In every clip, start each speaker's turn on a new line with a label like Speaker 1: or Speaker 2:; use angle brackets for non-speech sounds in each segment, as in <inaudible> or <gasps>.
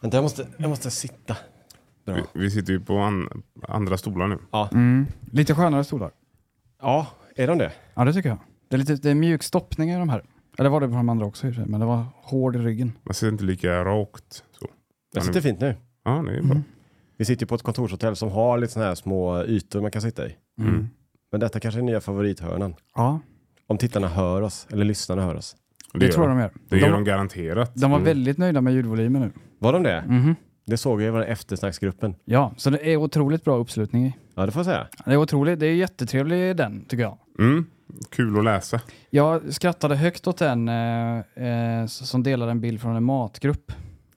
Speaker 1: Vänta, jag måste, jag måste sitta. Bra.
Speaker 2: Vi, vi sitter ju på an, andra stolar nu.
Speaker 3: Mm. Lite skönare stolar.
Speaker 1: Ja, är de det?
Speaker 3: Ja, det tycker jag. Det är lite det är mjuk stoppning i de här. Eller var det på de andra också i och för sig, men det var hård i ryggen.
Speaker 2: Man sitter inte lika rakt. Så.
Speaker 1: Jag
Speaker 2: Ja,
Speaker 1: sitter fint nu.
Speaker 2: Ja, det är
Speaker 1: Mm.
Speaker 2: bra.
Speaker 1: Vi sitter ju på ett kontorshotell som har lite sådana här små ytor man kan sitta i.
Speaker 2: Mm.
Speaker 1: Men detta kanske är nya favorithörnan.
Speaker 3: Ja,
Speaker 1: Om tittarna hör oss, eller lyssnarna hör oss.
Speaker 2: Det,
Speaker 3: det,
Speaker 2: gör
Speaker 3: tror jag
Speaker 2: de.
Speaker 3: de gör.
Speaker 2: Det gör de
Speaker 3: De,
Speaker 2: garanterat.
Speaker 3: de var
Speaker 2: Mm.
Speaker 3: väldigt nöjda med ljudvolymen nu.
Speaker 1: Var de det?
Speaker 3: Mhm.
Speaker 1: Det såg jag i vår eftersnacksgruppen.
Speaker 3: Ja, så det är otroligt bra uppslutning i.
Speaker 1: Ja, det får jag säga.
Speaker 3: Det är otroligt, det är jättetrevlig den tycker jag.
Speaker 2: Mm. Kul att läsa.
Speaker 3: Jag skrattade högt åt en eh, eh, s- som delade en bild från en matgrupp.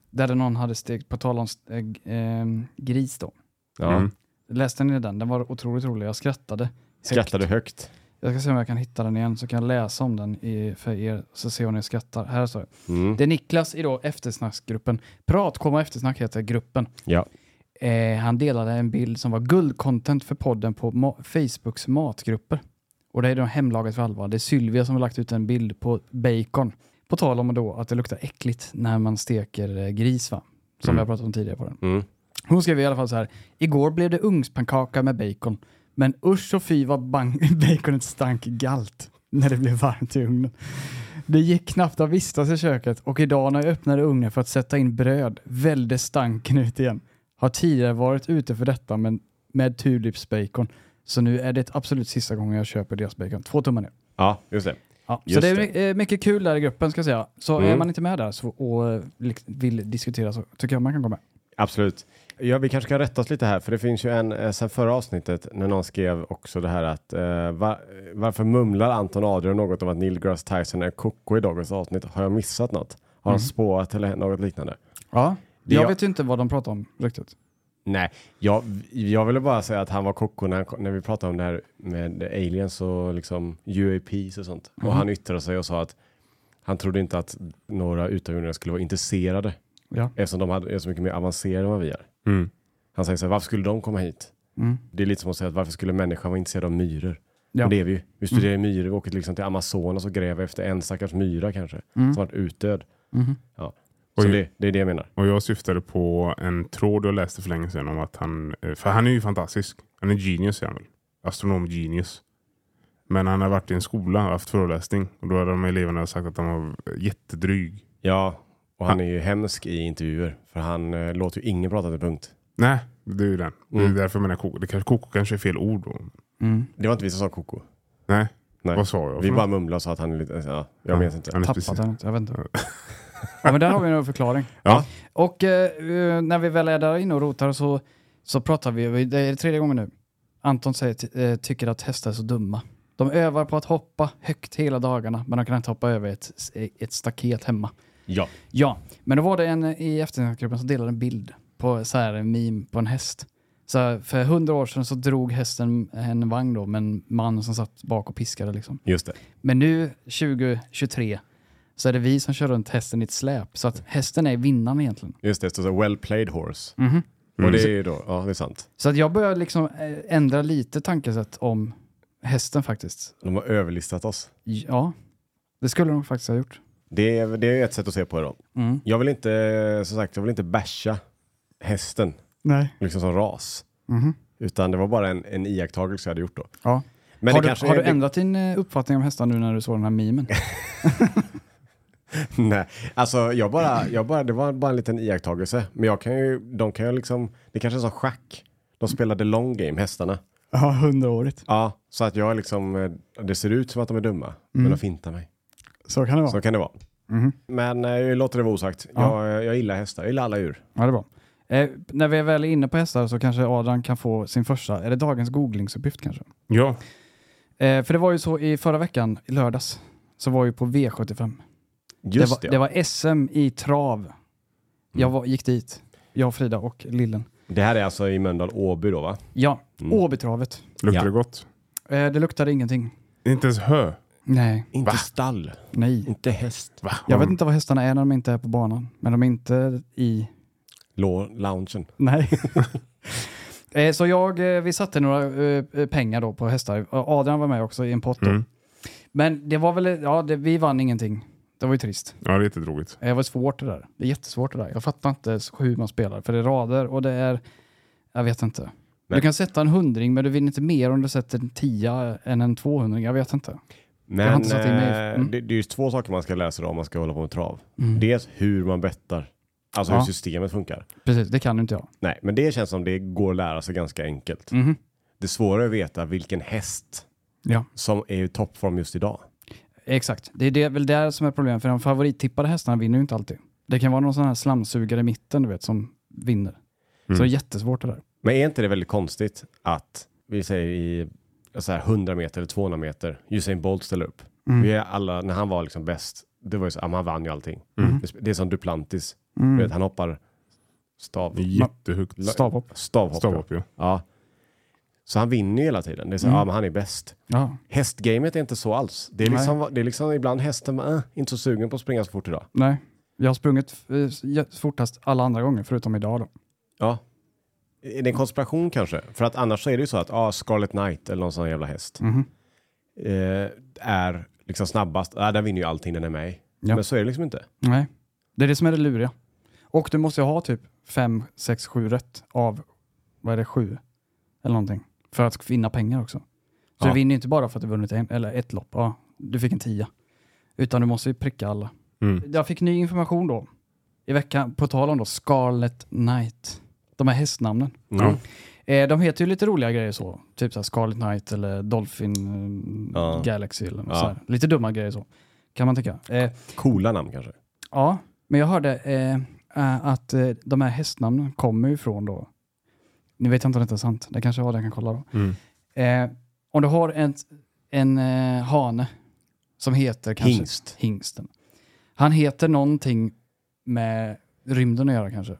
Speaker 3: Där det någon hade stekt, på tal om st- eh, g- eh, gris då.
Speaker 1: Ja.
Speaker 2: Mm.
Speaker 3: Läste ni den? Den var otroligt rolig. Jag skrattade. högt.
Speaker 1: Skrattade högt.
Speaker 3: Jag ska se om jag kan hitta den igen så kan jag läsa om den i, för er så ser om ni skrattar. Här står det.
Speaker 1: Mm.
Speaker 3: Det är Niklas i då eftersnacksgruppen. Prat, komma eftersnack heter gruppen.
Speaker 1: Ja.
Speaker 3: Eh, han delade en bild som var guldcontent för podden på ma- Facebooks matgrupper. Och det är då hemlagat för allvar. Det är Sylvia som har lagt ut en bild på bacon. På tal om då att det luktar äckligt när man steker eh, gris va? Som
Speaker 2: Mm.
Speaker 3: jag pratat om tidigare på den.
Speaker 1: Mm.
Speaker 3: Hon skrev i alla fall så här. Igår blev det ugnspannkaka med bacon. Men usch och fy vad bang- <laughs> baconet stank galt när det blev varmt i ugnen. Det gick knappt att vistas i köket och idag när jag öppnade ugnen för att sätta in bröd välde stanken ut igen. Har tidigare varit ute för detta men med Tulips bacon. Så nu är det absolut sista gången jag köper deras bacon. Två tummar ner.
Speaker 1: ja, just det.
Speaker 3: Ja, så
Speaker 1: Just
Speaker 3: det är my- eh, mycket kul där i gruppen ska jag säga. Så är
Speaker 1: Mm.
Speaker 3: man inte med där så, och eh, lik- vill diskutera så tycker jag man kan gå med.
Speaker 1: Absolut. Ja, vi kanske kan rätta oss lite här, för det finns ju en eh, sen förra avsnittet när någon skrev också det här att eh, va, varför mumlar Anton Adrian något om att Neil Grass Tyson är koko i dagens avsnitt? Har jag missat något? Har de
Speaker 3: Mm.
Speaker 1: spåat eller något liknande?
Speaker 3: Ja,
Speaker 1: Det
Speaker 3: jag
Speaker 1: jag-
Speaker 3: vet ju inte vad de pratar om riktigt.
Speaker 1: Nej, jag, jag ville bara säga att han var koko när, han kom- när vi pratade om det här med aliens och liksom UAPs och sånt. Och han yttrade sig och sa att han trodde inte att några utomjordingar skulle vara intresserade
Speaker 3: Ja.
Speaker 1: eftersom de hade, är så mycket mer avancerade än vad vi är.
Speaker 2: Mm.
Speaker 1: Han säger så här, varför skulle de komma hit?
Speaker 3: Mm.
Speaker 1: Det är lite som att säga att varför skulle människan vara intresserad av myror?
Speaker 3: Ja.
Speaker 1: Men det är vi ju. Vi studerar myror, vi åker liksom till Amazonas och gräver efter en stackars myra kanske, som varit utdöd.
Speaker 3: Mhm.
Speaker 1: Ja. Så
Speaker 2: Oj.
Speaker 1: det, det är det jag menar.
Speaker 2: Och jag syftade på en tråd jag läste för länge sedan om att han, eh, för han är ju fantastisk. Han är genius är han väl? Astronom genius. Men han har varit i en skola och haft föreläsning och då hade de eleverna sagt att han var jättedryg.
Speaker 1: Ja, och han är ju hemsk i intervjuer, för han eh, låter ju ingen prata till punkt.
Speaker 2: Nej, det är ju den. Det
Speaker 1: Mm.
Speaker 2: är därför jag menar koko. Det kanske, koko kanske är fel ord då.
Speaker 3: Mm.
Speaker 1: Det var inte vi som sa koko.
Speaker 2: Nej,
Speaker 1: Nej.
Speaker 2: vad sa jag?
Speaker 1: Vi
Speaker 2: för
Speaker 1: bara
Speaker 2: något?
Speaker 1: mumlade och sa att han är lite, ja, jag
Speaker 2: Ja,
Speaker 1: vet inte.
Speaker 2: han är
Speaker 3: Tappat
Speaker 2: speciell.
Speaker 3: den, jag vet inte. Ja, men där har vi en förklaring.
Speaker 2: Ja.
Speaker 3: Och eh, eh, när vi väl är där inne och rotar så, så pratar vi, det är tredje gången nu. Anton säger, ty- eh, tycker att hästar är så dumma. De övar på att hoppa högt hela dagarna, men de kan inte hoppa över ett, eh, ett staket hemma.
Speaker 1: Ja.
Speaker 3: Ja, men då var det en eh, i eftergruppen som delade en bild på så här en meme på en häst. Så här, för hundra år sedan så drog hästen en vagn då med en man som satt bak och piskade liksom.
Speaker 1: Just det.
Speaker 3: Men nu 2023 så är det vi som kör runt hästen i ett släp. Så att hästen är vinnaren egentligen.
Speaker 1: Just det, det står så här, well played horse.
Speaker 2: Mm.
Speaker 1: Och det är ju då, ja det är sant.
Speaker 3: Så att jag börjar liksom eh, ändra lite tankesätt om hästen faktiskt.
Speaker 1: De har överlistat oss.
Speaker 3: Ja, det skulle de faktiskt ha gjort.
Speaker 1: Det är, det är ett sätt att se på det då.
Speaker 3: Mm.
Speaker 1: Jag vill inte, eh, som sagt, jag vill inte basha hästen,
Speaker 3: Nej.
Speaker 1: liksom som ras.
Speaker 3: Mhm.
Speaker 1: Utan det var bara en, en iakttagelse jag hade gjort då.
Speaker 3: Ja.
Speaker 1: Men
Speaker 3: har
Speaker 1: det
Speaker 3: du,
Speaker 1: kanske
Speaker 3: har
Speaker 1: är-
Speaker 3: du ändrat din eh, uppfattning om hästar nu när du såg den här memen?
Speaker 1: <laughs> Nej, alltså jag bara, jag bara, det var bara en liten iakttagelse. Men jag kan ju, de kan ju liksom, det kanske är som schack. De spelade long game, hästarna.
Speaker 3: <laughs> Ja, hundraårigt.
Speaker 1: Ja, så att jag är liksom, eh, det ser ut som att de är dumma,
Speaker 3: Mm.
Speaker 1: men de fintar mig.
Speaker 3: Så Mhm. kan det vara.
Speaker 1: Så kan det vara. Men eh, jag låter det vara osagt. Jag, jag gillar hästar, jag gillar alla djur.
Speaker 3: Ja, det är bra. Eh, när vi är väl inne på hästar så kanske Adrian kan få sin första, är det dagens googlingsuppgift kanske?
Speaker 2: Ja,
Speaker 3: Eh, för det var ju så i förra veckan, i lördags, så var jag på V75.
Speaker 1: Just
Speaker 3: det, var, det var SM i trav. Jag var, gick dit, jag, Frida och Lillen.
Speaker 1: Det här är alltså i Mölndal, Åby då va?
Speaker 3: Ja,
Speaker 1: Mm.
Speaker 3: Åbytravet.
Speaker 2: luktar
Speaker 1: Ja.
Speaker 2: det gott?
Speaker 3: Eh, det luktade ingenting.
Speaker 2: Inte ens hö.
Speaker 3: Nej,
Speaker 1: Inte stall,
Speaker 3: nej.
Speaker 1: inte häst.
Speaker 2: Va?
Speaker 3: Jag vet inte vad hästarna är när de inte är på banan, men de är inte i
Speaker 1: Lå, loungen.
Speaker 3: Nej. Eh, Så jag, eh, vi satte några eh, eh, pengar då på hästar. Adrian var med också i en pott. då.
Speaker 2: Mm.
Speaker 3: Men det var väl, ja, det, vi vann ingenting. Det var ju trist.
Speaker 2: Ja, det är jättetråkigt.
Speaker 3: Det var svårt det där. Det är jättesvårt det där. Jag fattar inte ens hur man spelar. För det är rader och det är... Jag vet inte.
Speaker 1: Men-
Speaker 3: Du kan sätta en hundring men du vinner inte mer om du sätter en tia än en tvåhundring. Jag vet inte.
Speaker 1: Men
Speaker 3: har inte satt in mig.
Speaker 1: eh,
Speaker 3: Mm.
Speaker 1: det, det är ju två saker man ska lära sig då om man ska hålla på med trav.
Speaker 3: Mm.
Speaker 1: Dels hur man bettar, alltså hur
Speaker 3: Ja.
Speaker 1: systemet funkar.
Speaker 3: Precis, det kan inte jag.
Speaker 1: Nej, men det känns som det går att lära sig ganska enkelt.
Speaker 3: Mhm.
Speaker 1: Det svåra är att veta vilken häst
Speaker 3: Ja.
Speaker 1: som är i toppform just idag.
Speaker 3: Exakt. Det är det, väl där som är problemet. För de favorittippade hästarna vinner ju inte alltid. Det kan vara någon sån här slamsugare i mitten du vet som vinner.
Speaker 2: Mm.
Speaker 3: Så det är jättesvårt det där.
Speaker 1: Men är inte det väldigt konstigt att vi säger i så här, 100 meter eller 200 meter, Usain Bolt ställer upp.
Speaker 3: Mm.
Speaker 1: Vi är alla, när han var liksom bäst, det var ju så, ja, men han vann ju allting. Det- Det är som Duplantis,
Speaker 3: Mm.
Speaker 1: du vet, han hoppar stav,
Speaker 2: Det är jättehögt.
Speaker 3: Stavhopp. Mm.
Speaker 1: stavhopp.
Speaker 2: Stavhopp ju.
Speaker 1: Ja. Så han vinner ju hela tiden. Det är så, ja men han är bäst.
Speaker 3: Ja.
Speaker 1: Hästgamet är inte så alls. Det är
Speaker 3: Nej.
Speaker 1: liksom, det är liksom ibland hästen, bara, äh, inte så sugen på att springa så fort idag.
Speaker 3: Nej. Jag har sprungit eh, s- jä- fortast alla andra gånger förutom idag då.
Speaker 1: Ja. Är det en konspiration kanske? För att annars så är det ju så att ah, Scarlet Knight eller någon sån jävla häst
Speaker 3: Mhm.
Speaker 1: eh, är liksom snabbast. Ah, den vinner ju allting den är med i.
Speaker 3: Ja.
Speaker 1: Men så är det liksom inte.
Speaker 3: Nej. Det är det som är det luriga. Och du måste ju ha typ 5, 6, 7 rätt av, vad är det, 7? Eller någonting. För att vinna pengar också.
Speaker 1: Ja.
Speaker 3: Så du vinner ju inte bara för att du vunnit en, eller ett lopp. Ja, du fick en tia. Utan du måste ju pricka alla.
Speaker 2: Mm.
Speaker 3: Jag fick ny information då. I veckan, på tal om då, Scarlet Knight. De här hästnamnen.
Speaker 1: Mm.
Speaker 2: Ja.
Speaker 3: Eh, de heter ju lite roliga grejer så. Typ så här Scarlet Knight eller Dolphin eh,
Speaker 1: Ja.
Speaker 3: Galaxy eller något
Speaker 1: Ja.
Speaker 3: så här. Lite dumma grejer så. Kan man tycka. Eh,
Speaker 1: Coola namn kanske.
Speaker 3: ja, men jag hörde eh, eh, att eh, de här hästnamnen kommer ju från då. Nu vet jag inte om detta är sant. Det kanske var det jag kan kolla då.
Speaker 2: Mm.
Speaker 3: Eh, om du har en, en eh, hane som heter kanske...
Speaker 1: Hingst.
Speaker 3: Hingsten. Han heter någonting med rymden att göra kanske.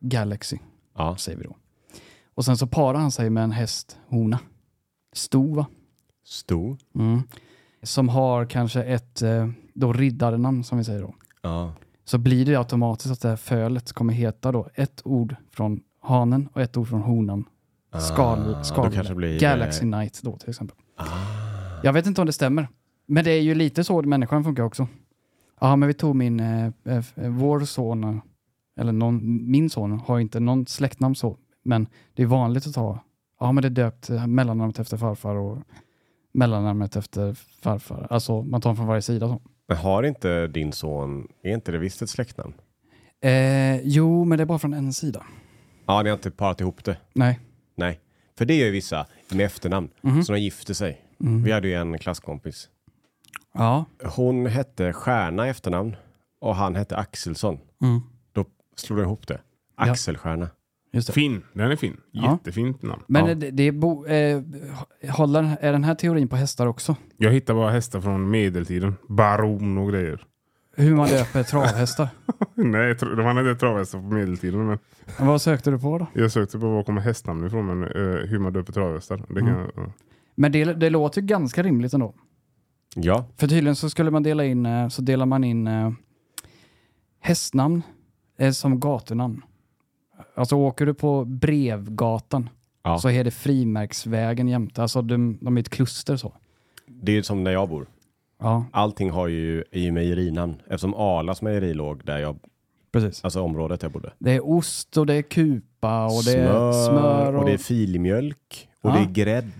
Speaker 3: Galaxy,
Speaker 1: Ja.
Speaker 3: säger vi då. Och sen så parar han sig med en hästhona. Stor va?
Speaker 1: Stor.
Speaker 3: Som har kanske ett eh, då riddarnamn som vi säger då.
Speaker 1: Ja.
Speaker 3: Så blir det ju automatiskt att det här fölet kommer heta då ett ord från hanen och ett ord från honan. Skal, skal,
Speaker 1: Ah, då kanske det blir, eh, ah.
Speaker 3: Galaxy Knight då till exempel. Jag vet inte om det stämmer. Men det är ju lite så människan funkar också. Ja, men vi tog min, eh, eh, vår son, eh, eller någon, min son har inte någon släktnamn så, men det är vanligt att ta, ja men det är döpt eh, mellannamnet efter farfar och mellannamnet efter farfar. Alltså man tar från varje sida så.
Speaker 1: Men har inte din son, är inte det visst ett släktnamn?
Speaker 3: Eh, jo, men det är bara från en sida.
Speaker 1: Ja, ni har inte parat ihop det.
Speaker 3: Nej.
Speaker 1: Nej. För det gör ju vissa med efternamn.
Speaker 3: Mhm.
Speaker 1: Så de gifte sig.
Speaker 3: Mm.
Speaker 1: Vi hade ju en klasskompis.
Speaker 3: Ja.
Speaker 1: Hon hette Stjärna i efternamn och han hette Axelsson.
Speaker 3: Mm.
Speaker 1: Då slog de ihop det.
Speaker 3: Ja.
Speaker 1: Axelstjärna.
Speaker 3: Just det.
Speaker 2: Fin. Den är fin.
Speaker 3: Ja.
Speaker 2: Jättefint namn.
Speaker 3: Men
Speaker 1: Ja.
Speaker 3: är det, det är bo, eh, håller, är den här teorin på hästar också?
Speaker 2: Jag hittar bara hästar från medeltiden. Baron och grejer.
Speaker 3: Hur man döper travhästar?
Speaker 2: Nej, jag tror- de hade inte travhästar på medeltiden. Men
Speaker 3: Vad sökte du på då?
Speaker 2: jag sökte på var kommer hästnamn ifrån. Men eh, hur man döper travhästar. Det kan,
Speaker 3: Mm.
Speaker 2: ja.
Speaker 3: Men det, det låter ju ganska rimligt ändå.
Speaker 1: Ja.
Speaker 3: För tydligen så skulle man dela in, eh, så delar man in eh, hästnamn eh, som gatunamn. Alltså åker du på Brevgatan
Speaker 1: Ja.
Speaker 3: så är det Frimärksvägen jämte. Alltså de, de är ett kluster så.
Speaker 1: Det är ju som när jag bor.
Speaker 3: Ja,
Speaker 1: Allting har ju, är ju mejerinamn. Eftersom Arlas mejeri låg där jag,
Speaker 3: precis.
Speaker 1: alltså området jag bodde.
Speaker 3: Det är ost och det är kupa och det är smör
Speaker 1: och...
Speaker 3: och...
Speaker 1: det är filmjölk. Och
Speaker 3: Ja.
Speaker 1: det är grädde.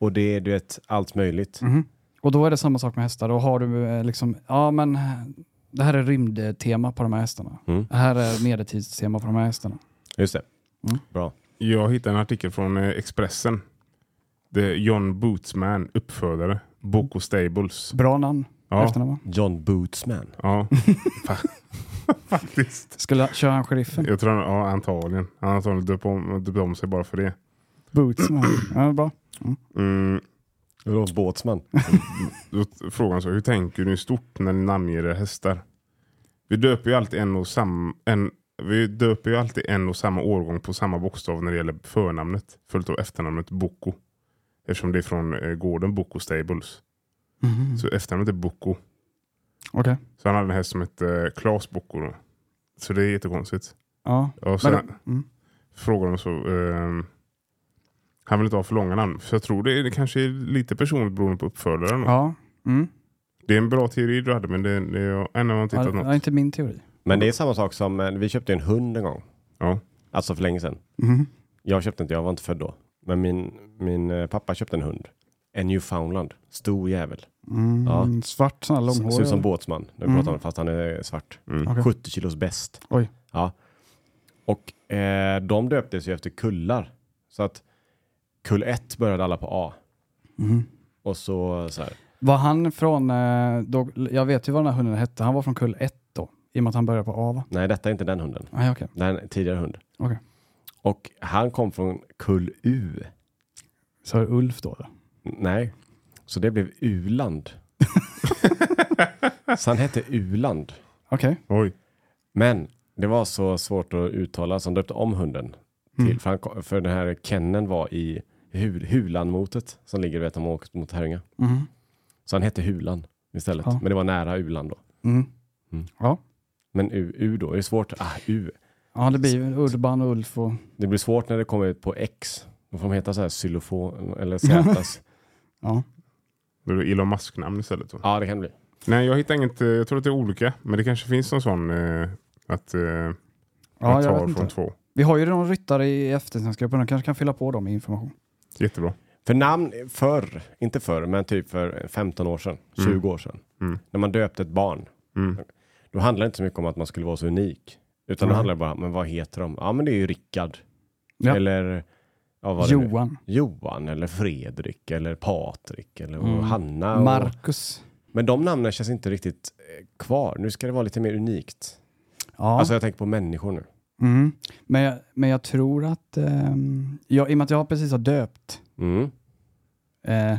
Speaker 1: Och det är du vet, allt möjligt.
Speaker 3: Mhm. Och då är det samma sak med hästar. Då har du eh, liksom, ja men det här är rymdtema på de här hästarna.
Speaker 1: Mm.
Speaker 3: Det här är medeltidstema på de här hästarna.
Speaker 1: Just det.
Speaker 3: Mm.
Speaker 1: Bra.
Speaker 2: Jag hittade en artikel från eh, Expressen. Det är John Bootsman, uppfödare. Boko Stables.
Speaker 3: Bra namn.
Speaker 2: Ja,
Speaker 3: Efternamn. va?
Speaker 1: John Bootsman.
Speaker 2: ja.
Speaker 3: <laughs>
Speaker 2: Fa- <laughs> faktiskt.
Speaker 3: Skulle köra han sheriffen?
Speaker 2: Jag tror han, ja, antagligen. Han har antagligen döpt om, döpt om sig bara för det.
Speaker 3: Boots. man. Ja, det är bra.
Speaker 2: Mm.
Speaker 1: Vadå båtsman?
Speaker 2: Då t- frågan så, hur tänker du i stort när ni namnger era hästar? Vi döper ju alltid en och samma, en, vi döper ju alltid en och samma årgång på samma bokstav när det gäller förnamnet. Följt av efternamnet Boko. Eftersom det är från eh, gården Boko Stables.
Speaker 3: Mhm.
Speaker 2: Så efternamnet är Boko.
Speaker 3: Okej.
Speaker 2: Så han hade en häst som hette Klas Boko då. Så det är jättekonstigt.
Speaker 3: Ja.
Speaker 2: Och sen
Speaker 3: Men, mm.
Speaker 2: frågade de så, ehm, han vill inte ha för långa namn. Så jag tror det, är, det kanske är lite personligt beroende på uppfödaren. då.
Speaker 3: ja. Mm.
Speaker 2: Det är en bra teori du hade men det, det, jag ännu har inte
Speaker 3: Ja,
Speaker 2: hittat
Speaker 3: Det
Speaker 2: något.
Speaker 3: var inte min teori.
Speaker 1: Men det är samma sak som, eh, vi köpte en hund en gång.
Speaker 2: Ja.
Speaker 1: Alltså för länge sedan.
Speaker 3: Mhm.
Speaker 1: Jag köpte inte, jag var inte född då. Men min, min eh, pappa köpte en hund. En newfoundland. Stor jävel.
Speaker 3: Mm,
Speaker 1: Ja.
Speaker 3: Svart sån här
Speaker 1: S- Ser ut som
Speaker 3: långhårig.
Speaker 1: båtsman. När vi
Speaker 3: Mm.
Speaker 1: pratar om det, fast han är svart.
Speaker 2: Mm.
Speaker 3: Okej.
Speaker 1: 70 kilos bäst.
Speaker 3: Oj.
Speaker 1: Ja. Och eh, de döptes ju efter kullar. Så att kull 1 började alla på A.
Speaker 3: Mhm.
Speaker 1: Och så så här.
Speaker 3: Var han från, eh, då, jag vet ju vad den här hunden hette, han var från kull 1 då, i och med att han började på A va?
Speaker 1: Nej, detta är inte den hunden.
Speaker 3: Nej okej.
Speaker 1: Det här är en tidigare hund.
Speaker 3: Okej.
Speaker 1: Och han kom från kull U.
Speaker 3: Så är det Ulf då? eller?
Speaker 1: Nej, så det blev Uland. så han hette Uland.
Speaker 3: Okej.
Speaker 2: Oj.
Speaker 1: Men det var så svårt att uttala så han döpte om hunden. Till, för, han, kom- för den här kennen var i Hul, Hulanmotet som ligger vet, om man åker mot Herrljunga.
Speaker 3: Mhm.
Speaker 1: Så han hette Hulan istället.
Speaker 3: Ja.
Speaker 1: Men det var nära Uland då.
Speaker 3: Mm.
Speaker 1: Men U, U då, det är svårt. Ah, U.
Speaker 3: Ja det blir ju Urban och Ulf och...
Speaker 1: Det blir svårt när det kommer ut på X. Då får de heta så här xylofon eller Zätas.
Speaker 3: Ja.
Speaker 2: Då är det Elon Musk-namn istället. Va?
Speaker 1: ja, det kan det bli.
Speaker 2: Nej, jag hittar inget. eh, Jag tror att det är olika. Men det kanske finns någon sån eh, att eh,
Speaker 3: Ja,
Speaker 2: man
Speaker 3: jag
Speaker 2: tar
Speaker 3: vet
Speaker 2: från
Speaker 3: inte.
Speaker 2: två.
Speaker 3: Vi har ju någon ryttare i eftertextgruppen, de kanske kan fylla på dem med information.
Speaker 2: Jättebra.
Speaker 1: För namn förr, inte förr, men typ för 15 år sedan, 20 år sedan.
Speaker 2: Mm.
Speaker 1: När man döpte ett barn,
Speaker 2: Mm.
Speaker 1: då handlade det inte så mycket om att man skulle vara så unik. Utan
Speaker 2: Mm.
Speaker 1: då handlade det bara, men vad heter de? Ja, men det är ju Rickard.
Speaker 3: Ja.
Speaker 1: Eller ja, vad Det nu?
Speaker 3: Johan,
Speaker 1: Johan, eller Fredrik, eller Patrik, eller
Speaker 3: Mm.
Speaker 1: och Hanna. Och...
Speaker 3: Marcus.
Speaker 1: Men de namnen känns inte riktigt eh, kvar. Nu ska det vara lite mer unikt.
Speaker 3: Ja.
Speaker 1: Alltså jag tänker på människor nu.
Speaker 3: Mm. Men, jag, men jag tror att, ehm, jag, i och med att jag precis har döpt,
Speaker 1: Mm.
Speaker 3: eh,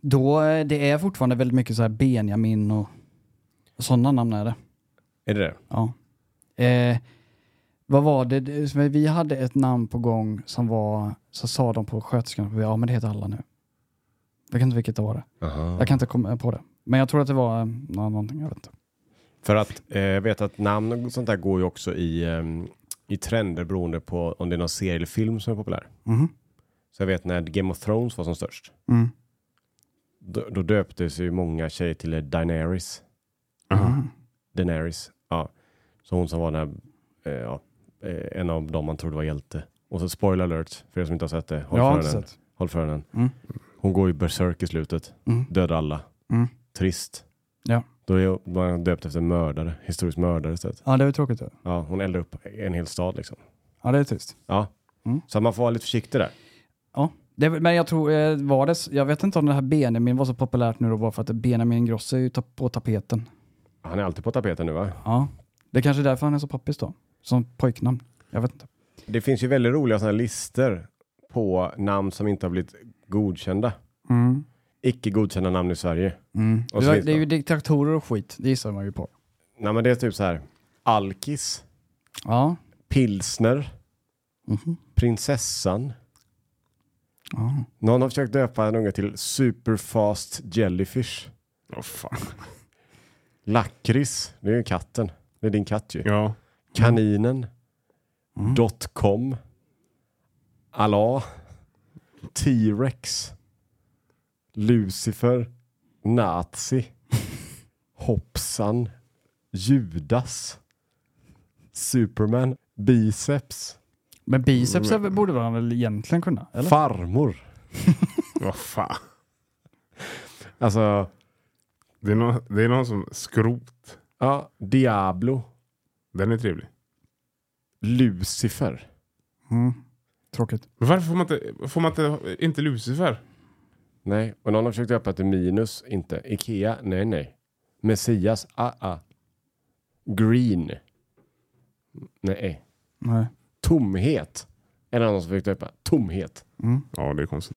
Speaker 3: då eh, det är fortfarande väldigt mycket så här Benjamin och, och sådana namn är det.
Speaker 1: Är det det?
Speaker 3: Ja. Eh, vad var det? det? Vi hade ett namn på gång som var, så sa de på sköterskan, ja men det heter alla nu. Jag vet inte vilket det var det. Jag kan inte komma på det. Men jag tror att det var eh, nå- någonting, jag vet inte.
Speaker 1: För att eh, jag vet att namn och sånt där går ju också i, ehm, i trender beroende på om det är någon serie eller film som är populär.
Speaker 3: Mhm.
Speaker 1: Så jag vet när Game of Thrones var som störst.
Speaker 3: Mm.
Speaker 1: Då, då döptes ju många tjejer till eh, Daenerys.
Speaker 2: Aha.
Speaker 3: Mm.
Speaker 1: Daenerys. Ja. Så hon som var den här, eh, ja, eh, en av dem man trodde var hjälte. Och så spoiler alert för er som inte har sett det. Håll
Speaker 3: Jag har
Speaker 1: för
Speaker 3: inte
Speaker 1: öronen.
Speaker 3: sett.
Speaker 1: Håll för öronen.
Speaker 3: Mm.
Speaker 1: Hon går ju berserk i slutet.
Speaker 3: Mm.
Speaker 1: Dödar alla.
Speaker 3: Mm.
Speaker 1: Trist.
Speaker 3: Ja.
Speaker 1: Då är man döpt efter en mördare. Historisk mördare istället.
Speaker 3: Ja, det är tråkigt. det.
Speaker 1: Ja, hon eldar upp en hel stad liksom.
Speaker 3: Ja, det är tyst.
Speaker 1: Ja.
Speaker 3: Mm.
Speaker 1: Så man får vara lite försiktig där.
Speaker 3: Det, men jag tror, eh, var det, s- jag vet inte om det här Benjamin var så populärt nu då, bara för att Benjamin Gross är ju ta- på tapeten.
Speaker 1: Han är alltid på tapeten nu va?
Speaker 3: Ja. Det är kanske är därför han är så poppis då. Som pojknamn. Jag vet inte.
Speaker 1: Det finns ju väldigt roliga sådana listor på namn som inte har blivit godkända.
Speaker 3: Mm.
Speaker 1: Icke godkända namn i Sverige.
Speaker 3: Mm.
Speaker 1: Och
Speaker 3: Det,
Speaker 1: så
Speaker 3: var,
Speaker 1: finns
Speaker 3: det är
Speaker 1: det-
Speaker 3: ju diktatorer och skit, det gissar man ju på.
Speaker 1: Nej men det är typ så här. Alkis,
Speaker 3: Ja.
Speaker 1: pilsner,
Speaker 3: Mhm.
Speaker 1: prinsessan.
Speaker 3: ja.
Speaker 1: Någon har försökt döpa en unge till superfast jellyfish.
Speaker 2: Åh, fan.
Speaker 1: Lakrits, det är ju katten. Det är din katt ju.
Speaker 2: Ja.
Speaker 1: Kaninen,
Speaker 3: Mm.
Speaker 1: dotcom, Allah, T-rex, Lucifer, Nazi,
Speaker 3: <laughs>
Speaker 1: Hoppsan, Judas, Superman, Biceps,
Speaker 3: Men biceps är väl- borde han väl egentligen kunna? Eller?
Speaker 1: Farmor.
Speaker 2: Vad fan.
Speaker 1: Alltså,
Speaker 2: Det är, någon, det är någon som skrot.
Speaker 1: ja, Diablo,
Speaker 2: Den är trevlig.
Speaker 1: Lucifer.
Speaker 3: Mm. Tråkigt.
Speaker 2: Men varför får man inte, får man inte, inte Lucifer?
Speaker 1: Nej, och någon har försökt döpa till Minus, inte. Ikea, nej, nej. Messias, ah, ah. Green, nej. eh.
Speaker 3: Nej.
Speaker 1: Tomhet, är det någon som försökt döpa. Tomhet.
Speaker 3: Mm.
Speaker 2: Ja, det är konstigt.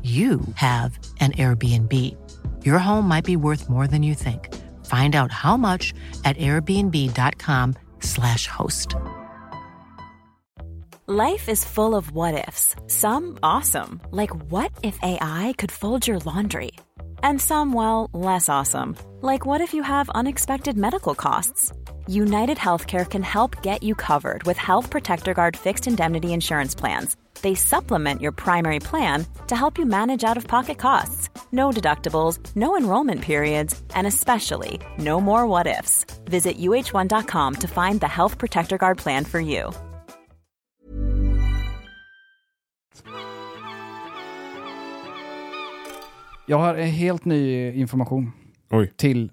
Speaker 4: you have an Airbnb. your home might be worth more than you think. Find out how much at airbnb.com/slash host.
Speaker 5: Life is full of what ifs. Some awesome, like what if AI could fold your laundry? And some, well, less awesome, like what if you have unexpected medical costs? United Healthcare can help get you covered with Health Protector Guard fixed indemnity insurance plans. They supplement your primary plan to help you manage out of pocket costs. No deductibles, no enrollment periods, and especially no more what ifs. Visit uh1.com to find the Health Protector Guard plan for you.
Speaker 3: Jag har en helt ny information
Speaker 2: Oj,
Speaker 3: till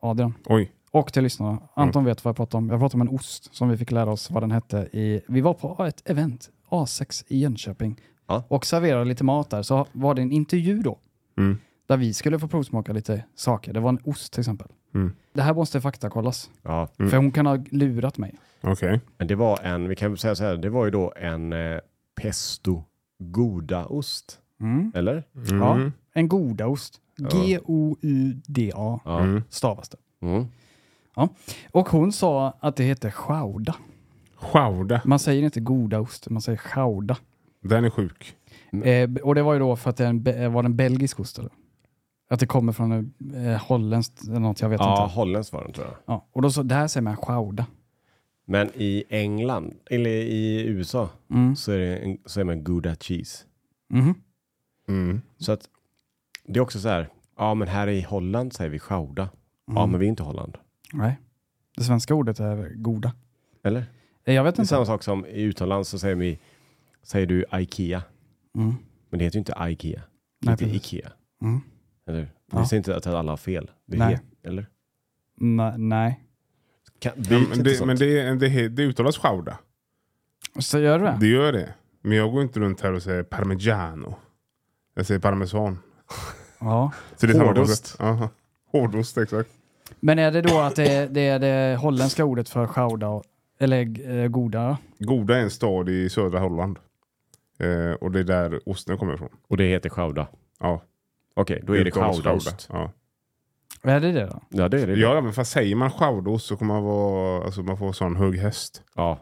Speaker 3: Adrian
Speaker 2: oj.
Speaker 3: och till lyssnarna.
Speaker 1: Mm.
Speaker 3: Anton vet vad jag pratar om. Jag pratar om en ost som vi fick lära oss vad den hette. I, vi var på ett event, A6 i Jönköping,
Speaker 1: Ja.
Speaker 3: och serverade lite mat där. Så var det en intervju då,
Speaker 2: Mm.
Speaker 3: där vi skulle få provsmaka lite saker. Det var en ost till exempel.
Speaker 2: Mm.
Speaker 3: Det här måste faktakollas,
Speaker 1: Ja,
Speaker 3: för hon kan ha lurat mig.
Speaker 2: Okej.
Speaker 1: men det var en, vi kan väl säga så här, det var ju då en eh, pesto godaost. Eller?
Speaker 3: Ja, en godaost. G-O-U-D-A
Speaker 1: Ja.
Speaker 3: stavas det.
Speaker 1: Mm.
Speaker 3: Och hon sa att det heter chauda.
Speaker 2: Chauda.
Speaker 3: Man säger inte godaost, man säger chauda.
Speaker 2: Den är sjuk.
Speaker 3: Eh, b- och det var ju då för att det är en, be- eh, var det en belgisk ost eller? Att det kommer från en, eh, holländskt eller något, jag vet
Speaker 1: Ja,
Speaker 3: inte.
Speaker 1: holländskt var den tror jag.
Speaker 3: Ja, och då så, där säger man chauda.
Speaker 1: Men i England, eller i USA,
Speaker 3: Mm.
Speaker 1: så är, det en, så är man gouda cheese.
Speaker 3: Mhm.
Speaker 2: Mm.
Speaker 1: Så att det är också så här, ja men här i Holland säger vi chauda. Ja men vi är inte Holland.
Speaker 3: Nej. Det svenska ordet är goda.
Speaker 1: Eller?
Speaker 3: Eh, jag vet
Speaker 1: Det är
Speaker 3: inte.
Speaker 1: samma sak som i utomlands så säger, vi, säger du Ikea.
Speaker 3: Mm.
Speaker 1: Men det heter ju inte Ikea. Det
Speaker 3: Nej,
Speaker 1: heter
Speaker 3: precis.
Speaker 1: Ikea.
Speaker 3: Mm.
Speaker 1: Eller? Vi
Speaker 3: Ja.
Speaker 1: säger inte att alla har fel. Vi
Speaker 3: Nej.
Speaker 1: vet, eller?
Speaker 3: Nej, nej.
Speaker 1: Kan, byt
Speaker 2: Ja,
Speaker 1: inte
Speaker 2: men det,
Speaker 1: sånt.
Speaker 2: men det, är- det, är- det uttalas chauda.
Speaker 3: Så gör du det?
Speaker 2: Det gör det. Men jag går inte runt här och säger parmigiano. Jag säger parmesan.
Speaker 3: Ja.
Speaker 2: Så det är samma
Speaker 1: Hårdost.
Speaker 2: koncept. Jaha. Hårdost, exakt.
Speaker 3: Men är det då att det är det, är det holländska ordet för chauda, och- eller eh, goda?
Speaker 2: Goda är en stad i södra Holland. Eh, och det är där osten kommer ifrån.
Speaker 1: Och det heter chauda.
Speaker 2: Ja.
Speaker 1: Okej, då är det
Speaker 2: uttalas
Speaker 1: chaudaost.
Speaker 2: chauda. Ja.
Speaker 3: Är det det då?
Speaker 1: Ja, det är det.
Speaker 2: ja, men fast säger man chaudaost så kommer man vara, alltså man får sån hög häst.
Speaker 1: Ja.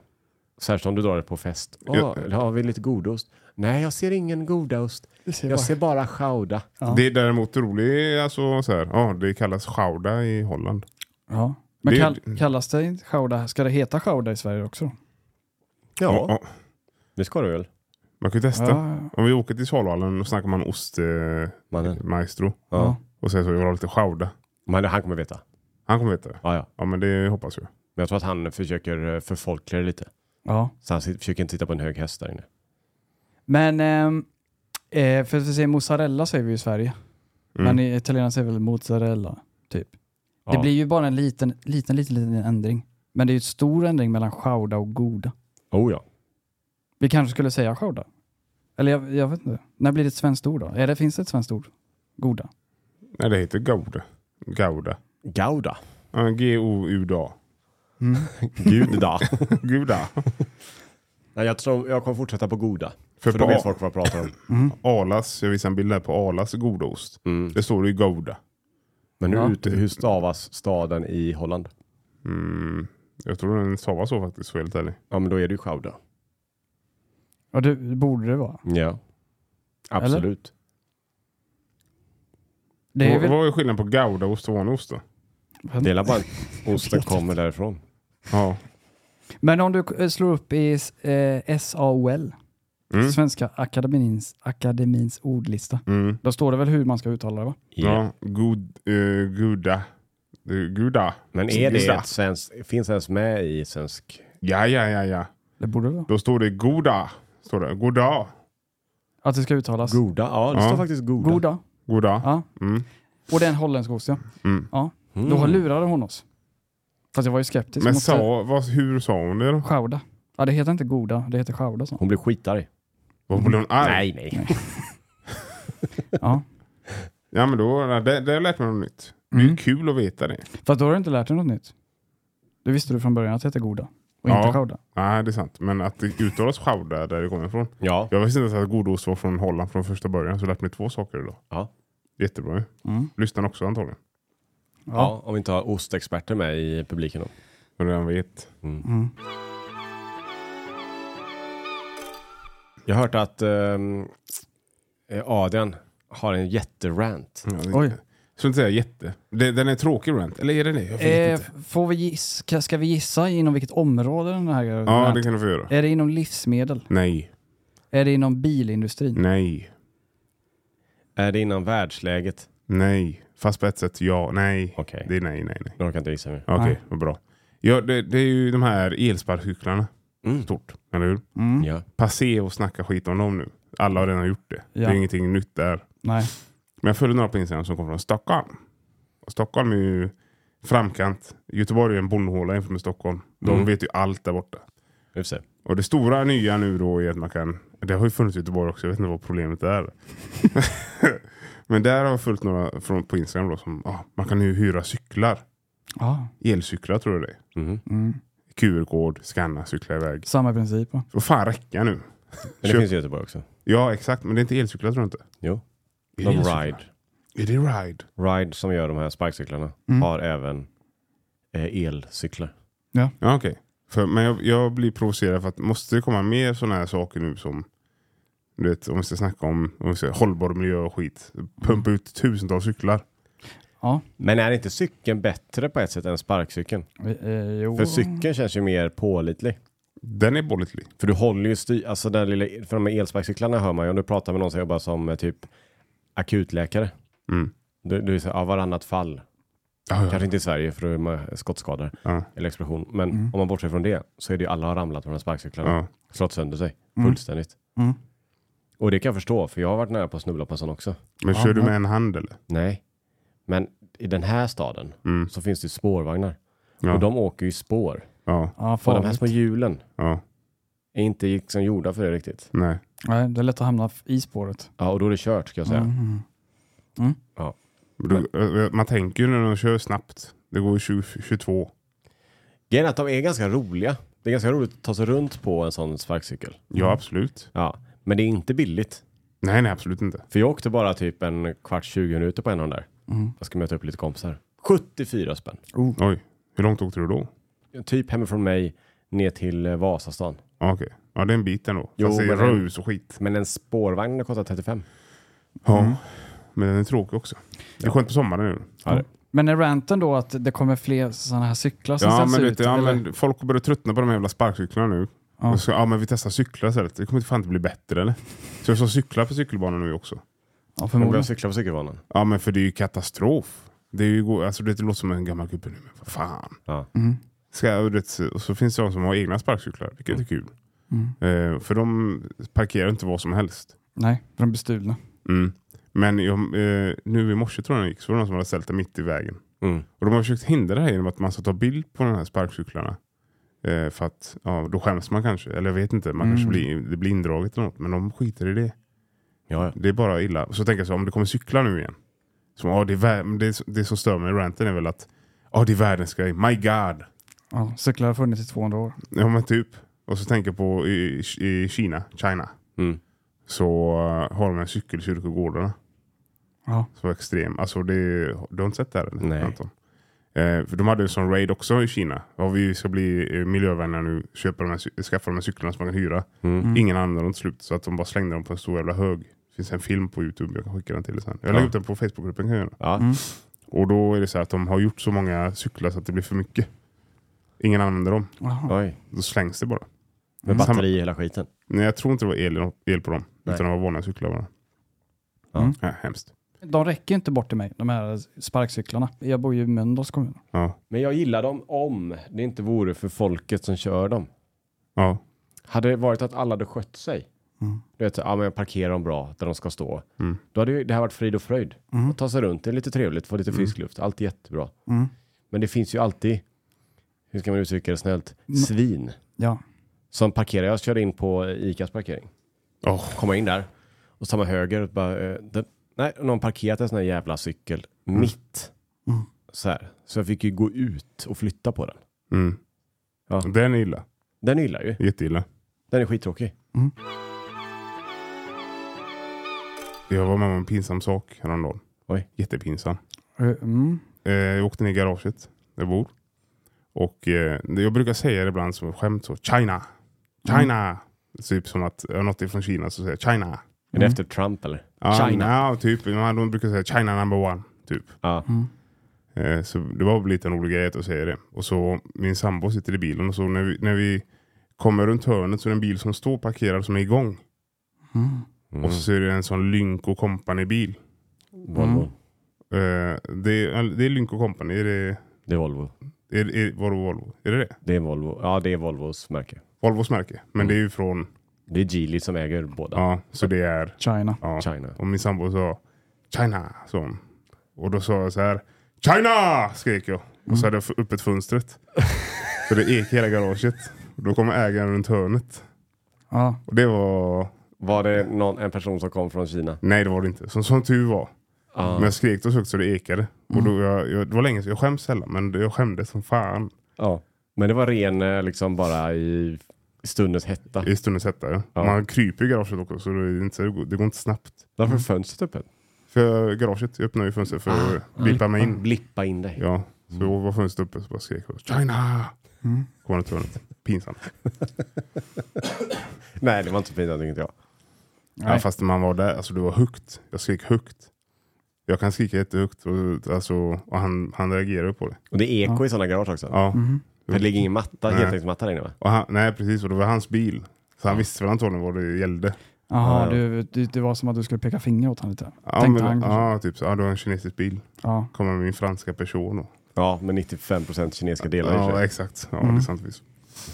Speaker 1: Särskilt om du drar det på fest. Åh,
Speaker 2: Ja.
Speaker 1: har vi lite godost? Nej, jag ser ingen godost. Jag ser bara chauda.
Speaker 3: Ja.
Speaker 2: Det är däremot roligt, alltså så här, ja det kallas chauda i Holland.
Speaker 3: Ja. Men
Speaker 2: Det-
Speaker 3: kall, kallas det inte chauda? Ska det heta chauda i Sverige också?
Speaker 1: Ja,
Speaker 2: Ja,
Speaker 1: det ska du väl?
Speaker 2: man kan ju testa.
Speaker 3: Ja.
Speaker 2: Om vi åker till Salvallen och snackar man ostmaestro
Speaker 1: Mannen.
Speaker 2: maestro
Speaker 1: Ja.
Speaker 2: och säger så, jag vill ha lite chauda.
Speaker 1: Men han kommer veta.
Speaker 2: Han kommer veta det.
Speaker 1: Ja, ja.
Speaker 2: Ja men det hoppas jag.
Speaker 1: Men jag tror att han försöker eh, förfolkliga det lite.
Speaker 3: ja.
Speaker 1: Så han sit- försöker inte sitta på en hög häst där inne.
Speaker 3: Men, ehm, eh, för att vi säger mozzarella säger vi i Sverige.
Speaker 2: Mm.
Speaker 3: Men i italienarna säger väl mozzarella, typ.
Speaker 1: Ja.
Speaker 3: Det blir ju bara en liten, liten, liten, liten ändring. Men det är ju en stor ändring mellan chauda och goda.
Speaker 1: Oh ja.
Speaker 3: Vi kanske skulle säga chauda? Eller jag, jag vet inte. När blir det ett svenskt ord då? Är det, finns det ett svenskt ord? Goda?
Speaker 2: Nej det heter gouda. Gouda.
Speaker 1: Gouda.
Speaker 2: Ja, G-O-U-D-A. <laughs>
Speaker 1: <laughs> Gouda.
Speaker 2: Gouda.
Speaker 1: Nej, jag tror jag kommer fortsätta på goda.
Speaker 2: För
Speaker 1: För, då
Speaker 2: på
Speaker 1: vet
Speaker 2: A-
Speaker 1: folk vad jag pratar om.
Speaker 3: Mm.
Speaker 2: Alas, jag visar en bild här på Alas godaost.
Speaker 1: <laughs> Mm.
Speaker 2: Det står ju gouda.
Speaker 1: Men nu,
Speaker 3: Ja.
Speaker 1: ut, hur stavas staden i Holland?
Speaker 2: Mm. Jag tror den stavas så faktiskt, för helt ärlig.
Speaker 1: Ja, men då är det ju chauda.
Speaker 3: Ja, det det borde det vara.
Speaker 1: Ja. Absolut.
Speaker 3: Det är
Speaker 2: Vad-
Speaker 3: väl...
Speaker 2: Vad är skillnaden på goudaost och vanlig ost då?
Speaker 1: Det är väl bara att <laughs> osten kommer därifrån.
Speaker 2: Ja.
Speaker 3: Men om du eh, slår upp i eh, SAOL,
Speaker 2: Mm.
Speaker 3: Svenska akademins, akademins ordlista,
Speaker 2: Mm.
Speaker 3: då står det väl hur man ska uttala det va?
Speaker 2: Ja, god, eh, gouda. Eh, Gouda.
Speaker 1: Men är det
Speaker 2: Gouda.
Speaker 1: ett svensk, finns det ens med i svensk?
Speaker 2: Ja, ja, ja, ja.
Speaker 3: Det borde det vara.
Speaker 2: Då står det goda. Står det. Goda.
Speaker 3: Att det ska uttalas.
Speaker 1: Goda? Ja, det
Speaker 2: Ja.
Speaker 1: står faktiskt goda.
Speaker 3: Goda.
Speaker 2: Goda.
Speaker 3: Ja.
Speaker 2: Mm.
Speaker 3: Och det är en holländsk ost ja.
Speaker 2: Mm.
Speaker 3: ja.
Speaker 1: Mm.
Speaker 3: Då har lurade hon oss. Fast jag var ju skeptisk.
Speaker 2: Men
Speaker 3: mot det.
Speaker 2: sa, vad, hur sa hon det då?
Speaker 3: Chauda. Ja det heter inte goda, det heter chauda så.
Speaker 1: Hon blir skitarg.
Speaker 2: Vad blev hon arg?
Speaker 1: Nej, nej.
Speaker 3: Ja.
Speaker 2: Ja, men då, det, det har jag lärt mig något nytt. Det är
Speaker 3: Mm.
Speaker 2: ju kul att veta det.
Speaker 3: Fast då har du inte lärt dig något nytt. Det visste du från början att det heter goda. Och
Speaker 2: Ja.
Speaker 3: inte chauda.
Speaker 2: Nej, det är sant. Men att det uttalas chauda där det kommer ifrån.
Speaker 1: Ja,
Speaker 2: Jag visste inte ens att godost var från Holland från första början, så jag har lärt mig två saker idag.
Speaker 1: Ja.
Speaker 2: Jättebra ju.
Speaker 3: Mm.
Speaker 2: Lyssnar också antagligen.
Speaker 1: Ja. om vi inte har ostexperter med i publiken då.
Speaker 2: Men redan vet.
Speaker 1: Mm.
Speaker 3: Mm.
Speaker 1: Jag har hört att ehm, eh, Adrian har en jätterant.
Speaker 2: Ja, det,
Speaker 3: Oj.
Speaker 2: Jag skulle inte säga jätte. Det, den är tråkig rant. Eller är den det? Jag vet
Speaker 3: Eh,
Speaker 2: inte.
Speaker 3: får vi gissa, ska vi gissa inom vilket område den här grejen
Speaker 2: Ja,
Speaker 3: är?
Speaker 2: det kan du få göra.
Speaker 3: Är det inom livsmedel?
Speaker 2: Nej.
Speaker 3: Är det inom bilindustrin?
Speaker 2: Nej.
Speaker 1: Är det innan världsläget?
Speaker 2: Nej. Fast på ett sätt ja. Nej.
Speaker 1: Okej,
Speaker 2: Det är nej, nej, nej.
Speaker 1: nu orkar jag inte gissa mer.
Speaker 2: Okej,
Speaker 3: Nej.
Speaker 2: vad bra. Ja, det, det är ju de här elsparkcyklarna.
Speaker 1: Mm.
Speaker 2: Stort, eller hur?
Speaker 3: Mm.
Speaker 1: Ja.
Speaker 2: Passé och snacka skit om dem nu. Alla har redan gjort det.
Speaker 3: Ja.
Speaker 2: Det är ingenting nytt där.
Speaker 3: Nej.
Speaker 2: Men jag följer några på Instagram som kommer från Stockholm. Och Stockholm är ju framkant. Göteborg är en bondhåla jämfört med Stockholm. De
Speaker 1: Mm.
Speaker 2: vet ju allt där borta.
Speaker 1: Vi får se.
Speaker 2: Och det stora nya nu då är att man kan, det har ju funnits i Göteborg också, jag vet inte vad problemet är. Men där har jag följt några från, på Instagram då som, ah, man kan ju hyra cyklar.
Speaker 3: Ja.
Speaker 2: Elcyklar tror jag det är.
Speaker 1: Mhm.
Speaker 3: Mm.
Speaker 2: QR-kod, scanna, cykla iväg.
Speaker 3: Samma princip. va?
Speaker 2: Vad fan räcka nu?
Speaker 1: Men det
Speaker 2: Köp-
Speaker 1: finns i Göteborg också.
Speaker 2: Ja exakt, men det är inte elcyklar tror jag inte.
Speaker 1: Jo. De
Speaker 2: Är det elcyklar?
Speaker 1: Ride.
Speaker 2: Är det ride?
Speaker 1: Ride som gör de här sparkcyklarna
Speaker 3: Mm.
Speaker 1: har även eh, elcyklar.
Speaker 2: Ja okej. För- Men jag, jag blir provocerad för att måste det komma mer sådana här saker nu som du vet, om vi ska snacka om, om vi ska, hållbar miljö och skit. Pumpa ut tusentals cyklar.
Speaker 3: Ja.
Speaker 1: Men är inte cykeln bättre på ett sätt än sparkcykeln?
Speaker 3: Vi- Eh, jo.
Speaker 1: För cykeln känns ju mer pålitlig.
Speaker 2: Den är pålitlig.
Speaker 1: För du håller ju styr, alltså den lilla, för de här elsparkcyklarna hör man ju om du pratar med någon som jobbar som eh, typ akutläkare.
Speaker 2: Mm.
Speaker 1: Du, du är så här, ja, varannat fall.
Speaker 2: Ja, ja.
Speaker 1: Kanske inte i Sverige för då är man skottskador
Speaker 2: Ja. Mm.
Speaker 1: eller explosion. Men om man bortser från det så är det ju alla har ramlat på de här sparkcyklarna.
Speaker 2: Ja.
Speaker 1: Slått sönder sig
Speaker 3: Mm.
Speaker 1: fullständigt.
Speaker 3: Mm.
Speaker 1: Och det kan jag förstå för jag har varit nära på att snubbla på en sån också.
Speaker 2: Men
Speaker 3: Ja,
Speaker 2: kör du
Speaker 3: men-
Speaker 2: med en hand eller?
Speaker 1: Nej, men i den här staden
Speaker 2: Mm.
Speaker 1: så finns det ju spårvagnar.
Speaker 2: Ja.
Speaker 1: Och de åker ju i spår.
Speaker 2: ja,
Speaker 3: Ja,
Speaker 1: För de här
Speaker 3: farligt.
Speaker 1: små hjulen
Speaker 2: ja,
Speaker 1: är inte liksom gjorda för det riktigt.
Speaker 2: nej.
Speaker 3: Nej, det är lätt att hamna f- i spåret.
Speaker 1: Ja, och då är det kört ska jag säga.
Speaker 3: Mm.
Speaker 2: Du, eh, man tänker ju när de kör snabbt. Det går ju 20, 22.
Speaker 1: Grejen är att de är ganska roliga. Det är ganska roligt att ta sig runt på en sån sparkcykel.
Speaker 2: Ja, absolut.
Speaker 1: Ja, men det är inte billigt.
Speaker 2: Nej, nej, absolut inte.
Speaker 1: För jag åkte bara typ en kvart, 20 minuter på en av de där.
Speaker 3: Mm.
Speaker 1: Jag ska möta upp lite kompisar. 74 spänn.
Speaker 2: Oj, hur långt åkte du då?
Speaker 1: Typ hemifrån mig ner till eh, Vasastan.
Speaker 2: Ja, Okej, ja det är en bit ändå.
Speaker 1: Jo,
Speaker 2: Fast det är
Speaker 1: men den-
Speaker 2: rus och skit.
Speaker 1: Men en spårvagn kostar 35.
Speaker 2: Ja, men den är tråkig också. Det är skönt på sommaren nu.
Speaker 3: Alltså,
Speaker 1: Ja, det.
Speaker 3: Men är ranten då att det kommer fler sådana här cyklar som
Speaker 2: Ja,
Speaker 3: sätts
Speaker 2: men,
Speaker 3: ut?
Speaker 2: vet du, ja,
Speaker 3: eller?
Speaker 2: men folk börjar tröttna på de här jävla sparkcyklarna nu.
Speaker 3: Ja.
Speaker 2: Och så, ja, men vi testar cyklar istället. Det kommer inte fan inte bli bättre eller? Så jag ska cykla på cykelbanan nu också.
Speaker 3: ja,
Speaker 1: Jag börjar
Speaker 3: förmodligen.
Speaker 1: cykla på cykelbanan.
Speaker 2: Ja, men för det är ju katastrof. Det, är ju, go- alltså, det låter som en gammal gubbe nu, men vad fan.
Speaker 1: Ja.
Speaker 3: Mm.
Speaker 2: Ska, jag- och det- och så finns det de som har egna sparkcyklar, vilket är kul.
Speaker 3: Mm.
Speaker 2: Eh, för de parkerar inte vad som helst.
Speaker 3: Nej, för de blir stulna.
Speaker 2: Mm. Men jag, eh, nu i morse tror jag den gick, så var det någon som hade ställt den mitt i vägen.
Speaker 1: Mm.
Speaker 2: Och de har försökt hindra det här genom att man ska ta bild på de här sparkcyklarna. Eh, för att ja, då skäms man kanske. Eller jag vet inte, man
Speaker 3: Mm.
Speaker 2: kanske blir, det blir indraget eller något. Men de skiter i det.
Speaker 1: Ja, ja.
Speaker 2: Det är bara illa. Och så tänker jag så, om det kommer cyklar nu igen. Så, ja, det, är vär- men det, det som stör mig i ranten är väl att ja, det är världens grej. My God!
Speaker 3: Ja, cyklar har funnits i 200 år.
Speaker 2: Ja men typ. Och så tänker jag på i, i Kina, China.
Speaker 1: Mm.
Speaker 2: Så eh, har de en cykelkyrkogårdarna.
Speaker 3: Ja.
Speaker 2: Så extrem. Alltså det, du har inte sett det här eller?
Speaker 1: Nej.
Speaker 2: Anton? Eh, för de hade ju en sån raid också i Kina. Ja, vi ska bli eh, miljövänliga nu, köpa de här, cy- skaffa de här cyklarna som man kan hyra.
Speaker 1: Mm.
Speaker 2: Ingen använde dem till slut så att de bara slängde dem på en stor jävla hög. Det finns en film på Youtube, jag kan skicka den till dig sen. Jag lägger
Speaker 1: Ja.
Speaker 2: upp den på Facebookgruppen kan jag göra.
Speaker 1: Ja.
Speaker 3: Mm.
Speaker 2: Och då är det så här att de har gjort så många cyklar så att det blir för mycket. Ingen använder dem.
Speaker 3: Jaha.
Speaker 1: Oj,
Speaker 2: Då slängs det bara.
Speaker 1: med
Speaker 2: Samma-
Speaker 1: batteri i hela skiten.
Speaker 2: Nej, jag tror inte det var el, el på dem.
Speaker 1: Nej.
Speaker 2: Utan det var vanliga cyklar bara.
Speaker 1: Ja.
Speaker 3: Mm.
Speaker 2: Ja, hemskt.
Speaker 3: De räcker ju inte bort till mig, de här sparkcyklarna. Jag bor ju i Mölndals kommun.
Speaker 2: Ja.
Speaker 1: Men jag gillar dem om det inte vore för folket som kör dem.
Speaker 2: Ja.
Speaker 1: Hade det varit att alla hade skött sig,
Speaker 3: Mm.
Speaker 1: du vet, så, ja, men jag parkerar dem bra där de ska stå,
Speaker 2: Mm.
Speaker 1: då hade ju det här varit frid och fröjd.
Speaker 3: Mm.
Speaker 1: Att ta sig runt, det är lite trevligt, få lite frisk luft, allt är jättebra.
Speaker 3: Mm.
Speaker 1: Men det finns ju alltid, hur ska man uttrycka det snällt,
Speaker 3: Mm.
Speaker 1: svin
Speaker 3: Ja.
Speaker 1: som parkerar. Jag körde in på ICAs parkering,
Speaker 2: Åh.
Speaker 1: kommer in där och så tar man höger och bara, eh, det, nej, någon parkerat en sån här jävla cykel mitt.
Speaker 3: Mm.
Speaker 1: Så här. Så jag fick ju gå ut och flytta på den.
Speaker 2: Mm.
Speaker 1: Ja.
Speaker 2: Den är illa.
Speaker 1: Den gillar
Speaker 3: Mm.
Speaker 1: ju.
Speaker 2: Jätteilla.
Speaker 1: Den är skittråkig.
Speaker 2: Jag var med om en pinsam sak häromdagen.
Speaker 1: Oj.
Speaker 2: Jättepinsam.
Speaker 3: Mm.
Speaker 2: Eh, jag åkte ner i garaget där jag bor. Och eh, jag brukar säga det ibland som ett skämt så. China! China!
Speaker 1: Mm.
Speaker 2: Typ som att jag har något ifrån Kina så säger jag China.
Speaker 1: Är
Speaker 3: Mm.
Speaker 1: det efter Trump eller?
Speaker 2: Ja,
Speaker 3: China.
Speaker 2: Ja, typ. Ja, De brukar säga China number one. Typ.
Speaker 1: Ja.
Speaker 2: Eh, Så det var väl lite en rolig grej att säga det. Och så min sambo sitter i bilen och så när vi, när vi kommer runt hörnet så är det en bil som står parkerad som är igång. Och så är det en sån Lynk Company bil.
Speaker 1: Volvo.
Speaker 3: Mm.
Speaker 2: Eh, det, är, det är Lynk Company, är det,
Speaker 1: Det är Volvo.
Speaker 2: är, är, var det Volvo? Är det det?
Speaker 1: Det är Volvo. Ja, det är Volvos märke.
Speaker 2: Volvos märke. Men det är ju från,
Speaker 1: Det är Geely som äger båda.
Speaker 2: ja, så det är
Speaker 3: China.
Speaker 2: ja.
Speaker 1: China.
Speaker 2: Och min sambo sa China. sa hon. Och då sa jag så här China! skrek jag. Och så hade jag f- öppet fönstret. så det ek i hela garaget. Och då kommer ägaren runt hörnet.
Speaker 3: Ja.
Speaker 2: Och det var...
Speaker 1: Var det någon, en person som kom från Kina?
Speaker 2: Nej det var det inte. Som, som tur var. Men jag skrek så högt så det ekade. Och då, jag, jag, det var länge sedan. Jag skäms sällan men jag skämdes som fan.
Speaker 1: Ja. Men det var ren eh, liksom bara i stundens hetta.
Speaker 2: I stundens hetta. Ja.
Speaker 1: Ja.
Speaker 2: Man kryper i garaget också så det, är inte, så- det går inte snabbt.
Speaker 1: Varför är fönstret öppet?
Speaker 2: För garaget, jag öppnade ju fönstret för att Mm. blippa mig in.
Speaker 1: Blippa in dig.
Speaker 2: Ja, så
Speaker 1: Mm.
Speaker 2: var fönstret uppe så bara skrek jag China!
Speaker 3: Mm.
Speaker 2: Kom han ut hörnet. Pinsamt.
Speaker 1: Nej, det var inte så pinsamt tyckte jag.
Speaker 2: Ja, fast när man var där, alltså det var högt. Jag skrek högt. Jag kan skrika jättehögt och, alltså, och han, han reagerade på det.
Speaker 1: Och det är eko i sådana garage också.
Speaker 2: Ja.
Speaker 3: Mhm.
Speaker 1: För Mm. det ligger ingen matta,
Speaker 2: Nej.
Speaker 1: heltäckningsmatta där inne va?
Speaker 2: Och han, nej precis, och det var hans bil. Så han visste väl antagligen vad det gällde.
Speaker 3: Jaha,
Speaker 1: Ja, ja.
Speaker 3: Du, du, det var som att du skulle peka finger åt honom lite.
Speaker 2: Ja,
Speaker 3: Tänkte han
Speaker 2: men,
Speaker 3: kanske.
Speaker 2: ja typ så. Ja, det var en kinesisk bil.
Speaker 3: Ja.
Speaker 2: Kommer med min franska person. Och,
Speaker 1: Ja, med 95% kinesiska delar i och för
Speaker 2: ja,
Speaker 1: sig.
Speaker 2: exakt. Ja,
Speaker 3: Mm.
Speaker 2: det är sant. visst.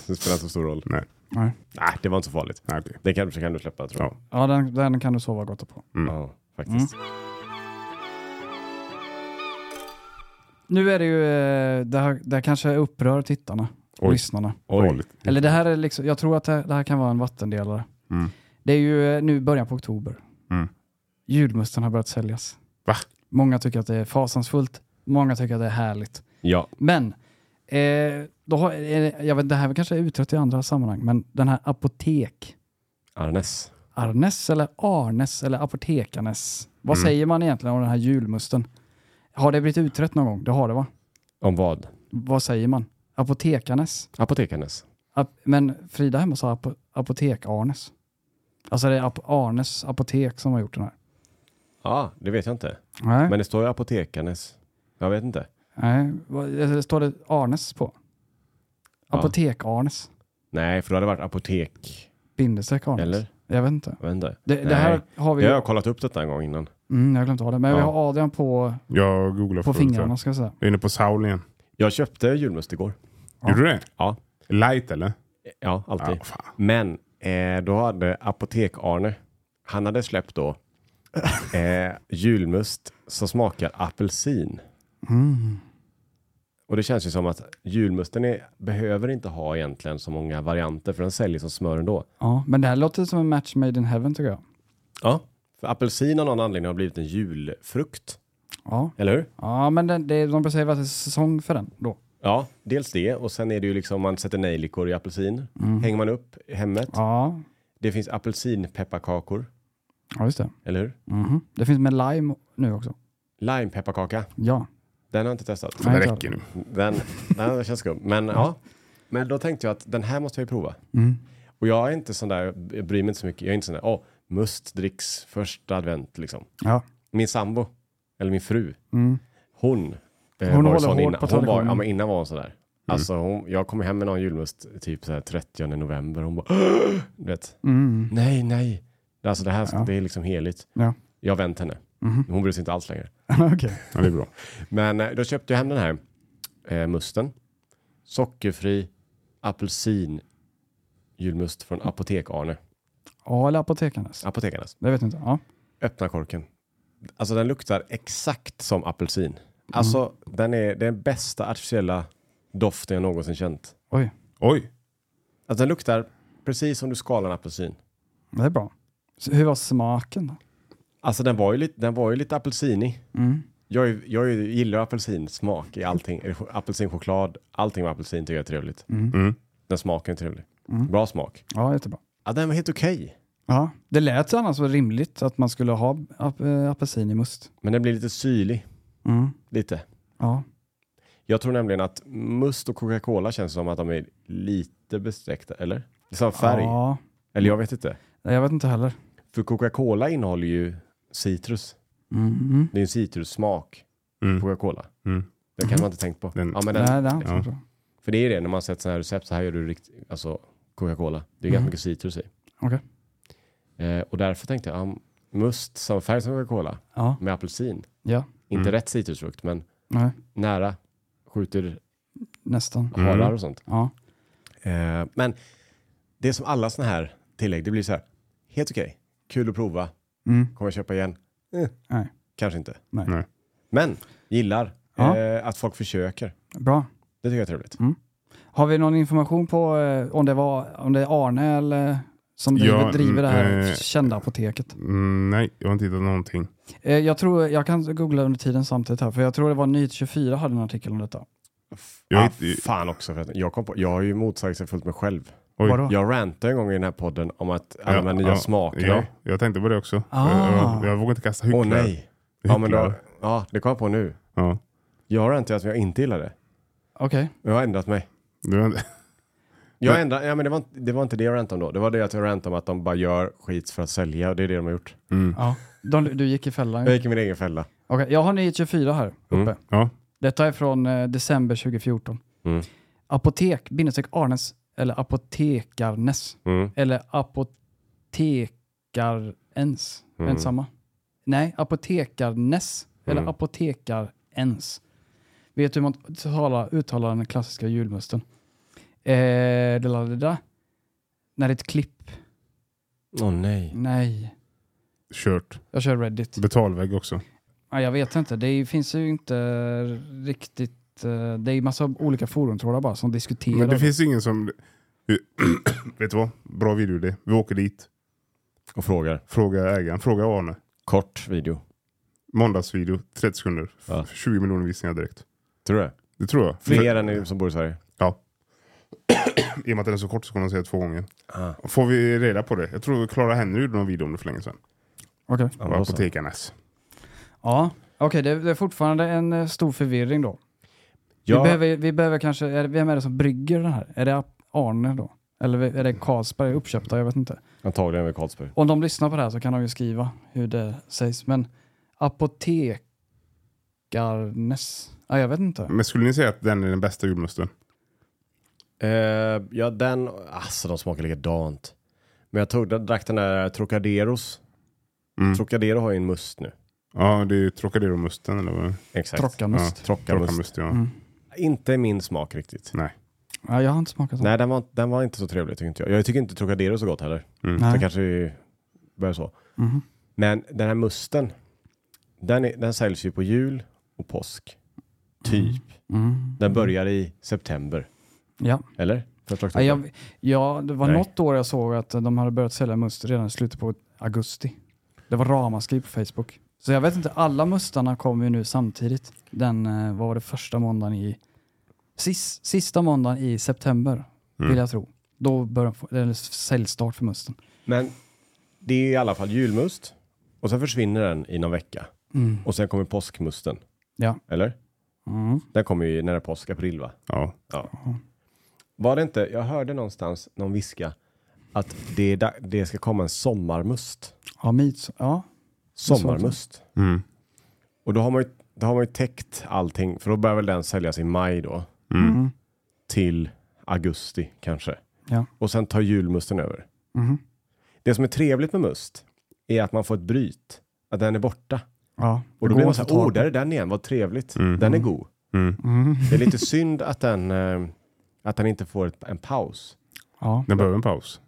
Speaker 1: Det spelar inte så stor roll.
Speaker 2: Nej,
Speaker 3: Nej.
Speaker 1: Nej, det var inte så farligt.
Speaker 2: nej okej.
Speaker 1: Det kan, kan du släppa tror jag.
Speaker 2: Ja.
Speaker 3: Ja, den, den kan du sova gott på.
Speaker 1: Ja, faktiskt.
Speaker 2: Mm.
Speaker 3: Nu är det ju, eh, det här, det här kanske upprör tittarna och
Speaker 2: Oj.
Speaker 3: lyssnarna.
Speaker 1: Oj.
Speaker 2: Dåligt.
Speaker 3: Eller det här är liksom, jag tror att det, det här kan vara en vattendelare.
Speaker 2: Mm.
Speaker 3: Det är ju eh, nu början på oktober.
Speaker 2: Mm.
Speaker 3: Julmusten har börjat säljas.
Speaker 2: Va?
Speaker 3: Många tycker att det är fasansfullt, många tycker att det är härligt.
Speaker 1: Ja,
Speaker 3: Men, eh, då har, eh, jag vet, det här kanske är utrett i andra sammanhang, men den här apotek,
Speaker 1: Arnes.
Speaker 3: Arnes eller Arnes eller Apotekarnes.
Speaker 2: Mm.
Speaker 3: Vad säger man egentligen om den här julmusten? Har det blivit utrett någon gång? Det har det va?
Speaker 1: Om vad?
Speaker 3: Vad säger man? Apotekarnes?
Speaker 1: Apotekarnes.
Speaker 3: Ap- men Frida hemma sa ap- Apotek-Arnes. Alltså det är ap- Arnes apotek som har gjort den här.
Speaker 1: Ja, det vet jag inte.
Speaker 3: Nej,
Speaker 1: Men det står ju apotekarnes. Jag vet inte.
Speaker 3: nej. Vad- det står det Arnes på?
Speaker 1: Ja.
Speaker 3: Apotek-Arnes?
Speaker 1: Nej, för då hade det varit apotek.
Speaker 3: Bindestreck Arnes?
Speaker 1: Eller?
Speaker 3: Jag vet inte.
Speaker 1: Jag vet inte.
Speaker 3: Det, det här
Speaker 1: Nej.
Speaker 3: har vi...
Speaker 1: Jag har kollat upp detta en gång innan.
Speaker 3: Mm, jag har glömt ha det. Men vi
Speaker 1: Ja.
Speaker 3: har Adrian på,
Speaker 2: Jag googlar
Speaker 3: på
Speaker 2: förut här.
Speaker 3: fingrarna ska jag säga.
Speaker 2: Jag är inne på Saul igen.
Speaker 1: Jag köpte julmust igår.
Speaker 2: Gjorde du det?
Speaker 1: Ja.
Speaker 2: Light eller?
Speaker 1: Ja, alltid.
Speaker 2: Ja, fan.
Speaker 1: Men eh, då hade Apotek-Arne, han hade släppt <laughs> då eh, julmust som smakar apelsin.
Speaker 3: Mm.
Speaker 1: Och det känns ju som att julmusten är, behöver inte ha egentligen så många varianter för den säljer som smör ändå.
Speaker 3: Ja, men det här låter som en match made in heaven tycker jag.
Speaker 1: Ja. För apelsin av någon anledning har blivit en julfrukt,
Speaker 3: Ja,
Speaker 1: eller hur?
Speaker 3: ja men den, det, de säger att det är säsong för den då.
Speaker 1: Ja, dels det och sen är det ju liksom man sätter nejlikor i apelsin, hänger man upp i hemmet.
Speaker 3: Mm. Ja,
Speaker 1: Det finns apelsinpepparkakor,
Speaker 3: ja just det.
Speaker 1: eller hur?
Speaker 3: Mhm. Det finns med lime nu också.
Speaker 1: Limepepparkaka,
Speaker 3: Ja.
Speaker 1: den har jag inte testat.
Speaker 3: Nej,
Speaker 2: Det
Speaker 3: klart.
Speaker 2: räcker nu.
Speaker 1: Den, den känns skum. Men ja. Men då tänkte jag att den här måste jag ju prova.
Speaker 3: Mm.
Speaker 1: Och jag är inte sån där, jag bryr mig inte så mycket. Jag är inte sån där, åh, must dricks första advent liksom.
Speaker 3: Ja.
Speaker 1: Min sambo, eller min fru,
Speaker 3: Mm.
Speaker 1: hon, eh,
Speaker 3: Hon
Speaker 1: var ju
Speaker 3: håller
Speaker 1: sån
Speaker 3: hårt
Speaker 1: innan.
Speaker 3: på Mm.
Speaker 1: Hon var,
Speaker 3: traditionen.
Speaker 1: ja, men innan var hon sådär. Alltså hon, jag kom hem med någon julmust typ så här 30 november. Hon bara, <gasps> du vet,
Speaker 3: Mm.
Speaker 1: nej, nej. Alltså det här, det är liksom heligt.
Speaker 3: Ja.
Speaker 1: Jag har vänt henne.
Speaker 3: Mm-hmm.
Speaker 1: Hon bryr sig inte alls längre.
Speaker 3: <laughs> Okej.
Speaker 2: Ja, det är bra.
Speaker 1: Men eh, då köpte jag hem den här eh, musten. Sockerfri apelsin julmust från Apotek-Arne.
Speaker 3: Ja, eller apotekarnas.
Speaker 1: Apotekarnas.
Speaker 3: Det vet jag inte. Ja.
Speaker 1: Öppna korken. Alltså den luktar exakt som apelsin. Alltså den är den bästa artificiella doften jag någonsin känt.
Speaker 3: Oj,
Speaker 2: Oj,
Speaker 1: Alltså den luktar precis som du skalar en apelsin.
Speaker 3: det är bra. Så hur var smaken? då?
Speaker 1: Alltså den var ju lite, den var ju lite apelsinig.
Speaker 3: Mm.
Speaker 1: Jag, är- jag är- gillar apelsinsmak i allting. Apelsinchoklad, allting med apelsin tycker jag är trevligt.
Speaker 2: Mm.
Speaker 3: Mm.
Speaker 1: Den smaken är trevlig. Bra smak.
Speaker 3: Ja, jättebra.
Speaker 1: Ja, den var helt okej.
Speaker 3: Ja, det lät ju annars rimligt att man skulle ha ap- eh, apelsin i must.
Speaker 1: Men den blir lite syrlig.
Speaker 3: Mm.
Speaker 1: Lite.
Speaker 3: Ja.
Speaker 1: Jag tror nämligen att must och Coca-Cola känns som att de är lite besträckta, eller? Som färg.
Speaker 3: Ja.
Speaker 1: Eller jag vet inte.
Speaker 3: Nej, Jag vet inte heller.
Speaker 1: För Coca-Cola innehåller ju citrus.
Speaker 3: Mm.
Speaker 1: Det är en citrussmak på
Speaker 2: Mm.
Speaker 1: Coca-Cola.
Speaker 2: Mm.
Speaker 1: Det kanske man inte tänkt på.
Speaker 2: Den-
Speaker 1: ja, men den,
Speaker 3: Nej, det är inte
Speaker 2: ja.
Speaker 3: så bra.
Speaker 1: För det är ju det, när man sett sådana här recept, så här gör du rikt, alltså Coca-Cola. Det är
Speaker 2: Mm.
Speaker 3: Mhm.
Speaker 1: ganska mycket citrus i.
Speaker 3: Okej.
Speaker 1: Eh, och därför tänkte jag, ja, must som färg som Coca-Cola
Speaker 3: Ja.
Speaker 1: med apelsin.
Speaker 3: ja,
Speaker 1: Inte
Speaker 2: Mm.
Speaker 1: rätt citrusfrukt, men
Speaker 3: nej,
Speaker 1: nära. Skjuter
Speaker 3: nästan.
Speaker 2: Mm.
Speaker 1: harar och sånt.
Speaker 3: Ja.
Speaker 1: Eh, men det är som alla sådana här tillägg, det blir så här, helt okej, kul att prova,
Speaker 3: Mm.
Speaker 1: kommer jag köpa igen? Eh,
Speaker 3: Nej.
Speaker 1: Kanske inte.
Speaker 3: Nej.
Speaker 2: Nej.
Speaker 1: Men gillar
Speaker 3: Ja. Mm.
Speaker 1: eh, att folk försöker.
Speaker 3: Bra.
Speaker 1: Det tycker jag är trevligt.
Speaker 3: Har vi någon information på eh, om, det var, om det är Arne eller som driver,
Speaker 2: Ja,
Speaker 3: driver det här
Speaker 2: eh,
Speaker 3: kända apoteket?
Speaker 2: Mm, nej, jag har inte hittat någonting.
Speaker 3: Eh, jag, tror, jag kan googla under tiden samtidigt här, för jag tror det var Nyhet24 hade en artikel om detta.
Speaker 2: Jag
Speaker 1: ah,
Speaker 2: hitt-
Speaker 1: fan också förresten. Jag, kom på, jag har ju motsägelsefullt mig själv.
Speaker 2: Oj.
Speaker 3: Vadå?
Speaker 1: Jag rantade en gång i den här podden om att alla de här
Speaker 2: Ja,
Speaker 1: nya
Speaker 2: ja,
Speaker 1: smakerna.
Speaker 2: Ja, jag tänkte på det också.
Speaker 3: Ah.
Speaker 2: Jag, jag, jag vågar inte kasta hycklar.
Speaker 1: Åh nej. Ja, men då, ja, det kom jag på nu.
Speaker 2: Ja.
Speaker 1: Jag rantade att jag inte gillade det.
Speaker 3: Okej.
Speaker 1: Jag har ändrat mig.
Speaker 2: Du, har inte-
Speaker 1: Jag
Speaker 2: Men-
Speaker 1: ändra, ja, men det, var, inte- det var inte det jag rantade om då. Det var det att jag rantade om att de bara gör skit för att sälja och det är det de har gjort.
Speaker 2: mm.
Speaker 3: Ja. De, du gick i fällan.
Speaker 1: Jag
Speaker 3: Okej,
Speaker 1: gick i min egen fälla.
Speaker 3: jag har Nyhet24 här uppe.
Speaker 1: Mm.
Speaker 2: <laughs> ja.
Speaker 3: Detta är från eh, december 2014.
Speaker 1: Mm.
Speaker 3: Apotek, bindestreck Arnes, eller Apotekarnes,
Speaker 1: Mm.
Speaker 3: eller Apotekarens. Är
Speaker 1: Mm.
Speaker 3: det samma? Nej, Apotekarnes, eller
Speaker 1: Mm.
Speaker 3: Apotekarens. Vet du hur man talar, uttalar den klassiska julmusten? Eh, det la- det där. När det är ett klipp.
Speaker 1: Åh nej.
Speaker 3: Nej,
Speaker 2: Kört.
Speaker 3: jag kör Reddit.
Speaker 2: Betalvägg också.
Speaker 3: Ja, jag vet inte. Det är- finns ju inte riktigt... eh, Det är massa olika forumtrådar bara som diskuterar.
Speaker 2: Men det finns ingen som... <clears throat> Vet du vad? Bra video det. Vi åker dit.
Speaker 1: Och frågar.
Speaker 2: Fråga ägaren. Fråga Arne.
Speaker 1: Kort video.
Speaker 2: Måndagsvideo. 30 sekunder.
Speaker 1: Ja.
Speaker 2: 20 miljoner visningar direkt.
Speaker 1: Tror du det?
Speaker 2: Det tror jag.
Speaker 1: Fler
Speaker 2: För-
Speaker 1: än ni som bor i Sverige.
Speaker 2: <clears throat> I och med att den är så kort så kommer de säga två gånger.
Speaker 1: Ah,
Speaker 2: Får vi reda på det? Jag tror Clara Henry gjorde någon video om det för länge sedan.
Speaker 3: Okej.
Speaker 1: ja, då så.
Speaker 2: Apotekarnas.
Speaker 3: Ja, okej. det, det är fortfarande en eh, stor förvirring då. Vi,
Speaker 1: Ja,
Speaker 3: behöver, vi behöver kanske... Är det, vem är det som brygger den här? Är det Arne då? Eller är det Carlsberg uppköpta? Jag vet inte.
Speaker 1: antagligen vid Karlsberg.
Speaker 3: Om de lyssnar på det här så kan de ju skriva hur det sägs. Men apotekarnes? Ja, jag vet inte.
Speaker 1: Mm,
Speaker 2: Men skulle ni säga att den är den bästa julmusten?
Speaker 1: Eh, ja, den... Alltså, de smakar likadant. Men jag tog, jag drack den där Trocaderos.
Speaker 2: Mm.
Speaker 1: Trocadero har ju en must nu.
Speaker 2: Ja, det är ju Trocadero-musten eller vad?
Speaker 1: Exakt.
Speaker 3: Trockamust.
Speaker 1: Trocamust.
Speaker 2: Trocamust, ja.
Speaker 3: Mm.
Speaker 1: Inte min smak riktigt.
Speaker 3: Ja, jag har inte smakat sånt.
Speaker 1: Nej, den var, den var inte så trevlig tycker inte jag. Jag tycker inte Trocadero är så gott heller.
Speaker 2: Mm.
Speaker 1: Så
Speaker 3: Nej.
Speaker 1: kanske börjar så.
Speaker 3: Mhm.
Speaker 1: Men den här musten, den, är, den säljs ju på jul och påsk. Typ.
Speaker 3: Mm.
Speaker 1: Den börjar i september,
Speaker 3: Ja.
Speaker 1: eller? Första
Speaker 3: Ja,
Speaker 1: oktober.
Speaker 3: jag, ja, det var
Speaker 1: Nej.
Speaker 3: något år jag såg att de hade börjat sälja must redan i slutet på augusti. Det var ramaskri på Facebook. Så jag vet inte, alla mustarna kom ju nu samtidigt. Den, eh, vad var det, första måndagen i... Sis, sista måndagen i september,
Speaker 2: Mm.
Speaker 3: vill jag tro. Då började de få- eller säljstart för musten.
Speaker 1: Men det är i alla fall julmust. Och sen försvinner den i någon vecka.
Speaker 3: Mm.
Speaker 1: Och sen kommer påskmusten.
Speaker 3: Ja.
Speaker 1: Eller?
Speaker 3: Mm.
Speaker 1: Den kommer ju nära påsk, april va?
Speaker 2: Ja.
Speaker 1: Var det inte, jag hörde någonstans någon viska att det, är da- det ska komma en sommarmust.
Speaker 3: Ja, mids, ja.
Speaker 1: Sommarmust.
Speaker 2: Mm.
Speaker 1: Och då har man ju, då har man ju täckt allting, för då börjar väl den säljas i maj då,
Speaker 2: Mm.
Speaker 3: Mm.
Speaker 1: till augusti kanske.
Speaker 3: Ja.
Speaker 1: Och sen tar julmusten över.
Speaker 3: Mhm.
Speaker 1: Det som är trevligt med must är att man får ett bryt, att den är borta.
Speaker 3: Ja,
Speaker 1: Och då
Speaker 3: det går
Speaker 1: blir man
Speaker 3: att
Speaker 1: så
Speaker 3: få
Speaker 1: här,
Speaker 3: tag
Speaker 1: åh,
Speaker 3: på.
Speaker 1: där är den igen, vad trevligt.
Speaker 2: Mm.
Speaker 1: Den är god.
Speaker 2: Mm.
Speaker 3: Mm.
Speaker 1: Det är lite synd att den, eh, att den inte får ett, en paus.
Speaker 3: Ja.
Speaker 2: Den behöver en paus.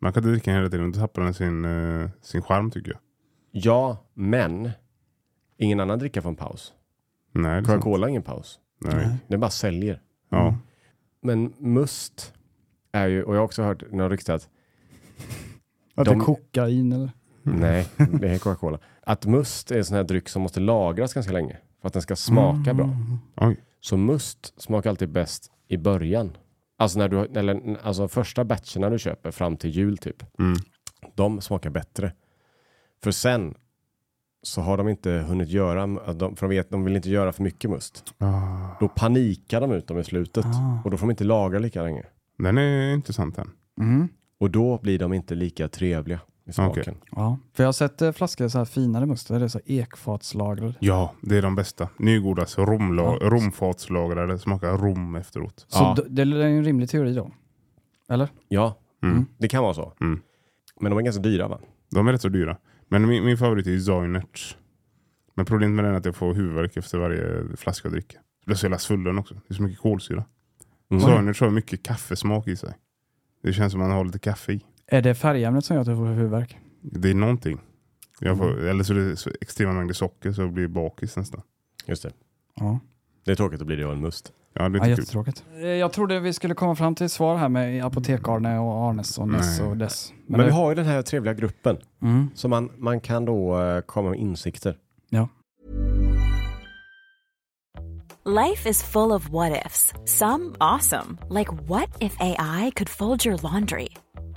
Speaker 2: Man kan inte dricka den hela tiden. Då tappar den sin, eh, sin charm tycker jag.
Speaker 1: Ja, men ingen annan dricka får en paus.
Speaker 2: Nej, det är sant.
Speaker 1: Coca-Cola har ingen paus.
Speaker 2: Nej.
Speaker 1: Den bara säljer. Mm.
Speaker 2: Ja.
Speaker 1: Men must är ju, och jag har också hört några rykte att
Speaker 3: Att det
Speaker 1: De-
Speaker 3: är kokain eller?
Speaker 1: <laughs> Nej, det är Coca-Cola. Att must är en sån här dryck som måste lagras ganska länge för att den ska smaka bra.
Speaker 2: Mm. Oj.
Speaker 1: Så must smakar alltid bäst i början. Alltså, när du, eller, alltså första batcherna du köper fram till jul typ.
Speaker 2: Mm.
Speaker 1: De smakar bättre. För sen så har de inte hunnit göra, de, för de, vet, de vill inte göra för mycket must.
Speaker 2: Ah,
Speaker 1: Då panikar de ut dem i slutet
Speaker 3: Ah.
Speaker 1: och då får de inte lagra lika länge.
Speaker 2: den är intressant den.
Speaker 3: Mm.
Speaker 1: Och då blir de inte lika trevliga i smaken.
Speaker 3: Ja, för jag har sett eh, flaskor så här finare mustar, det är så här ekfatslagrade.
Speaker 2: Ja, det är de bästa. Nygodas romla-
Speaker 3: Ja.
Speaker 2: romfatslagrade. Smakar rom efteråt.
Speaker 3: Så
Speaker 1: Ja.
Speaker 3: d- det är en rimlig teori då.
Speaker 1: Ja,
Speaker 2: Mm.
Speaker 3: Mm.
Speaker 1: det kan vara så.
Speaker 2: Mm.
Speaker 1: Men de är ganska dyra va?
Speaker 2: De är rätt så dyra. Men min, min favorit är Zainerts. Men problemet med den är att jag får huvudvärk efter varje flaska jag dricker. Jag blir så jävla svullen också. Det är så mycket kolsyra.
Speaker 1: Mm.
Speaker 2: Zainerts har mycket kaffesmak i sig. Det känns som man har lite kaffe i.
Speaker 3: Är det färgämnet som gör att du får huvudvärk?
Speaker 2: Det är någonting. Jag får,
Speaker 1: Mm.
Speaker 2: Eller så är det så extrema mängder socker så jag blir bakis nästan.
Speaker 1: Just det.
Speaker 3: Ja,
Speaker 1: Det är tråkigt att bli det av en must.
Speaker 2: Ja, det är
Speaker 3: ja
Speaker 2: inte kul.
Speaker 3: jättetråkigt. Eh, Jag trodde vi skulle komma fram till ett svar här med Apotek-Arne och Arnes och Ness
Speaker 2: Nej.
Speaker 3: och Dess. Men
Speaker 1: Men,
Speaker 3: det-
Speaker 1: vi har ju den här trevliga gruppen.
Speaker 3: Mm.
Speaker 1: Så man, man kan då eh, komma med insikter.
Speaker 5: Life is full of what ifs. Some awesome, like what if AI could fold your laundry?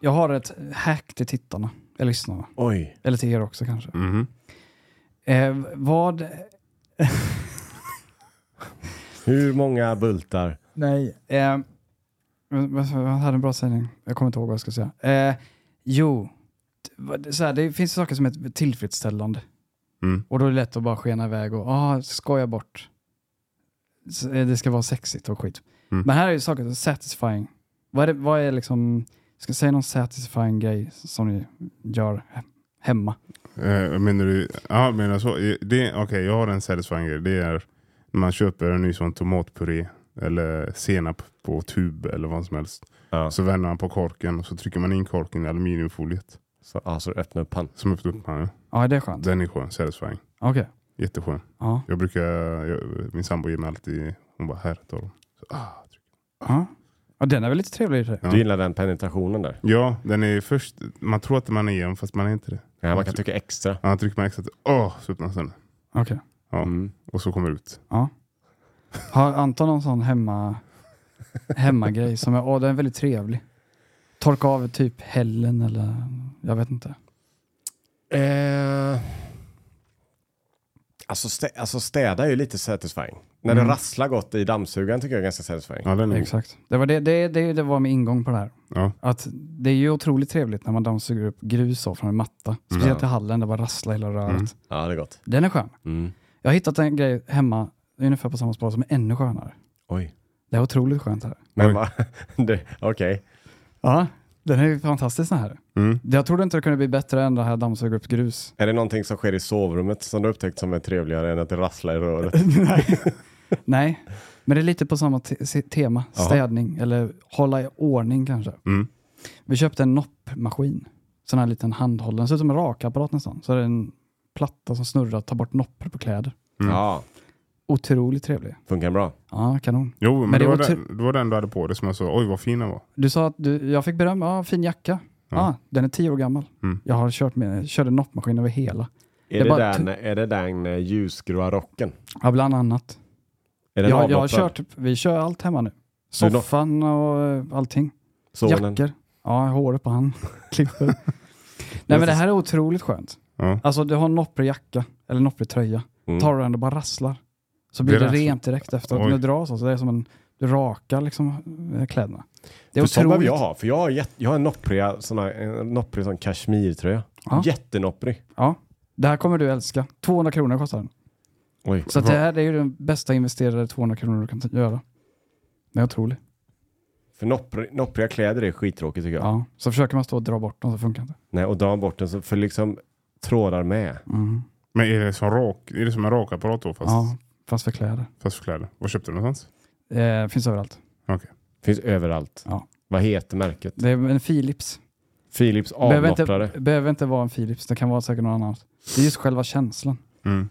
Speaker 3: Jag har ett hack till tittarna, eller lyssnarna,
Speaker 1: Oj.
Speaker 3: eller till er också kanske.
Speaker 2: Mhm.
Speaker 3: Eh, vad...
Speaker 1: Hur många bultar?
Speaker 3: Nej. Eh, men- men- jag hade en bra sägning, jag kommer inte ihåg vad jag ska säga. Eh, jo, t- vad- så här, det finns saker som är tillfredsställande.
Speaker 2: Mm.
Speaker 3: Och då är det lätt att bara skena iväg och ah, skoja bort. S- eh, Det ska vara sexigt och skit.
Speaker 2: Mm.
Speaker 3: Men här är ju saker som är satisfying. Vad är, det, vad är liksom, ska jag säga någon satisfying grej som ni gör he- hemma?
Speaker 2: Eh, menar du? Ja, menar jag så? Eh, det- Okej, jag har en satisfying grej. Det är när man köper en ny sån tomatpuré eller senap på tub eller vad som helst.
Speaker 1: Ja. Så,
Speaker 2: Så vänder man på korken och så trycker man in korken i aluminiumfoliet.
Speaker 1: så, ja, så öppna upp pannan.
Speaker 2: Som öppnar upp man.
Speaker 3: Ja, det är skönt.
Speaker 2: Den är skön, satisfying.
Speaker 3: Okej.
Speaker 2: Jätteskön.
Speaker 3: Ja.
Speaker 2: Jag brukar, jag, min sambo ger mig alltid, hon bara här tar de. Så, ah, tryck.
Speaker 3: Ja. ja, den är väl lite trevlig i och för sig.
Speaker 2: Ja.
Speaker 1: Du gillar den penetrationen där.
Speaker 2: ja, den är först, man tror att man är igen fast man är inte det.
Speaker 1: Ja, man kan trycka extra.
Speaker 2: Ja, trycker man extra, åh, så öppnas den.
Speaker 3: Okej.
Speaker 2: Ja.
Speaker 1: Mm.
Speaker 2: Och så kommer det ut.
Speaker 3: Har Anton någon sån hemma, hemmagrej som är, åh, den är väldigt trevlig? Torka av typ hällen eller, jag vet inte.
Speaker 1: Eh, alltså, stä, alltså städa är ju lite satisfying. När
Speaker 3: Mm.
Speaker 1: det rasslar gott i dammsugaren tycker jag är ganska satisfying.
Speaker 2: Ja, den är god.
Speaker 3: Exakt. Det var, det, det, det, det var min ingång på det här.
Speaker 2: Mm. Ja.
Speaker 3: Att det är ju otroligt trevligt när man dammsuger upp grus av från en matta. Speciellt i hallen, det bara rasslar hela röret.
Speaker 2: Mm.
Speaker 1: Ja, det är gott.
Speaker 3: Den är skön.
Speaker 1: Mm.
Speaker 3: Jag har hittat en grej hemma, ungefär på samma spår, som är ännu skönare.
Speaker 1: Oj.
Speaker 3: Det är otroligt skönt här.
Speaker 1: Men
Speaker 2: Oj.
Speaker 1: va-
Speaker 3: <laughs>
Speaker 1: det- Okej.
Speaker 3: Ja, den är ju fantastisk den här.
Speaker 2: Mm.
Speaker 3: Jag trodde inte det kunde bli bättre än det här dammsuga upp grus.
Speaker 1: Är det någonting som sker i sovrummet som du har upptäckt som är trevligare än att det rasslar i röret?
Speaker 3: Nej. Nej, men det är lite på samma te- se- tema.
Speaker 1: Ja.
Speaker 3: Städning, eller hålla i ordning kanske.
Speaker 2: Mm.
Speaker 3: Vi köpte en noppmaskin. Sån här liten handhållen. Den ser ut som en rakapparat nästan. Så är det en platta som snurrar, tar bort noppor på kläder.
Speaker 2: Mm.
Speaker 1: Ja,
Speaker 3: Otroligt trevlig.
Speaker 1: funkar bra.
Speaker 3: Ja, kanon.
Speaker 2: Jo, men,
Speaker 3: Men
Speaker 2: det,
Speaker 3: det
Speaker 2: var
Speaker 3: var typ-
Speaker 2: den, det var den du hade på dig som jag sa, oj vad fin den var.
Speaker 3: Du sa att du, jag fick beröm. Ja, fin jacka. Ja,
Speaker 2: Ja.
Speaker 3: den är tio år gammal.
Speaker 2: Mm.
Speaker 3: Jag har kört med, körde noppmaskin över hela.
Speaker 1: Är
Speaker 3: Det
Speaker 1: det,
Speaker 3: är bara
Speaker 1: den, är det den eh, ljusgråa rocken?
Speaker 3: Ja, bland annat.
Speaker 1: Är den
Speaker 3: Jag, jag har
Speaker 1: avloppad?
Speaker 3: kört, vi kör allt hemma nu.
Speaker 1: Du no-
Speaker 3: Soffan och eh, allting.
Speaker 1: Sonen?
Speaker 3: Jackor. Ja, håret
Speaker 1: <laughs>
Speaker 3: på han. Klipper. Nej men det här är otroligt skönt.
Speaker 2: Ja.
Speaker 3: Alltså du har en nopprig jacka eller nopprig tröja.
Speaker 1: Mm.
Speaker 3: Tar du den och bara rasslar. Så blir
Speaker 2: Det
Speaker 3: det,
Speaker 2: rasslar.
Speaker 3: rent direkt efter att alltså.
Speaker 2: Oj.
Speaker 3: du drar så. så det är som en, du rakar liksom eh, kläderna.
Speaker 1: för
Speaker 3: Det är
Speaker 1: sån behöver
Speaker 3: otroligt.
Speaker 1: jag ha. För jag har, jätte, jag har en noppriga, såna, en nopprig sån kashmirtröja.
Speaker 3: Ja.
Speaker 1: Jättenopprig.
Speaker 3: Ja, det här kommer du älska. 200 kronor kostar den.
Speaker 1: Oj.
Speaker 3: Så att det här det är ju den bästa investerade 200 kronor du kan t- göra. Den är otrolig.
Speaker 1: För noppri, noppriga kläder är skittråkigt tycker
Speaker 3: Ja.
Speaker 1: jag.
Speaker 3: Så försöker man stå och dra bort dem så funkar det inte.
Speaker 1: Nej, och drar man bort den så för liksom trådar med.
Speaker 3: Mm.
Speaker 2: Men är det som, rak, är det som en rakapparat då fast,
Speaker 3: Ja, fast för kläder.
Speaker 2: fast för kläder? Var köpte du någonstans?
Speaker 3: Eh, finns överallt.
Speaker 1: Finns överallt.
Speaker 3: Ja.
Speaker 1: Vad heter märket?
Speaker 3: Det är en Philips.
Speaker 1: Philips
Speaker 3: Behöver
Speaker 1: avnopprare.
Speaker 3: inte, behöver inte vara en Philips, det kan vara säkert någon annan. Det är just själva känslan.
Speaker 2: Mm.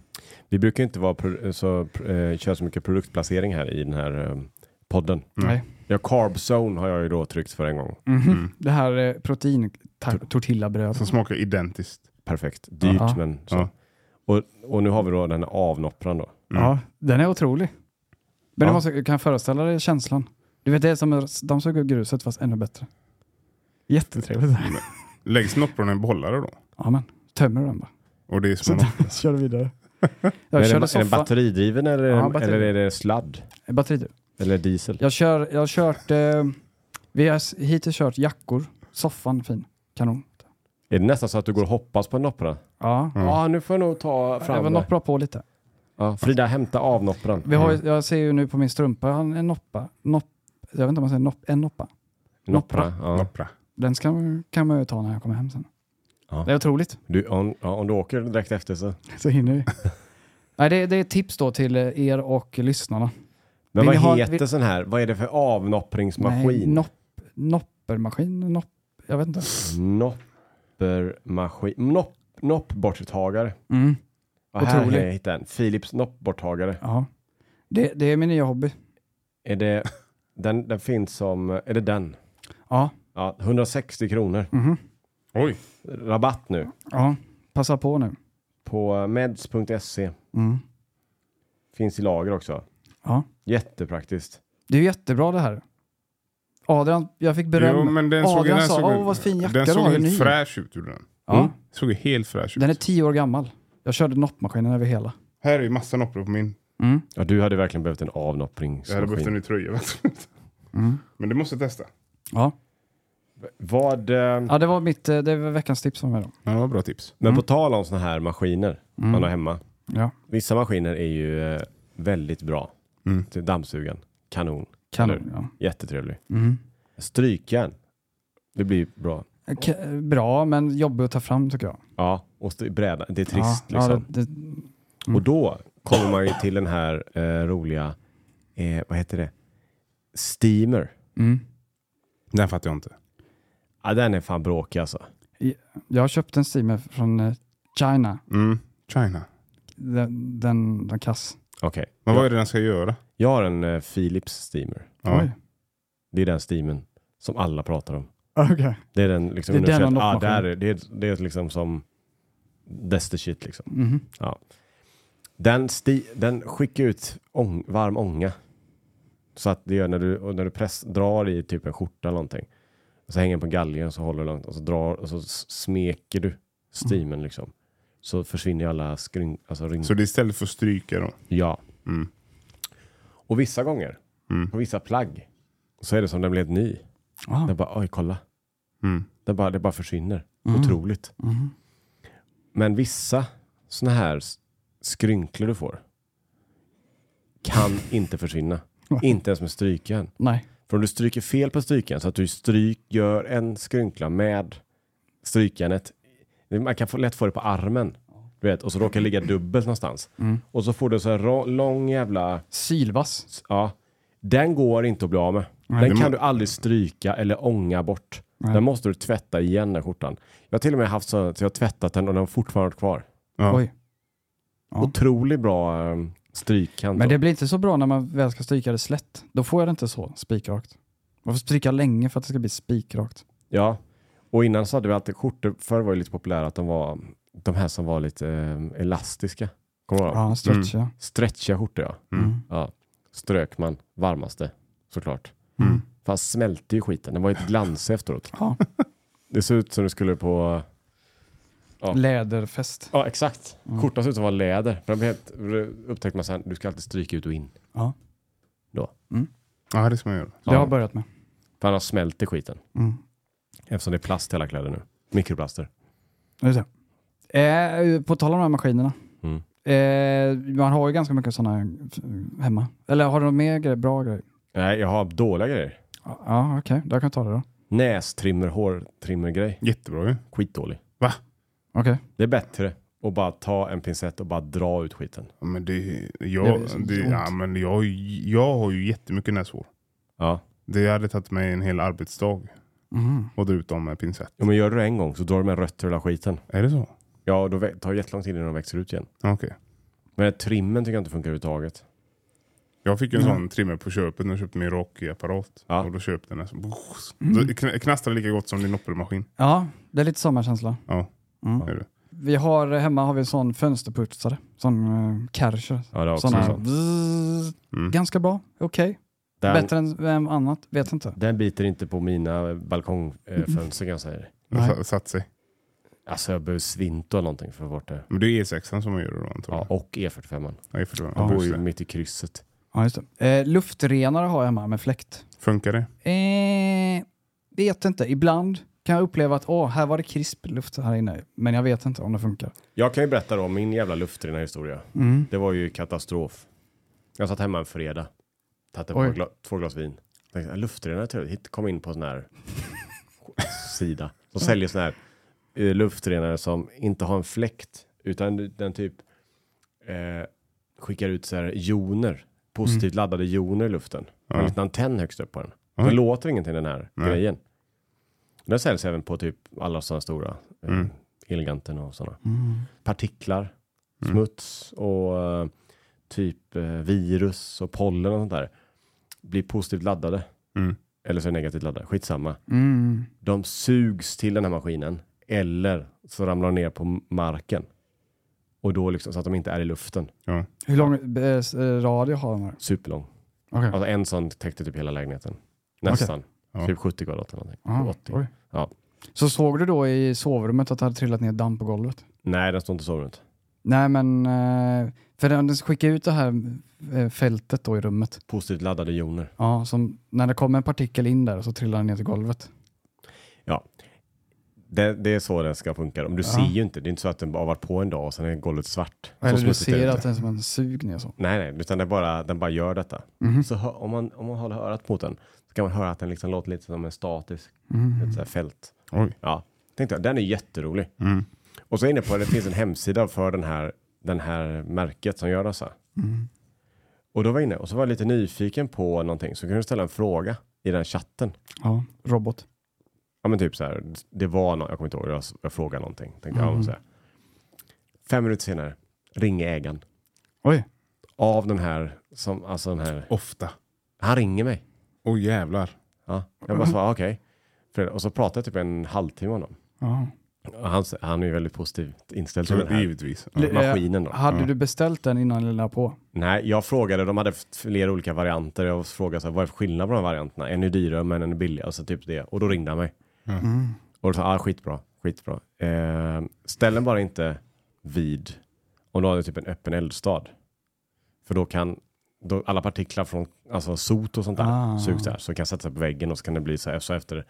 Speaker 1: Vi brukar inte vara pro- så, eh, köra så mycket produktplacering här i den här eh, podden.
Speaker 2: Mm.
Speaker 3: Nej.
Speaker 1: Ja, carb zone har jag ju då tryckt för en gång.
Speaker 3: Mhm.
Speaker 2: Mm.
Speaker 3: Det här eh, protein tor- tortillabröd.
Speaker 2: Som smakar identiskt.
Speaker 1: Perfekt. Dyrt
Speaker 3: Ja.
Speaker 1: men så.
Speaker 2: Ja.
Speaker 1: Och, och nu har vi då den här avnoppran då.
Speaker 2: Mm.
Speaker 3: Ja, den är otrolig. Men
Speaker 1: Ja.
Speaker 3: du måste, kan föreställa dig känslan. Du vet, det är som de såg ut gruset fast ännu bättre. Jättetrevligt.
Speaker 2: Läggs nopprorna i en behållare då?
Speaker 3: Ja, men tömmer den bara.
Speaker 2: Och det är
Speaker 3: Så
Speaker 2: små
Speaker 3: där, kör du vidare.
Speaker 1: Men
Speaker 3: <laughs> Jag
Speaker 1: är,
Speaker 3: körde
Speaker 1: den, är den
Speaker 3: soffa,
Speaker 1: batteridriven eller, är
Speaker 3: Ja,
Speaker 1: den-
Speaker 3: batteri.
Speaker 1: eller är det sladd?
Speaker 3: batteri.
Speaker 1: Eller diesel?
Speaker 3: Jag, kör, jag har kört, eh, vi har s- hittills kört jackor, soffan fin, kanon.
Speaker 1: Är det nästan så att du går och hoppas på en noppra?
Speaker 3: Ja,
Speaker 1: Ja, nu får jag nog ta
Speaker 3: det
Speaker 1: fram
Speaker 3: var
Speaker 1: det.
Speaker 3: något bra på lite.
Speaker 1: Ja, Frida, hämta avnoppran. Mm.
Speaker 3: Vi har, ju- jag ser ju nu på min strumpa, jag har en noppa, nopp, jag vet inte om man säger nopp, en noppa.
Speaker 1: Noppra. Ja.
Speaker 2: noppra.
Speaker 3: Den ska, kan man ju ta när jag kommer hem sen.
Speaker 1: Ja.
Speaker 3: Det är otroligt.
Speaker 1: Du, om, ja, om du åker direkt efter så.
Speaker 3: <laughs> Så hinner vi. <laughs> Nej, det, det är ett tips då till eh, er och lyssnarna.
Speaker 1: Men
Speaker 3: Vill
Speaker 1: vad
Speaker 3: ni ha-
Speaker 1: heter
Speaker 3: vill-
Speaker 1: sån här? Vad är det för avnoppringsmaskin?
Speaker 3: nopp, noppermaskin, nopp, jag vet inte.
Speaker 1: Noppermaskin. Nopp, noppborttagare.
Speaker 3: Mm.
Speaker 1: Ja, här har
Speaker 3: Otrolig.
Speaker 1: jag hittat en. Philips noppborttagare.
Speaker 3: Ja. Det, det är min nya hobby.
Speaker 1: Är det, den, den finns som, är det den?
Speaker 3: Ja.
Speaker 1: Ja, 160 kronor.
Speaker 3: Mhm. <laughs>
Speaker 2: Oj,
Speaker 1: Rabatt nu
Speaker 3: ja. Passa på nu.
Speaker 1: på meds.se.
Speaker 3: Mm.
Speaker 1: Finns i lager också.
Speaker 3: Ja.
Speaker 1: Jättepraktiskt.
Speaker 3: Det är ju jättebra det här. Adrian, jag fick beröm.
Speaker 2: jo, men den såg,
Speaker 3: Adrian
Speaker 2: den
Speaker 3: sa,
Speaker 2: såg,
Speaker 3: "Åh, vad fin jacka
Speaker 2: den
Speaker 3: du
Speaker 2: såg
Speaker 3: har, ny."
Speaker 2: helt fräsch ut. Gjorde den.
Speaker 3: ja.
Speaker 2: Mm. Såg helt fräsch ut.
Speaker 3: Den är tio år gammal. Jag körde noppmaskinen över hela.
Speaker 2: Här är ju massa noppror på min.
Speaker 3: Mm.
Speaker 1: Ja, du hade verkligen behövt en
Speaker 2: Jag hade behövt en
Speaker 1: avnoppringsmaskin.
Speaker 2: ny tröja. vet du. <laughs>
Speaker 3: Mm.
Speaker 2: Men det måste jag testa.
Speaker 3: Ja.
Speaker 1: Vad, eh,
Speaker 3: ja, det var mitt, eh, det var veckans tips från mig då. Mm.
Speaker 2: Ja, det var bra tips.
Speaker 1: men på tal om såna här maskiner man har hemma.
Speaker 3: Ja.
Speaker 1: Vissa maskiner är ju eh, väldigt bra.
Speaker 2: Mm.
Speaker 1: Till dammsugan, kanon,
Speaker 3: Kanon, ja.
Speaker 1: jättetrevlig.
Speaker 3: Mm.
Speaker 1: Strykjärn, det blir bra.
Speaker 3: K- bra, men jobbig att ta fram tycker jag.
Speaker 1: Ja, och st- bräda, det är trist
Speaker 3: ja,
Speaker 1: liksom.
Speaker 3: Ja, det, mm. det,
Speaker 1: Och då kommer man ju till den här eh, roliga, eh, vad heter det? Steamer.
Speaker 3: mm.
Speaker 2: Den fattar jag inte.
Speaker 1: Ja, den är fan bråkig alltså.
Speaker 3: Jag har köpt en steamer från eh, China.
Speaker 2: Mm. China.
Speaker 3: Den, den, den kass.
Speaker 1: Okej.
Speaker 2: Men
Speaker 1: Jag,
Speaker 2: vad är det den ska göra?
Speaker 1: jag har en eh, Philips steamer.
Speaker 2: Ja.
Speaker 3: Oj.
Speaker 1: Det är den steamen som alla pratar om.
Speaker 3: Okej.
Speaker 1: Det är den liksom
Speaker 3: Det är den
Speaker 1: universellt.
Speaker 3: han
Speaker 1: ah,
Speaker 3: loppar
Speaker 1: där
Speaker 3: själv.
Speaker 1: är, det, är, det är liksom som that's the shit liksom.
Speaker 3: Mhm.
Speaker 1: Den, sti, den skickar ut ång, varm ånga. Så att det gör när du, och när du press, drar i typ en skjorta eller någonting. Och så hänger den på galgen och så håller du långt och så drar och så s- smeker du steamen liksom. Så försvinner ju alla skryn, alltså ryn-
Speaker 2: Så det är istället för att stryka då?
Speaker 1: Ja.
Speaker 2: Mm.
Speaker 1: Och vissa gånger,
Speaker 2: Mm.
Speaker 1: på vissa plagg, så är det som den blev ny.
Speaker 3: Ah.
Speaker 1: Den bara, oj kolla.
Speaker 2: Mm.
Speaker 1: Den bara, det bara försvinner. Otroligt.
Speaker 3: Mhm.
Speaker 1: Men vissa såna här s- skrynklor du får kan inte försvinna. inte ens med strykjärn.
Speaker 3: Nej.
Speaker 1: För om du stryker fel på strykjärn så att du stryk, gör en skrynkla med strykjärnet. Man kan få, lätt få det på armen. Du vet, och så råkar det ligga dubbelt någonstans.
Speaker 3: Mm.
Speaker 1: Och så får du så här rå- lång jävla...
Speaker 3: Sylvass.
Speaker 1: Ja, den går inte att bli av med.
Speaker 3: det
Speaker 1: Den
Speaker 2: må-
Speaker 1: kan du aldrig stryka eller ånga bort. Den måste du tvätta igen den skjortan. Jag har till och med haft så att jag har tvättat den och den har fortfarande varit kvar.
Speaker 2: Ja.
Speaker 3: Oj. Ja.
Speaker 1: Otroligt bra um, strykkant.
Speaker 3: Men
Speaker 1: då.
Speaker 3: det blir inte så bra när man väl ska stryka det slätt. Då får jag det inte så spikrakt. Man får stryka länge för att det ska bli spikrakt.
Speaker 1: Ja, och innan så hade vi alltid skjortor. Förr var det lite populära att de var de här som var lite um, elastiska. Kommer du ihåg? dem?
Speaker 3: Ja, stretcha.
Speaker 1: Stretchiga skjortor ja.
Speaker 2: Mm.
Speaker 1: ja. Strök man varmaste såklart.
Speaker 2: Mm.
Speaker 1: Fast smälte ju skiten. Den var ju ett glans efteråt.
Speaker 3: Ja.
Speaker 1: Det ser ut som du skulle på Ja.
Speaker 3: Läderfest.
Speaker 1: Ja, exakt. Skjortan ser ut som var läder. För den blev helt, upptäckte man sen, du ska alltid stryka ut och in.
Speaker 2: Ja, det ska man göra.
Speaker 3: Det har jag börjat med.
Speaker 1: För annars smälter skiten.
Speaker 3: Mm.
Speaker 1: Eftersom det är plast i alla kläder nu. Mikroplaster.
Speaker 3: Just det. Eh, på tal om de här maskinerna.
Speaker 1: Mm.
Speaker 3: Eh, man har ju ganska mycket sådana hemma. Eller har du något mer grej, bra grejer?
Speaker 1: Nej, jag har dåliga grejer.
Speaker 3: Ja, okej. Okay. Där kan jag ta det då.
Speaker 1: Nästrimmer, hårtrimmergrej.
Speaker 2: Jättebra ju.
Speaker 1: Skitdålig.
Speaker 3: Okej.
Speaker 1: Det är bättre att bara ta en pincett och bara dra ut skiten.
Speaker 2: Ja, men det,
Speaker 3: Det är
Speaker 2: jag,
Speaker 3: så
Speaker 2: det,
Speaker 3: ont.
Speaker 2: ja, men jag, har ju- jag har ju jättemycket näshår.
Speaker 1: Ja.
Speaker 2: Det hade tagit mig en hel arbetsdag
Speaker 3: Mhm.
Speaker 2: att dra ut dem med pincett.
Speaker 1: ja men gör du det en gång så drar du med rötter hela skiten.
Speaker 2: Är det så?
Speaker 1: Ja, och då vä- tar det jättelång tid innan de växer ut igen.
Speaker 2: Okej.
Speaker 1: Men den här trimmen tycker jag inte funkar överhuvudtaget.
Speaker 2: Jag fick ju en
Speaker 3: Mm.
Speaker 2: sån trimmer på köpet när jag köpte min Rocky-apparat.
Speaker 1: Ja.
Speaker 2: Och då köpte jag den. här så- Då kn- knastrar det lika gott som din noppelmaskin.
Speaker 3: Ja, det är lite samma känsla.
Speaker 2: Ja.
Speaker 3: Mm.
Speaker 2: Är det.
Speaker 3: Vi har, hemma har vi en sån fönsterputsare. Sån uh, Kärcher.
Speaker 1: Ja, det är också
Speaker 3: Såna,
Speaker 1: sånt.
Speaker 3: vzz,
Speaker 2: Mm.
Speaker 3: Ganska bra. Okej.
Speaker 1: Den,
Speaker 3: Bättre än vem annat. Vet inte.
Speaker 1: den biter inte på mina balkongfönster kan jag säga. dig.
Speaker 2: Den
Speaker 3: Nej.
Speaker 2: sa- Satt sig.
Speaker 1: Alltså jag behöver svinto eller någonting för att få bort det.
Speaker 2: Men det är E6 som man gör det då antagligen.
Speaker 1: Ja, och E45.
Speaker 2: Ja. Jag förstår.
Speaker 1: De
Speaker 2: Ja,
Speaker 1: går
Speaker 2: just
Speaker 1: ju
Speaker 2: det.
Speaker 1: mitt i krysset.
Speaker 3: Ja, just det. Eh, luftrenare har jag hemma med fläkt.
Speaker 2: Funkar det?
Speaker 3: Eh, vet inte. Ibland kan jag uppleva att åh, här var det krisp luft här inne. Men jag vet inte om det funkar.
Speaker 1: Jag kan ju berätta då om min jävla luftrena historia.
Speaker 3: Mm.
Speaker 1: Det var ju katastrof. Jag satt hemma en fredag. Tatte på
Speaker 3: Oj.
Speaker 1: ett gla- två glas vin. Tänkte, "Äh, luftrenare trevligt. Hitt- Kom in på en sån här <laughs> sida. De säljer sån här eh, luftrenare som inte har en fläkt. Utan den typ eh, skickar ut så här joner. Positivt
Speaker 2: Mm.
Speaker 1: laddade joner i luften. Med en liten antenn högst upp på den. Den
Speaker 2: Oj.
Speaker 1: låter ingenting den här
Speaker 2: Nej.
Speaker 1: grejen. Den säljs även på typ alla sådana stora. Eh,
Speaker 2: Mm.
Speaker 1: Eleganten och sådana
Speaker 3: Mm.
Speaker 1: partiklar, smuts och eh, typ eh, virus och pollen och sånt där blir positivt laddade.
Speaker 2: Mm.
Speaker 1: Eller så är det negativt laddade, skitsamma.
Speaker 3: Mm.
Speaker 1: De sugs till den här maskinen eller så ramlar de ner på m- marken. Och då liksom så att de inte är i luften.
Speaker 3: Hur lång eh, s- eh, radio har den här?
Speaker 1: Superlång.
Speaker 3: Okej.
Speaker 1: Alltså en sån täckte typ hela lägenheten. Nästan.
Speaker 2: Ja.
Speaker 1: Typ 70 kvadrat eller någonting.
Speaker 3: Ja,
Speaker 1: 80.
Speaker 3: Ah, oj.
Speaker 1: Ja.
Speaker 3: Så såg du då i sovrummet att det hade trillat ner damm på golvet?
Speaker 1: Nej, den står inte i sovrummet.
Speaker 3: Nej, men eh, för den den skickar ut det här eh, fältet då i rummet.
Speaker 1: Positivt laddade joner.
Speaker 3: Ja, som när det kommer en partikel in där så trillar den ner till golvet.
Speaker 1: Det, det är så den ska funka. Men du
Speaker 3: Ja.
Speaker 1: ser ju inte. Det är inte så att den bara har varit på en dag och sen är golvet svart. Så
Speaker 3: Eller du
Speaker 1: smutsigt är det
Speaker 3: ser
Speaker 1: inte.
Speaker 3: att den är som en sug ner så.
Speaker 1: Nej, nej, utan det är bara, den bara gör detta.
Speaker 3: Mhm.
Speaker 1: Så hö- om, man, om man håller örat mot den så kan man höra att den liksom låter lite som en statisk ett så här fält.
Speaker 2: Mm. Oj.
Speaker 1: Ja, tänkte jag, den är jätterolig.
Speaker 2: Mm.
Speaker 1: Och så inne på det finns en hemsida för den här, den här märket som gör dessa.
Speaker 2: Mm.
Speaker 1: Och då var jag inne och så var jag lite nyfiken på någonting så kunde du ställa en fråga i den chatten.
Speaker 3: Ja, robot.
Speaker 1: Ja men typ så här, det var någon, jag kommer inte ihåg, jag, jag frågade någonting. Tänkte, ja,
Speaker 3: Mm.
Speaker 1: men så här. Fem minuter senare, ringer ägaren
Speaker 3: Oj.
Speaker 1: av den här, som, alltså den här,
Speaker 2: Ofta.
Speaker 1: han ringer mig.
Speaker 2: Åh jävlar.
Speaker 1: Ja, jag bara svarade okej. För- Och så pratade jag typ en halvtimme med honom.
Speaker 3: Ja.
Speaker 1: Och han, han är ju väldigt positivt inställd till den här
Speaker 2: Givetvis. Ja.
Speaker 3: Le-
Speaker 1: maskinen då.
Speaker 3: eh, Hade du beställt den innan eller la på?
Speaker 1: Nej, jag frågade, de hade flera olika varianter. Jag frågade så här, vad är skillnaden på de här varianterna? En är dyrare men en är billigare. Alltså typ det. Och då ringde han mig. Och då sa, ah, skitbra, skitbra. Eh, ställ den bara inte vid, om du har typ en öppen eldstad. För då kan då alla partiklar från alltså sot och sånt där
Speaker 3: Ah.
Speaker 1: sugs där. Så det kan sätta sig på väggen och så kan det bli så här, så efter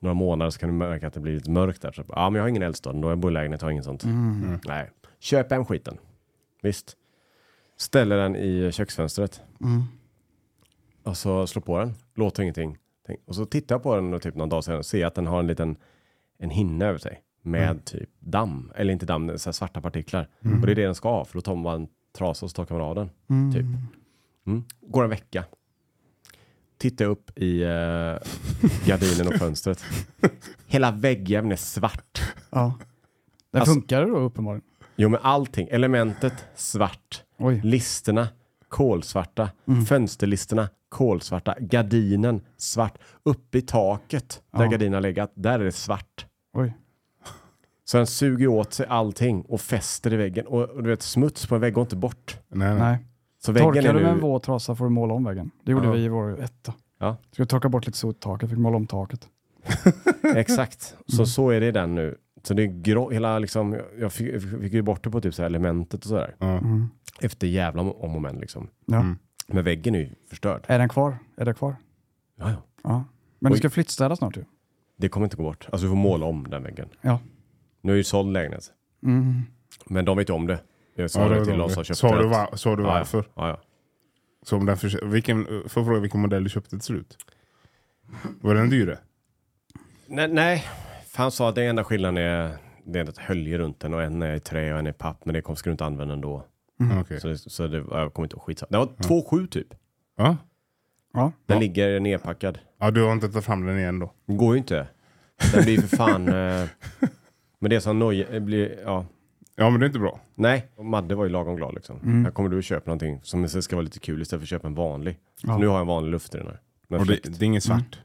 Speaker 1: några månader så kan du märka att det blir lite mörkt där. Så, ja, men jag har ingen eldstad, då har jag bolägenhet, jag har ingen sånt. Nej, köp hem skiten. Visst. Ställer den i köksfönstret. Och så slår på den, låter ingenting. Tänk- Och så tittar jag på den och typ någon dag senare och ser att den har en liten en hinna över sig med typ damm, eller inte damm, så här svarta partiklar. Och det är det den ska ha, för då tar man bara en trasa och så torkar man av den. Typ. Mm. Går en vecka. Tittar jag upp i eh, gardinen och fönstret. Hela väggen är svart.
Speaker 3: Ja. Den
Speaker 1: Alltså-
Speaker 3: funkade då uppenbarligen.
Speaker 1: Jo men allting, elementet svart.
Speaker 3: Oj.
Speaker 1: Listerna, kolsvarta.
Speaker 3: Mm.
Speaker 1: Fönsterlisterna, kolsvarta. Gardinen, svart. Uppe i taket där
Speaker 3: Ja.
Speaker 1: gardinen har legat, där är det svart.
Speaker 3: Oj.
Speaker 1: Så den suger åt sig allting och fäster i väggen. Och, och du vet, smuts på en vägg går inte bort.
Speaker 2: Nej, nej.
Speaker 3: Nej.
Speaker 1: Så väggen
Speaker 3: Torkar
Speaker 1: är
Speaker 3: du
Speaker 1: nu...
Speaker 3: med en våt trasa får du måla om väggen. Det gjorde
Speaker 1: Ja.
Speaker 3: vi i vår etta.
Speaker 1: Ja.
Speaker 3: Skulle torka bort lite sot i taket, fick måla om taket. <laughs>
Speaker 1: Exakt, så
Speaker 3: Mm.
Speaker 1: så är det i den nu. Så det är grå, hela liksom, jag- jag fick, jag fick ju bort det på typ så här elementet och sådär.
Speaker 2: Ja.
Speaker 1: Efter jävla om och men liksom.
Speaker 3: Ja.
Speaker 2: Mm.
Speaker 1: Men väggen är ju förstörd.
Speaker 3: Är den kvar? Är det kvar?
Speaker 1: Ja, ja.
Speaker 3: Ja. Men
Speaker 1: Oj.
Speaker 3: du ska flyttstäda snart ju.
Speaker 1: Det kommer inte gå bort. Alltså du får måla om den väggen.
Speaker 3: Ja.
Speaker 1: Nu är ju såld lägenhet.
Speaker 3: Mm.
Speaker 1: Men de vet ju om det. Jag sa
Speaker 2: Ja,
Speaker 1: det
Speaker 2: var
Speaker 1: till
Speaker 2: de.
Speaker 1: de som köpte
Speaker 2: Sa du,
Speaker 1: att-
Speaker 2: va- sa du
Speaker 1: Ja, ja.
Speaker 2: varför?
Speaker 1: Ja, ja.
Speaker 2: Så om den förs- vilken, får jag fråga vilken modell du köpte till slut? Var den dyre?
Speaker 1: Nej, nej. Fan sa att den enda skillnaden är det är ett hölje runt den och en är i trä och en är i papp. Men det kommer- skulle du inte använda ändå.
Speaker 2: Okej.
Speaker 1: Så, det, så det, jag kommer inte ihåg skitsamma. Det var 2,7 typ.
Speaker 2: Ja?
Speaker 3: Ja.
Speaker 1: Den
Speaker 2: Ja.
Speaker 1: ligger nedpackad.
Speaker 2: ja, du har inte tagit fram den igen då?
Speaker 1: Det går ju inte. Den blir för
Speaker 2: <laughs>
Speaker 1: fan... eh, men det är som noj... Blir, ja.
Speaker 2: Ja, men det är inte bra.
Speaker 1: Nej, och Madde var ju lagom glad liksom.
Speaker 2: Mm.
Speaker 1: Här kommer du och köper någonting som ska vara lite kul istället för att köpa en vanlig. Så
Speaker 3: Ja.
Speaker 1: nu har jag en vanlig luft i den här. Med
Speaker 2: Och det,
Speaker 1: fläkt.
Speaker 2: det är inget svart.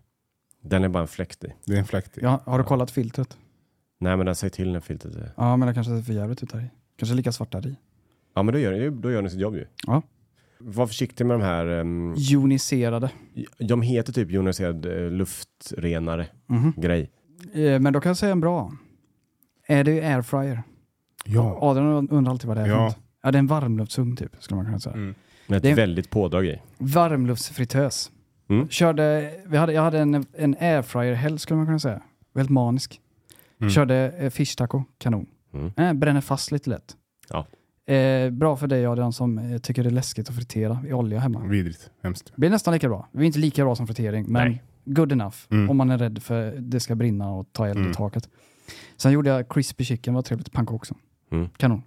Speaker 1: Den är bara en fläkt i.
Speaker 2: Det är en fläktig.
Speaker 3: ja. Har du kollat filtret?
Speaker 1: Nej men den säger till när filtret är...
Speaker 3: Ja, men det kanske ser för jävligt ut där i. Kanske lika svart där i.
Speaker 1: Ja men då gör, den- då gör den sitt jobb ju.
Speaker 3: Ja.
Speaker 1: Var försiktig med de här... ehm,
Speaker 3: Joniserade.
Speaker 1: de heter typ joniserad eh, luftrenare
Speaker 3: Mhm.
Speaker 1: grej.
Speaker 3: Eh, Men då kan jag säga en bra. Är det ju airfryer?
Speaker 2: Ja.
Speaker 3: Adrian undrar alltid vad det är för
Speaker 2: Ja.
Speaker 3: något. Ja, det är en varmluftsugn typ, skulle man kunna säga.
Speaker 2: Mm.
Speaker 1: Med ett
Speaker 3: Det-
Speaker 1: väldigt pådrag i.
Speaker 3: Varmluftsfritös.
Speaker 1: Mm.
Speaker 3: Körde, vi hade, jag hade en, en airfryer-helg skulle man kunna säga. Väldigt manisk.
Speaker 2: Mm.
Speaker 3: Körde eh, fish taco, kanon.
Speaker 1: Mm.
Speaker 3: Eh, bränner fast lite lätt.
Speaker 1: Ja.
Speaker 3: Eh, bra för dig Adrian som eh, tycker det är läskigt att fritera i olja hemma.
Speaker 1: Mm.
Speaker 2: Vidrigt. Hemskt.
Speaker 3: blir nästan lika bra. Vi är inte lika bra som fritering, men
Speaker 1: Nej.
Speaker 3: good enough
Speaker 2: Mm.
Speaker 3: om man är rädd för det ska brinna och ta eld i
Speaker 2: Mm.
Speaker 3: taket. Sen gjorde jag crispy chicken, var trevligt. Panko också.
Speaker 1: Mm.
Speaker 3: Kanon.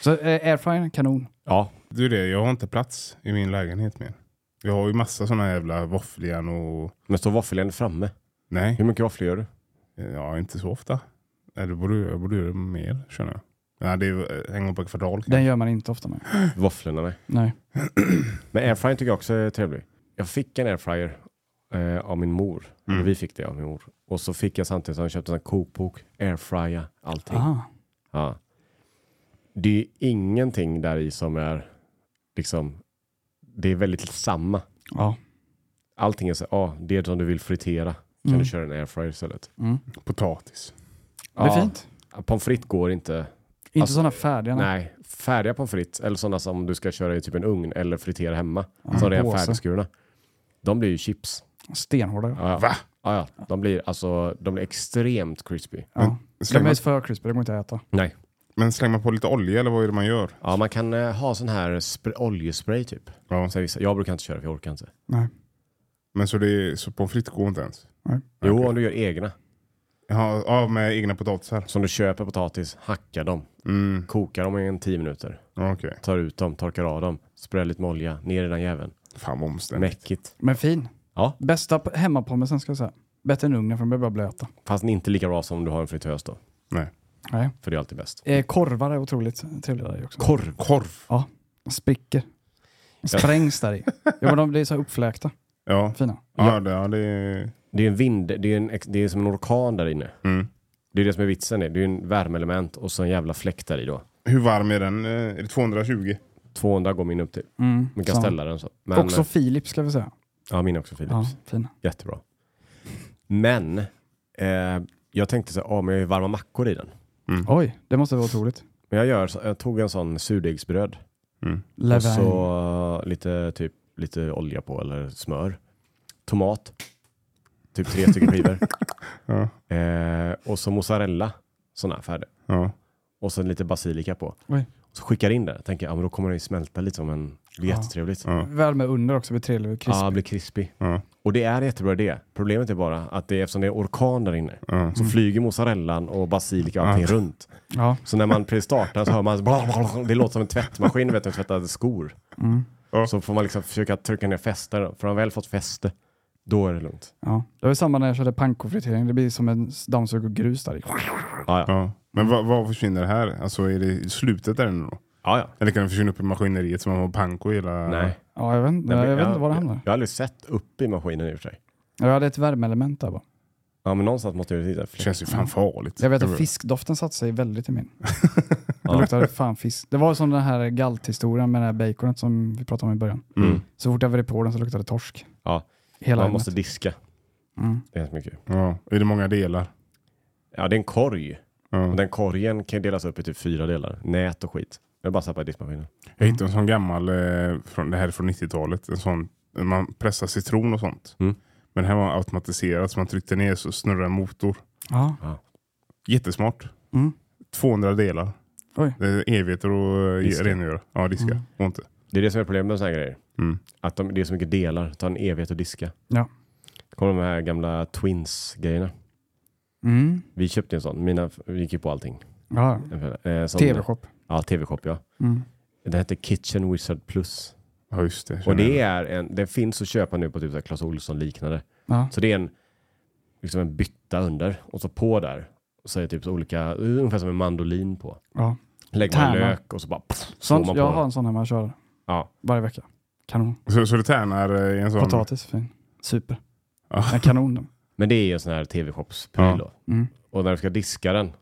Speaker 3: Så eh, airfryern, kanon.
Speaker 1: Ja,
Speaker 2: Du det, jag har inte plats i min lägenhet mer. Jag har ju massa sådana jävla våffeljärn och...
Speaker 1: men står våffeljärnet framme?
Speaker 2: Nej,
Speaker 1: Hur mycket våfflor gör du?
Speaker 2: ja, inte så ofta. Eller borde, jag borde göra det mer känner jag. Nej, det är ju en gång per kvartal.
Speaker 3: Den gör man inte ofta med.
Speaker 1: Våfflorna nej.
Speaker 3: Nej.
Speaker 1: Men airfryer tycker jag också är trevlig. Jag fick en airfryer eh, av min mor. Eller
Speaker 2: Mm.
Speaker 1: Vi fick det av min mor. Och så fick jag samtidigt som jag köpte en sån här kokbok, airfrya, allting.
Speaker 3: Aha.
Speaker 1: Ja. Det är ingenting där i som är liksom, det är väldigt samma.
Speaker 3: Ja.
Speaker 1: Allting är så, ja, det som du vill fritera kan
Speaker 3: Mm.
Speaker 1: du köra en airfryer istället.
Speaker 3: Mm.
Speaker 2: Potatis.
Speaker 3: Det är
Speaker 1: Ja.
Speaker 3: fint.
Speaker 1: Pommes frites går inte.
Speaker 3: Inte
Speaker 1: Alltså,
Speaker 3: sådana färdiga. nej.
Speaker 1: Nej, färdiga pommes frites eller sådana som du ska köra i typ en ugn eller fritera hemma.
Speaker 3: Ja,
Speaker 1: Som redan
Speaker 3: påse.
Speaker 1: färdigskurna. De blir ju chips.
Speaker 3: Stenhårda. Ja.
Speaker 1: Ja, ja. Va? Ja, ja. De, blir, alltså, de blir extremt crispy.
Speaker 3: Ja.
Speaker 2: Släng
Speaker 3: De är
Speaker 2: man,
Speaker 3: för crispy, det går inte att äta.
Speaker 1: Nej.
Speaker 2: men slänger man på lite olja eller vad är det man gör?
Speaker 1: Ja, man kan eh, ha sån här spr- oljespray typ.
Speaker 2: Ja.
Speaker 1: Så vissa- jag brukar inte köra för jag orkar inte.
Speaker 3: Nej.
Speaker 2: Men så, det är, så pommes frites går inte ens?
Speaker 3: Nej.
Speaker 1: Jo, om du gör egna.
Speaker 2: Ja, ja, med egna potatisar.
Speaker 1: Som du köper potatis, hackar dem,
Speaker 2: Mm,
Speaker 1: kokar dem i en 10 minuter,
Speaker 2: ja, okej.
Speaker 1: tar ut dem, torkar av dem, sprayar lite med olja, ner i den jäveln.
Speaker 2: Fan vad omständigt.
Speaker 1: Mäckigt.
Speaker 3: Men fin.
Speaker 1: Ja.
Speaker 3: Bästa p- hemmapommesen ska jag säga. Bättre än ugnen för de blir bara blöta.
Speaker 1: Fast inte lika bra som om du har en fritös då.
Speaker 2: Nej.
Speaker 3: Nej.
Speaker 1: För det är alltid bäst.
Speaker 3: Eh, korvar är otroligt trevliga där i också.
Speaker 1: Korv.
Speaker 2: Korv.
Speaker 3: spricker. Sprängs där i. Ja, men de blir så här uppfläkta.
Speaker 2: Ja,
Speaker 3: Fina.
Speaker 2: ja. det, ja det är...
Speaker 1: Det är en vind, det är, en, ex- det är som en orkan där inne.
Speaker 2: Mm.
Speaker 1: Det är det som är vitsen. Det är en värmeelement och så en jävla fläkt där i då.
Speaker 2: Hur varm är den? Eh, Är det 220?
Speaker 1: 200 går min upp till.
Speaker 3: Mm,
Speaker 1: Man kan
Speaker 3: samma.
Speaker 1: ställa den så. Men,
Speaker 3: Också Philips ska vi säga.
Speaker 1: Ja, min är också Philips.
Speaker 3: Ja, fina.
Speaker 1: Jättebra. Men eh, jag tänkte så här, ah, men jag har ju varma mackor i den.
Speaker 3: Oj, det måste vara otroligt.
Speaker 1: Men jag, gör, så- jag tog en sån surdegsbröd
Speaker 2: Mm.
Speaker 1: och
Speaker 3: Levain.
Speaker 1: så eh, lite, typ, lite olja på eller smör. Tomat. Typ tre stycken skivor.
Speaker 2: <laughs> Ja.
Speaker 1: eh, och så mozzarella. Sån här färdig.
Speaker 2: Ja.
Speaker 1: Och sen lite basilika på.
Speaker 3: Oj.
Speaker 1: Och så skickar jag in det. Tänker, ja men då kommer den ju smälta lite som en... Det blir jättetrevligt.
Speaker 2: Ja.
Speaker 3: Värme under också blir trevlig och
Speaker 1: Ja,
Speaker 3: krispig.
Speaker 1: det blir krispig.
Speaker 2: Ja.
Speaker 1: Och det är en jättebra idé. Problemet är bara att det, är- eftersom det är orkan där inne
Speaker 2: Ja.
Speaker 1: så flyger mozzarellan och basilika och allting runt.
Speaker 3: Ja.
Speaker 1: Så när man precis startar så hör man bla, bla, bla, det låter som en tvättmaskin vet du, tvättade skor.
Speaker 3: Mm.
Speaker 2: Ja.
Speaker 1: Så får man liksom försöka trycka ner fäster. För har man väl fått fäste, då är det lugnt.
Speaker 3: ja. Det var ju samma när jag körde pankofritering. Det blir som en dammsug och grus där i.
Speaker 1: Ja, ja.
Speaker 2: Ja. Men vad, vad försvinner här? Alltså är det i slutet där nu då?
Speaker 1: ja, ja.
Speaker 2: Eller kan det försvinna upp i maskineriet så man har panko i hela...
Speaker 1: Nej.
Speaker 3: Ja, jag vet, inte- jag vet inte var det hamnar.
Speaker 1: Jag har aldrig sett upp i maskinen i och för sig.
Speaker 3: Jag hade ett värmeelement där bara.
Speaker 1: Ja, men någonstans måste jag ju titta.
Speaker 2: Det känns ju fan farligt.
Speaker 3: Jag vet att
Speaker 2: Det-
Speaker 3: fiskdoften satte sig
Speaker 1: <laughs>
Speaker 3: väldigt i min.
Speaker 1: Mm. Ja.
Speaker 3: Det luktade fan fisk. Det var som den här galthistorien med det här baconet som vi pratade om i början.
Speaker 1: Mm.
Speaker 3: Så fort jag vred på den så luktade det torsk.
Speaker 1: Ja.
Speaker 3: Hela
Speaker 1: Man
Speaker 3: hemmet.
Speaker 1: måste diska.
Speaker 3: Mm.
Speaker 1: Det är så mycket.
Speaker 2: Ja. Är det många delar?
Speaker 1: Ja, det är en korg.
Speaker 2: Ja.
Speaker 1: Och den korgen kan ju delas upp i typ fyra delar. Nät och skit. Det är bara att stoppa i diskmaskinen.
Speaker 2: Jag hittade en sån gammal, eh, från, det här är från 90-talet, en sån, man pressar citron och sånt.
Speaker 1: Mm.
Speaker 2: Men det här var automatiserat, så man tryckte ner så snurrade en motor.
Speaker 3: Ja.
Speaker 2: Jättesmart.
Speaker 3: Mm.
Speaker 2: 200 delar.
Speaker 3: Oj.
Speaker 2: Det är evigheter att eh,
Speaker 1: Diska.
Speaker 2: rengöra. Ja, diska.
Speaker 3: Mm.
Speaker 2: Går inte.
Speaker 1: Det är det som är problemet med sådana här grejer.
Speaker 2: Mm.
Speaker 1: Att de, det är så mycket delar. Ta en evighet att diska.
Speaker 3: Ja.
Speaker 1: Det kommer de här gamla Twins-grejerna.
Speaker 3: Mm.
Speaker 1: Vi köpte en sån. Mina f- gick ju på allting.
Speaker 3: ja.
Speaker 1: Eh, sån-
Speaker 3: Tv-shop.
Speaker 1: Ja, TV-shop ja.
Speaker 3: Mm.
Speaker 1: Den hette Kitchen Wizard Plus.
Speaker 2: Ja, just det.
Speaker 1: Och
Speaker 2: Känner
Speaker 1: det
Speaker 2: jag.
Speaker 1: är en, den finns att köpa nu på typ så här Clas Ohlson liknande.
Speaker 3: Ja.
Speaker 1: Så det är en, liksom en bytta under och så på där. Och så är det typ så olika, ungefär som en mandolin på.
Speaker 3: Ja.
Speaker 1: Lägger man
Speaker 3: Tärna.
Speaker 1: lök och så bara pff, slår
Speaker 3: Sånt,
Speaker 1: man på
Speaker 3: jag har
Speaker 1: den.
Speaker 3: en sån hemma jag kör
Speaker 1: Ja.
Speaker 3: varje vecka. Kanon.
Speaker 2: Så, så det tärnar eh, i en sån...
Speaker 3: Potatis, fin. Super.
Speaker 2: Ja.
Speaker 3: En kanon. den.
Speaker 1: Men det är ju en sån här TV-shopspryl
Speaker 2: Ja.
Speaker 1: då. <laughs>
Speaker 3: Mm.
Speaker 1: Och när du ska diska den,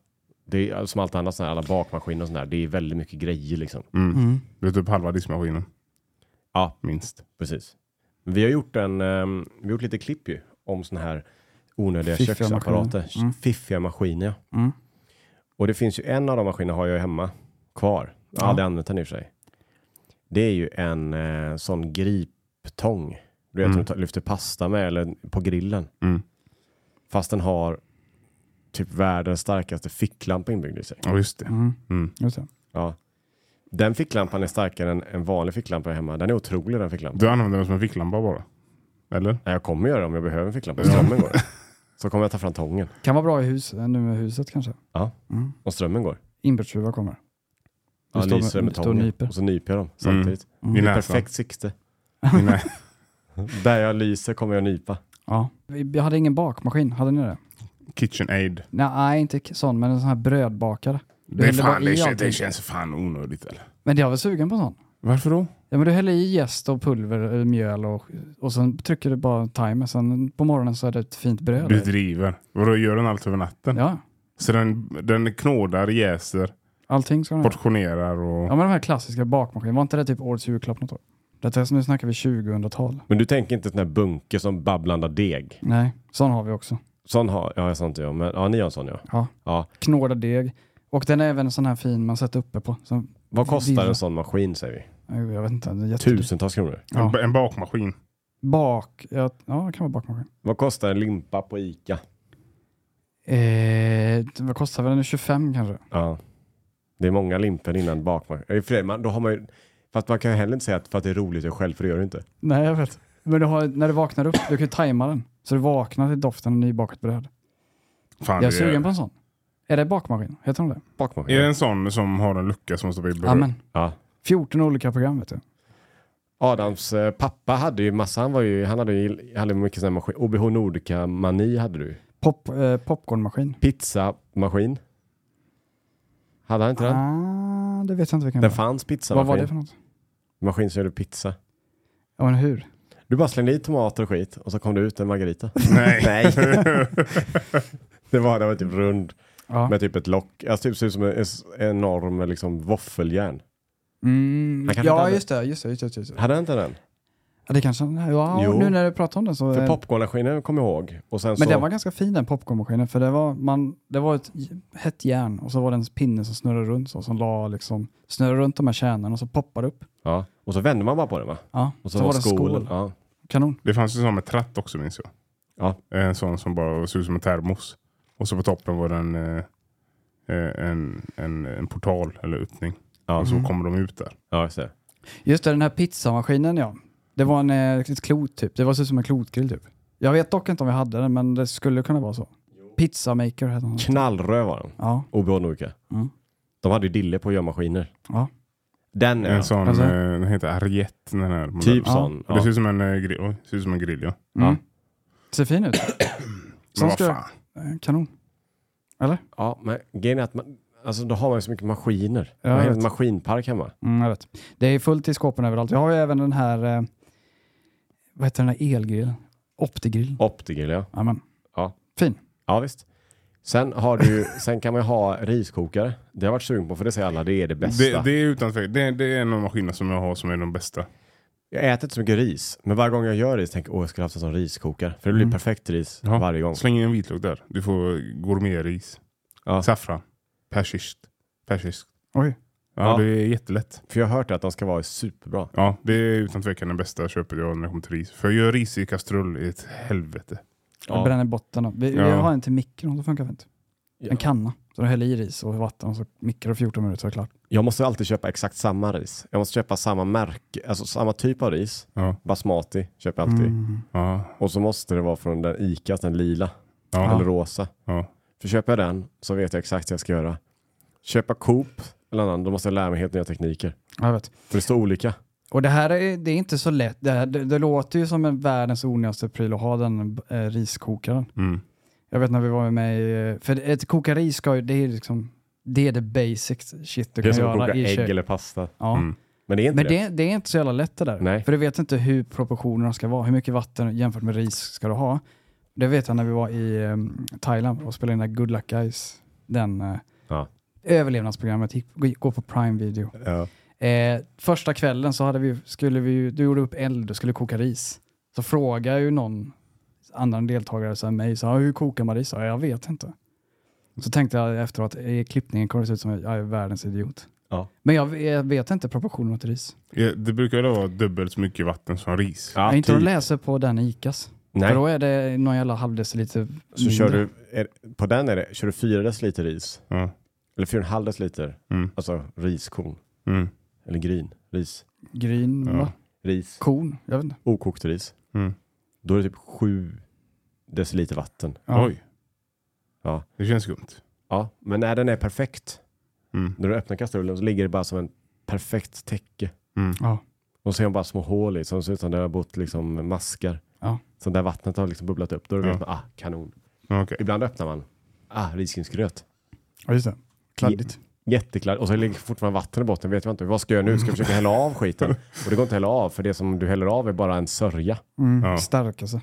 Speaker 1: det är, som allt annat, sån här, alla bakmaskiner och sån där, det är väldigt mycket grejer liksom.
Speaker 2: Mm.
Speaker 3: Mm.
Speaker 2: Det är typ halva diskmaskinen.
Speaker 1: Ja.
Speaker 2: Minst.
Speaker 1: Precis. Men vi har gjort en, ehm, vi har gjort lite klipp ju om såna här onödiga
Speaker 3: Fiffiga
Speaker 1: köksapparater.
Speaker 3: maskiner. Mm.
Speaker 1: Fiffiga maskiner. ja.
Speaker 3: Mm.
Speaker 1: Och det finns ju en av de maskinerna har jag ju hemma kvar. Jag har
Speaker 3: Ja.
Speaker 1: aldrig använt den i och för sig. Det är ju en eh, sån griptång. Du vet
Speaker 2: Mm.
Speaker 1: som du tar- lyfter pasta med eller på grillen.
Speaker 2: Mm.
Speaker 1: Fast den har typ världens starkaste ficklampa inbyggd i sig.
Speaker 2: Ja, just det.
Speaker 3: Mm.
Speaker 2: Mm.
Speaker 3: Just det.
Speaker 1: Ja. Den ficklampan är starkare än en vanlig ficklampa hemma. Den är otrolig den ficklampan.
Speaker 2: Du använder den som en ficklampa bara? Eller?
Speaker 1: Nej, Jag kommer göra det om jag behöver en ficklampa. Om Strömmen går. Så kommer jag ta fram tången.
Speaker 3: Kan vara bra i hus, nu med huset kanske.
Speaker 1: Ja.
Speaker 3: Mm.
Speaker 1: Om strömmen går.
Speaker 3: Inbrottstjuvar kommer. Du
Speaker 1: Ja,
Speaker 3: står med-
Speaker 1: lyser det med
Speaker 3: du står
Speaker 1: tången.
Speaker 3: och
Speaker 1: Och,
Speaker 3: nyper.
Speaker 1: så nyper jag dem samtidigt.
Speaker 3: Mm.
Speaker 2: I näsan?
Speaker 1: Perfekt sikte.
Speaker 2: I nä- <laughs>
Speaker 1: Där jag lyser kommer jag nypa.
Speaker 3: Ja. Vi- Jag hade ingen bakmaskin, hade ni det?
Speaker 2: KitchenAid.
Speaker 3: Nej, inte k- sån, men en sån här brödbakare. Du
Speaker 2: Det, är
Speaker 3: häller
Speaker 2: fan,
Speaker 3: bara i
Speaker 2: det, känns,
Speaker 3: allting.
Speaker 2: det känns fan onödigt eller?
Speaker 3: Men jag var sugen på en sån.
Speaker 2: Varför då?
Speaker 3: Ja, men du häller i jäst och pulver, eh, mjöl och, och sen trycker du bara timer. Sen på morgonen så är det ett fint bröd.
Speaker 2: Du driver. Vadå, gör den allt över natten?
Speaker 3: ja,
Speaker 2: Så den, den knådar, jäser,
Speaker 3: allting ska man ha.
Speaker 2: portionerar och...
Speaker 3: Ja, men de här klassiska bakmaskinerna, var inte det typ årets julklapp något år? Detta är som nu snackar vi 2000-tal.
Speaker 1: Men du tänker inte sån här bunke som babblandar deg?
Speaker 3: Nej, sån har vi också.
Speaker 1: Sån har ja, sånt jag. Men, ja, ni har en sån ja.
Speaker 3: Ja.
Speaker 1: ja.
Speaker 3: Knådad deg. Och den är även en sån här fin man sätter uppe på. Som,
Speaker 1: Vad kostar
Speaker 3: Virra.
Speaker 1: en sån maskin säger vi?
Speaker 3: Oj, jag vet inte, det är jättedyrt.
Speaker 1: Tusentals kronor.
Speaker 2: En,
Speaker 3: Ja.
Speaker 2: en bakmaskin.
Speaker 3: Bak, ja, ja det kan vara bakmaskin.
Speaker 1: Vad kostar en limpa på Ica?
Speaker 3: Eh, vad kostar väl den? 25 kanske?
Speaker 1: Ja. Det är många limper innan Eh, bakmaskin. Då har man ju... Fast man kan ju heller inte säga att för att det är roligt jag själv, för det gör det inte.
Speaker 3: Nej, jag vet. Men du har, när du vaknar upp, du kan ju tajma den. Så du vaknar till doften av nybakat bröd.
Speaker 2: Fan,
Speaker 3: Jag är
Speaker 2: det
Speaker 3: sugen på en sån. Är det bakmaskin? Heter de det?
Speaker 1: Bakmaskin.
Speaker 2: Är det en sån som har en lucka som står i bröd?
Speaker 3: Amen.
Speaker 1: Ja.
Speaker 3: 14 olika program vet du.
Speaker 1: Adams eh, pappa hade ju massa, han var ju, han hade ju hade mycket sådana maskin. OBH Nordica-mani hade du.
Speaker 3: Pop, eh, popcornmaskin.
Speaker 1: Pizzamaskin. Hade han inte den?
Speaker 3: Ah, det vet jag inte vilken
Speaker 1: Den
Speaker 3: det
Speaker 1: fanns
Speaker 3: var. Vad var det
Speaker 1: pizzamaskin.
Speaker 3: för något?
Speaker 1: Maskin som gjorde pizza.
Speaker 3: Ja, men hur?
Speaker 1: Du bara slängde i tomater och skit och så kom det ut en
Speaker 3: <laughs>
Speaker 1: margarita.
Speaker 2: <laughs> Nej.
Speaker 1: Nej. <laughs> det var, det var typ rund
Speaker 3: Ja.
Speaker 1: med typ ett lock. Alltså typ ser ut som en en enorm liksom våffeljärn.
Speaker 3: Mm,
Speaker 1: Han kanske inte
Speaker 3: ja
Speaker 1: hade-
Speaker 3: just det, just det, just det, just det.
Speaker 1: Hade han inte den?
Speaker 3: Ja, det kanske, ja,
Speaker 1: Jo.
Speaker 3: nu när du pratar om den så...
Speaker 1: För
Speaker 3: eh,
Speaker 1: popcornmaskinen kommer jag ihåg. Och sen
Speaker 3: men
Speaker 1: så,
Speaker 3: den var ganska fin den popcornmaskinen, för det var, man, det var ett j- hett järn och så var det en pinne som snurrade runt så, som la liksom, snurrade runt de här kärnorna och så poppade upp.
Speaker 1: ja. och så vände man bara på den va?
Speaker 3: Ja,
Speaker 1: Och så, var det skål. Ja.
Speaker 3: Kanon.
Speaker 2: Det fanns ju en sån med tratt också minns jag.
Speaker 1: Ja.
Speaker 2: En sån som bara såg ut som en termos. Och så på toppen var det en, eh, eh, en, en, en portal eller öppning.
Speaker 1: Ja.
Speaker 2: Och
Speaker 3: Mm. Mhm.
Speaker 2: så kommer de ut där.
Speaker 1: Ja, just det.
Speaker 3: Just det, den här pizzamaskinen ja. Det var en, eh, ett klot typ, det var så ut som en klotgrill typ. Jag vet dock inte om vi hade den, men det skulle kunna vara så. Pizzamaker hette den.
Speaker 1: Knallröd var den.
Speaker 3: Ja,
Speaker 1: OBH Nordica.
Speaker 3: Mm.
Speaker 1: De hade ju dille på att göra maskiner.
Speaker 3: Ja.
Speaker 1: Den ja.
Speaker 2: En sån,
Speaker 3: Alltså-
Speaker 2: eh, den heter Ariette den här. modellen.
Speaker 1: Typ
Speaker 3: Ja.
Speaker 1: sån.
Speaker 2: Och
Speaker 1: Ja.
Speaker 2: Det ser ut som en eh, grill. Oj, ser ut som en grill ja.
Speaker 3: Mm.
Speaker 1: Ja.
Speaker 3: ser
Speaker 1: <coughs>
Speaker 3: fin ut.
Speaker 2: Men
Speaker 3: Sån
Speaker 2: vad
Speaker 3: ska jag-
Speaker 2: fan.
Speaker 3: Eh, Kanon.
Speaker 1: Ja, men grejen är att man, alltså, då har man ju så mycket maskiner.
Speaker 3: Ja,
Speaker 1: man har
Speaker 3: jag
Speaker 1: en hel
Speaker 3: vet.
Speaker 1: maskinpark hemma.
Speaker 3: Mm, jag vet. Det är fullt i skåpen överallt. Jag har ju även den här, eh, vad heter den här elgrillen? Optigrillen.
Speaker 1: Optigrill, ja.
Speaker 3: Jajamän.
Speaker 1: Ja.
Speaker 3: Fin.
Speaker 1: Ja, visst. Sen, har
Speaker 3: <laughs>
Speaker 1: du, sen kan man ju ha riskokare. Det har jag varit sugen på, för det säger alla, det är det bästa.
Speaker 2: Det, det är utan tvekan. Det, det är en av maskinerna som jag har som är de bästa.
Speaker 1: Jag äter inte så mycket ris, men varje gång jag gör ris tänker jag åh, jag skulle haft en sån riskokare. För det blir perfekt ris
Speaker 2: Mm. Ja.
Speaker 1: varje gång.
Speaker 2: Släng in en vitlök där. Du får gourmetris.
Speaker 1: Ja.
Speaker 2: Saffran. Persiskt. Persiskt.
Speaker 3: Oj.
Speaker 2: Ja,
Speaker 1: Ja.
Speaker 2: det är jättelätt.
Speaker 1: För jag har hört att de ska vara superbra.
Speaker 2: Ja, det är utan tvekan det bästa köpet jag har när det kommer till ris. För jag gör ris i kastrull i ett helvete.
Speaker 1: Ja.
Speaker 3: Jag bränner botten av. Vi, vi
Speaker 2: Ja.
Speaker 3: har en till mikron, det funkar fint.
Speaker 1: Ja.
Speaker 3: En kanna. Så du häller i ris och vatten och så mikrar du 14 minuter så är det klart.
Speaker 1: Jag måste alltid köpa exakt samma ris. Jag måste köpa samma märke, alltså samma typ av ris.
Speaker 2: Ja. Mm.
Speaker 1: Basmati köper jag alltid.
Speaker 2: Ja,
Speaker 1: Och så måste det vara från den ICA, den lila
Speaker 2: ja,
Speaker 1: eller rosa.
Speaker 2: ja.
Speaker 1: För köper jag den så vet jag exakt vad jag ska göra. Köpa Coop eller annan, då måste jag lära mig helt nya tekniker.
Speaker 3: Ja, jag vet.
Speaker 1: För det står olika.
Speaker 3: Och det här är, det är inte så lätt. Det, här, det, det låter ju som en världens onödigaste pryl att ha den eh, riskokaren.
Speaker 2: Mm. jag
Speaker 3: Jag vet när vi var med i, eh, för ett koka ris ska ju, det är liksom, det är det basic shit du
Speaker 1: Det är
Speaker 3: kan
Speaker 1: som att
Speaker 3: göra
Speaker 1: koka
Speaker 3: i
Speaker 1: ägg
Speaker 3: kök.
Speaker 1: eller pasta.
Speaker 3: Ja.
Speaker 2: Mm.
Speaker 1: Men det är inte
Speaker 3: Men
Speaker 1: det.
Speaker 3: det, det är inte så jävla lätt det där.
Speaker 1: Nej.
Speaker 3: För du vet inte hur proportionerna ska vara, hur mycket vatten jämfört med ris ska du ha. Det vet jag när vi var i eh, Thailand och spelade in den där Good Luck Guys, den eh,
Speaker 1: Ja.
Speaker 3: överlevnadsprogrammet, gick- gå på Prime Video.
Speaker 1: Ja.
Speaker 3: Eh, första kvällen så hade vi, skulle vi, ju- du gjorde upp eld och skulle koka ris. Så frågade ju någon annan deltagare så här mig, så, här, hur kokar man ris? Ja, jag vet inte. Så tänkte jag efteråt, i klippningen kommer det se ut som att jag är världens idiot.
Speaker 1: Ja.
Speaker 3: Men jag, jag vet inte proportionerna till ris.
Speaker 2: Ja, Det brukar ju vara dubbelt så mycket vatten som ris.
Speaker 1: Ja,
Speaker 3: jag inte
Speaker 1: typ.
Speaker 3: att läser på den i Icas.
Speaker 1: Nej.
Speaker 3: För då är det någon jävla halvdeciliter
Speaker 1: Så kör
Speaker 3: Mm.
Speaker 1: du, är, på den är det, kör du 4 deciliter ris,
Speaker 2: Ja.
Speaker 1: eller 4,5 deciliter,
Speaker 2: Mm.
Speaker 1: alltså riskorn,
Speaker 2: Mm.
Speaker 1: eller gryn, ris,
Speaker 3: gryn,
Speaker 2: Ja.
Speaker 3: va?
Speaker 1: ris,
Speaker 3: korn, jag vet inte.
Speaker 1: okokt ris.
Speaker 2: Mm.
Speaker 1: Då är det typ 7 deciliter vatten.
Speaker 3: Ja.
Speaker 2: Oj.
Speaker 1: Ja.
Speaker 2: Det känns skumt.
Speaker 1: Ja, men när den är perfekt,
Speaker 2: Mm.
Speaker 1: när du öppnar kastrullen så ligger det bara som en perfekt täcke.
Speaker 2: Mm.
Speaker 3: Ja.
Speaker 1: Och så är de bara små hål i, som ser ut som det har bott liksom maskar.
Speaker 3: Ja.
Speaker 1: Så där vattnet har liksom bubblat upp. Då är det
Speaker 2: Ja.
Speaker 1: liksom, ah, kanon.
Speaker 2: Ja, okej.
Speaker 1: Ibland öppnar man, ah, risgrynsgröt.
Speaker 3: Ja, just det. Kladdigt.
Speaker 1: Jätteklart. Och så ligger fortfarande vatten i botten, vet man inte. Vad ska jag göra nu? Ska jag försöka hälla av skiten? Och det går inte att hälla av, för det som du häller av är bara en sörja.
Speaker 3: Mm.
Speaker 2: Ja.
Speaker 3: Stark alltså.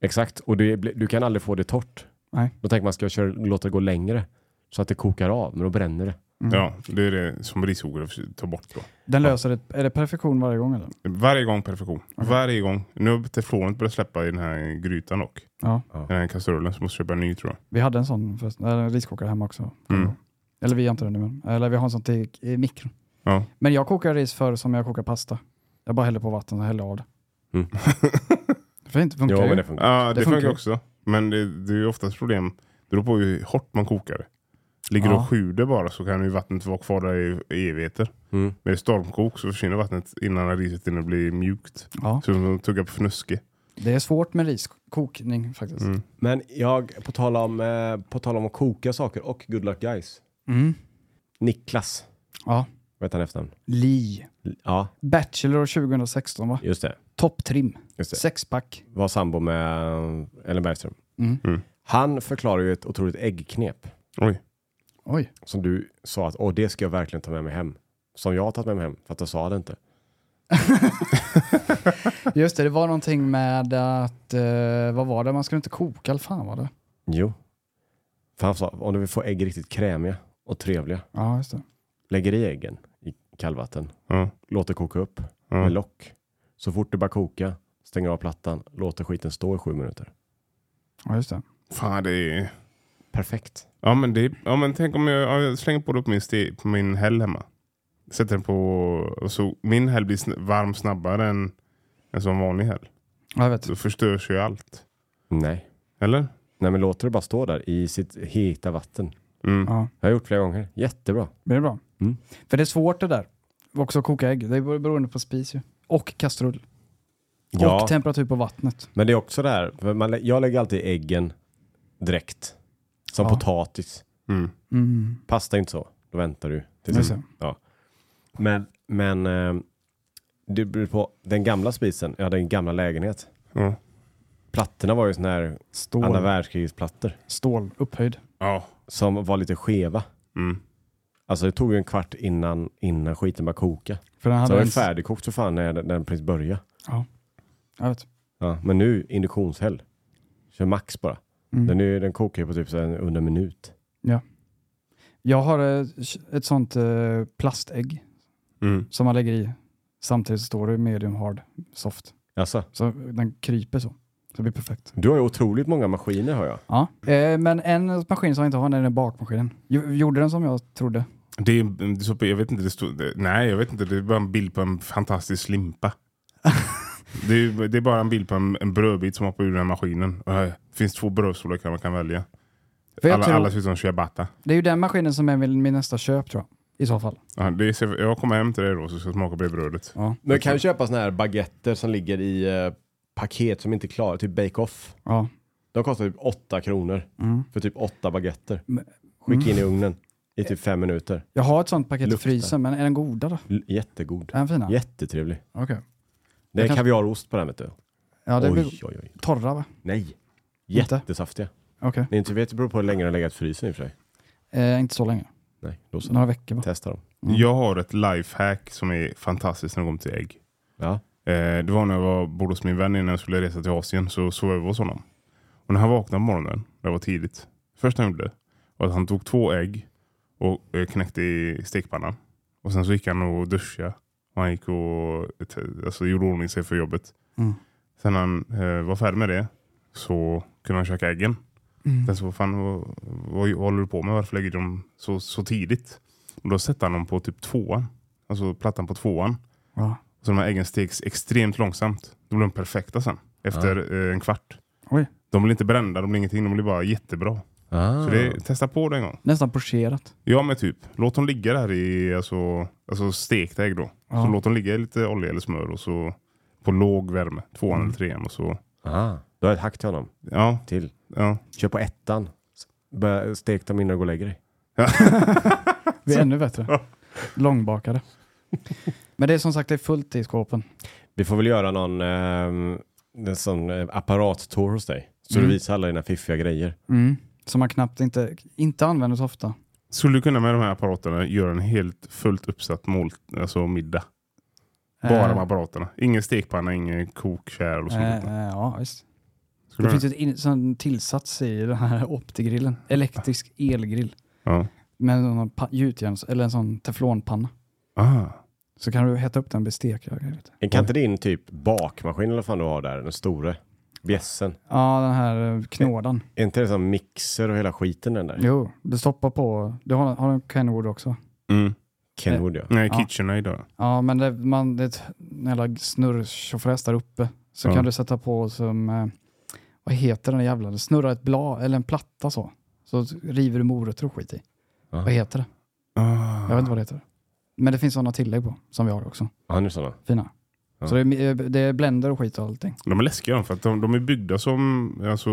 Speaker 1: Exakt, och det, blir- du kan aldrig få det torrt.
Speaker 3: Nej.
Speaker 1: Då tänker man, ska jag köra, låta det gå längre? Så att det kokar av, men då bränner det.
Speaker 3: Mm.
Speaker 2: Ja, det är det som risodlare försöker ta bort då.
Speaker 3: Den löser det. Är det perfektion varje gång eller?
Speaker 2: Varje gång perfektion. Varje gång. Nu har teflonet börjat släppa i den här grytan dock.
Speaker 3: Ja.
Speaker 2: Den här kastrullen, så måste jag köpa en ny tror jag.
Speaker 3: Vi hade en sån förresten, eller en riskokare hemma också.
Speaker 2: Mm.
Speaker 3: Eller vi har inte det nu, men. Eller vi har en sån till i mikron.
Speaker 2: Ja.
Speaker 3: Men jag kokar ris förr som jag kokar pasta. Jag bara häller på vatten och häller av det.
Speaker 1: Mm.
Speaker 3: <laughs> Fint, funkar
Speaker 1: Jo,
Speaker 3: ju.
Speaker 1: men det funkar.
Speaker 2: Ja, det,
Speaker 3: Det
Speaker 2: funkar,
Speaker 3: funkar.
Speaker 2: också. Men det, det är ju oftast problem. Det beror på hur hårt man kokar det. Ligger du
Speaker 3: Ja.
Speaker 2: och sjuder bara så kan ju vattnet vara kvar där i i evigheter.
Speaker 1: Mm.
Speaker 2: Med stormkok så försvinner vattnet innan riset hinner bli mjukt.
Speaker 3: Ja.
Speaker 2: Så man tuggar på fnuske.
Speaker 3: det är svårt med riskokning faktiskt.
Speaker 2: Mm.
Speaker 1: Men jag, på tal, om, eh, på tal om att koka saker och good luck guys.
Speaker 3: Mm.
Speaker 1: Niklas,
Speaker 3: Ja.
Speaker 1: vad heter han efternamn?
Speaker 3: Lee.
Speaker 1: Ja,
Speaker 3: Bachelor 2016 va?
Speaker 1: just det.
Speaker 3: Topptrim.
Speaker 1: Just det.
Speaker 3: Sexpack.
Speaker 1: Var sambo med eh, Ellen Bergström.
Speaker 3: Mm.
Speaker 2: Mm.
Speaker 1: Han förklarar ju ett otroligt äggknep.
Speaker 2: Oj.
Speaker 3: Oj.
Speaker 1: Som du sa att Åh, det ska jag verkligen ta med mig hem. Som jag har tagit med mig hem, för att jag sa det inte.
Speaker 3: Just det, det var någonting med att, eh, vad var det, man skulle inte koka, eller fan var det?
Speaker 1: Jo. För han sa, om du vill få ägg riktigt krämiga och trevliga,
Speaker 3: Ja, just det.
Speaker 1: lägger i äggen i kallvatten,
Speaker 2: Ja.
Speaker 1: låter koka upp
Speaker 2: Ja.
Speaker 1: med lock. Så fort det bara koka, stänger av plattan, låter skiten stå i sju minuter.
Speaker 3: Ja, just det.
Speaker 2: Fan, det är...
Speaker 1: Perfekt.
Speaker 2: Ja men, det, ja, men tänk om jag, ja, jag slänger på det på min, ste, på min häll hemma. Sätter den på... Och så, min häll blir sn- varm snabbare än en sån vanlig häll.
Speaker 3: Ja, jag vet.
Speaker 1: Mm.
Speaker 2: Så förstörs ju allt.
Speaker 1: Nej.
Speaker 2: Eller?
Speaker 1: Nej men låter det bara stå där i sitt heta vatten.
Speaker 2: Mm.
Speaker 3: Ja.
Speaker 1: Jag har gjort flera gånger. Jättebra.
Speaker 3: Men det är bra.
Speaker 1: Mm.
Speaker 3: För det är svårt det där. Också att koka ägg. Det är beroende på spis ju. Och kastrull.
Speaker 1: Ja.
Speaker 3: Och temperatur på vattnet.
Speaker 1: Men det är också det här, för man, lä- jag lägger alltid äggen direkt. Som
Speaker 3: Ja.
Speaker 1: potatis.
Speaker 2: Mm.
Speaker 3: Mm.
Speaker 1: Pasta är inte så. Då väntar du. tills
Speaker 3: Just
Speaker 1: det-
Speaker 3: det.
Speaker 1: Ja. Men, men eh, det beror på den gamla spisen, jag hade en gamla lägenhet.
Speaker 2: Ja.
Speaker 1: Plattorna var ju sådana här andra
Speaker 3: Stål.
Speaker 1: världskrigsplattor
Speaker 3: Stål. Upphöjd.
Speaker 2: Ja.
Speaker 1: som var lite skeva.
Speaker 2: Mm.
Speaker 1: Alltså det tog ju en kvart innan, innan skiten började koka.
Speaker 3: För den
Speaker 1: Så
Speaker 3: hade
Speaker 1: den var
Speaker 3: en-
Speaker 1: ju färdigkokt för fan när den, när den precis började.
Speaker 3: Jag vet.
Speaker 1: Ja, men nu induktionshäll. Kör max bara.
Speaker 3: Mm.
Speaker 1: Den, är, den kokar ju på typ så här under en minut.
Speaker 3: Jag har eh, ett sånt eh, plastägg
Speaker 2: Mm.
Speaker 3: som man lägger i. Samtidigt står det medium hard soft.
Speaker 1: Alltså,
Speaker 3: Så den kryper så. Så det blir perfekt.
Speaker 1: du har ju otroligt många maskiner har jag.
Speaker 3: Ja. Eh, men en maskin som jag inte har den är bakmaskinen. Jo- Gjorde den som jag trodde.
Speaker 2: Det är, det är så- jag vet inte, det stod, det, nej jag vet inte, det är bara en bild på en fantastisk limpa. det, är, det är bara en bild på en, en brödbit som hoppar ur den här maskinen. Och här finns två brödstorlekar man kan välja.
Speaker 3: För jag
Speaker 2: Alla,
Speaker 3: tror,
Speaker 2: alla ser ut som ciabatta.
Speaker 3: Det är ju den maskinen som är min min nästa köp tror jag. I så fall.
Speaker 2: Ja, det är, jag kommer hem till dig då så ska jag smaka på det brödet.
Speaker 3: Ja.
Speaker 1: Men kan du köpa såna här baguetter som ligger i eh, paket som inte är klara, typ bake-off.
Speaker 3: ja.
Speaker 1: De kostar typ 8 kronor
Speaker 3: Mm.
Speaker 1: för typ 8 baguetter.
Speaker 3: Men-
Speaker 1: Skicka in i ugnen i typ 5 minuter.
Speaker 3: Jag har ett sånt paket i
Speaker 1: Luktar.
Speaker 3: frysen, men är den goda då?
Speaker 1: L- jättegod.
Speaker 3: Är den fina?
Speaker 1: Jättetrevlig.
Speaker 3: Okej.
Speaker 1: Det är
Speaker 3: Jag kan-
Speaker 1: kaviarost på den vet du.
Speaker 3: Ja, det blir
Speaker 1: oj, oj, oj.
Speaker 3: torra va?
Speaker 1: Nej.
Speaker 3: Inte?
Speaker 1: Jättesaftiga.
Speaker 3: Okej.
Speaker 1: Det är inte vet, det beror på hur länge den har legat i frysen i och för sig.
Speaker 3: Eh, inte så länge.
Speaker 1: Nej, då så.
Speaker 3: Några veckor va?
Speaker 1: Testa dem.
Speaker 3: Mm.
Speaker 2: Jag har ett lifehack som är fantastiskt när det kommer till ägg.
Speaker 1: Ja.
Speaker 2: Eh, det var när jag var, bodde hos min vän innan jag skulle resa till Asien. Så sov jag över hos honom. Och när han vaknade på morgonen, det var tidigt. Första han gjorde var att han tog två ägg och eh, knäckte i stekpannan. Och sen så gick han och duschade. Och han gick och t- alltså, gjorde ordning sig för jobbet.
Speaker 3: Mm.
Speaker 2: Sen när han eh, var färdig med det så kunde han käka äggen. Sen så, vad fan, vad, vad håller du på med? Varför lägger du dem så, så tidigt? Och då sätter han dem på typ tvåan. Alltså plattan på tvåan.
Speaker 3: Ja.
Speaker 2: Så de här äggen stegs extremt långsamt. Då blir de perfekta sen. Efter eh, en kvart.
Speaker 3: Oj.
Speaker 2: De blir inte brända, de blir ingenting. De blir bara jättebra.
Speaker 1: Ah.
Speaker 2: Så det, testa på det en gång.
Speaker 3: Nästan pocherat.
Speaker 2: Ja men typ, låt dem ligga där i alltså, alltså stekta ägg då.
Speaker 3: Ja.
Speaker 2: Så låt dem ligga i lite olja eller smör och så på låg värme. Tvåan
Speaker 3: Mm.
Speaker 2: eller trean och så.
Speaker 1: Ah. Då har jag ett hack till honom.
Speaker 2: Ja,
Speaker 1: Till.
Speaker 2: ja.
Speaker 1: Kör på ettan. S- börja- Stek dem innan du går och lägger dig.
Speaker 2: <laughs>
Speaker 3: <laughs> Vi är ännu bättre. Långbakade. Men det är som sagt det är fullt i skåpen.
Speaker 1: Vi får väl göra någon ehm, en sån eh, apparattour hos dig. Så
Speaker 3: Mm.
Speaker 1: du visar alla dina fiffiga grejer.
Speaker 3: Som Mm. man knappt inte, inte använder så ofta.
Speaker 2: Skulle du kunna med de här apparaterna göra en helt fullt uppsatt mål, alltså middag? Bara
Speaker 3: Eh,
Speaker 2: med apparaterna. Ingen stekpanna, ingen kok, kärl och sånt.
Speaker 3: eh, eh, ja, visst.
Speaker 2: Skulle
Speaker 3: Det
Speaker 2: du-
Speaker 3: finns ju ett in, sån tillsats i den här <laughs> optigrillen. Elektrisk elgrill.
Speaker 2: ja.
Speaker 3: Med en sån pa- gjutjärns, eller en sån teflonpanna.
Speaker 2: ah.
Speaker 3: Så kan du hetta upp den och bli stekjagd.
Speaker 1: Kan inte din typ bakmaskin eller vad fan du har där, den store bjässen.
Speaker 3: Ja, den här eh, knådan.
Speaker 1: Är inte det som mixer och hela skiten den där?
Speaker 3: Jo, du stoppar på. Du har, har en Kenwood också.
Speaker 2: mm.
Speaker 1: Kenwood ja.
Speaker 2: Nej,
Speaker 3: Ja.
Speaker 2: KitchenAid då.
Speaker 3: Ja, men det, man, det är ett jävla snurrtjofräs där uppe. Så
Speaker 2: Ja.
Speaker 3: kan du sätta på som, eh, vad heter den där jävla, det snurrar ett blad eller en platta så. Så river du morötter och skit i.
Speaker 1: Ja.
Speaker 3: Vad heter det?
Speaker 2: Ah.
Speaker 3: Jag vet inte vad det heter. Men det finns sådana tillägg på, som vi har också.
Speaker 1: Han är sådana.
Speaker 3: Fina.
Speaker 1: Ja.
Speaker 3: Så det är, eh, det är blender och skit och allting.
Speaker 2: De är läskiga de, för att de, de är byggda som alltså,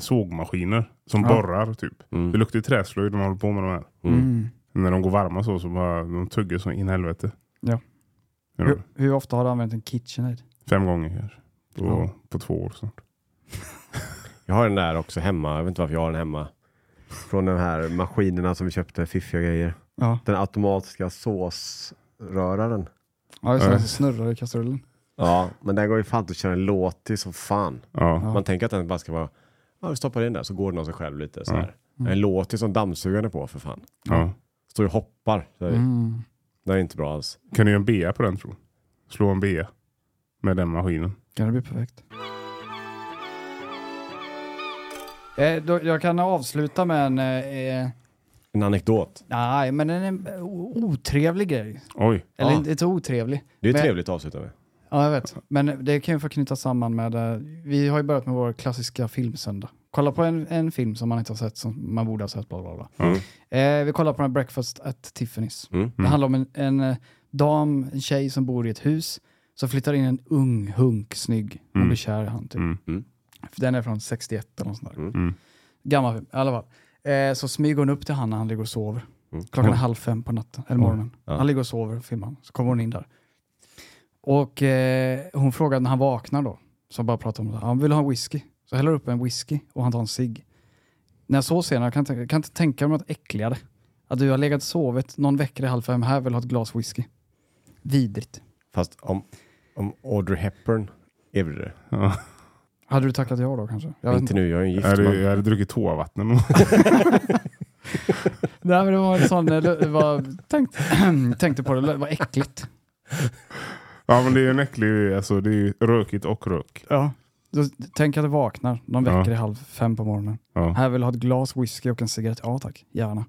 Speaker 2: sågmaskiner som
Speaker 3: Ja.
Speaker 2: borrar typ. Det
Speaker 1: Mm.
Speaker 2: luktar ju träslöjd när man håller på med de här.
Speaker 1: Mm.
Speaker 2: När de går varma så, så bara, de tuggar så in i helvete.
Speaker 3: Ja.
Speaker 2: Ja,
Speaker 3: Hur, hur ofta har du använt en KitchenAid?
Speaker 2: Fem gånger kanske. På,
Speaker 3: Ja.
Speaker 2: på två år snart.
Speaker 1: Jag har den där också hemma. Jag vet inte varför jag har den hemma. Från de här maskinerna som vi köpte, fiffiga grejer.
Speaker 3: Ja,
Speaker 1: Den automatiska såsröraren.
Speaker 3: ja just
Speaker 2: Ja.
Speaker 3: det. Den som snurrar i kastrullen.
Speaker 1: Ja, men den går ju fan inte att köra en låt till som fan.
Speaker 2: Ja.
Speaker 3: Ja.
Speaker 1: Man tänker att den bara ska vara, ja vi stoppar in den där så går den av sig själv lite så
Speaker 2: Ja.
Speaker 3: Mm.
Speaker 1: här. En låt till som dammsugaren är på för fan.
Speaker 2: Ja.
Speaker 1: Står ju och hoppar. Så här.
Speaker 3: Mm.
Speaker 1: Det är inte bra alls.
Speaker 2: Kan du göra en bea på den tror du? Slå en bea med den maskinen.
Speaker 3: Kan det bli perfekt. Eh, då, jag kan avsluta med en... Eh,
Speaker 1: En anekdot.
Speaker 3: nej, men en, en otrevlig grej.
Speaker 2: Oj.
Speaker 3: Eller
Speaker 1: Ja.
Speaker 3: inte, inte otrevlig.
Speaker 1: Det är
Speaker 3: Men-
Speaker 1: trevligt att avsluta med.
Speaker 3: Ja, jag vet. Men det kan ju få knyta samman med... Eh, vi har ju börjat med vår klassiska filmsöndag. Kolla på en, en film som man inte har sett, som man borde ha sett, bla bla bla.
Speaker 2: Mm.
Speaker 3: Eh, vi kollar på den här Breakfast at Tiffany's.
Speaker 1: Mm.
Speaker 3: Det handlar om en, en eh, dam, en tjej som bor i ett hus. Så flyttar in en ung hunk, snygg. Hon
Speaker 2: Mm.
Speaker 3: blir kär i han typ.
Speaker 2: Mm.
Speaker 3: För Den är från 61 eller något sånt där.
Speaker 1: Mm.
Speaker 2: Mm.
Speaker 3: Gammal film, i alla fall. Eh, så smyger hon upp till han när han ligger och sover.
Speaker 2: Mm.
Speaker 3: Klockan är halv fem på natten, eller morgonen.
Speaker 1: Ja.
Speaker 3: Han ligger och sover, filmar han. Så kommer hon in där. Och eh, hon frågar när han vaknar då. Så han bara pratar om det. Han vill ha en whisky. Så häller upp en whisky och han tar en cigg. När jag såg scenen, jag kan, inte- jag kan inte tänka mig något äckligare. Att du har legat och sovit, någon väcker dig halv fem, här vill ha ett glas whisky. Vidrigt.
Speaker 1: Fast om, om Audrey Hepburn erbjuder det.
Speaker 2: Ja.
Speaker 3: Hade du tackat ja då kanske? Jag vet
Speaker 1: Inte nu, jag är ju en gift
Speaker 2: Jag, hade,
Speaker 1: man.
Speaker 2: jag hade druckit toavatten.
Speaker 3: Nej men det var en sån, eh, det var, tänkt, <clears throat> tänkte på det, det var äckligt.
Speaker 2: ja men det är ju en äcklig, alltså det är ju rökigt och rök.
Speaker 3: Ja. Då, tänk att du vaknar, någon väcker
Speaker 2: Ja.
Speaker 3: dig halv fem på morgonen.
Speaker 2: Ja.
Speaker 3: Här vill du ha ett glas whisky och en cigarett. Ja tack, gärna.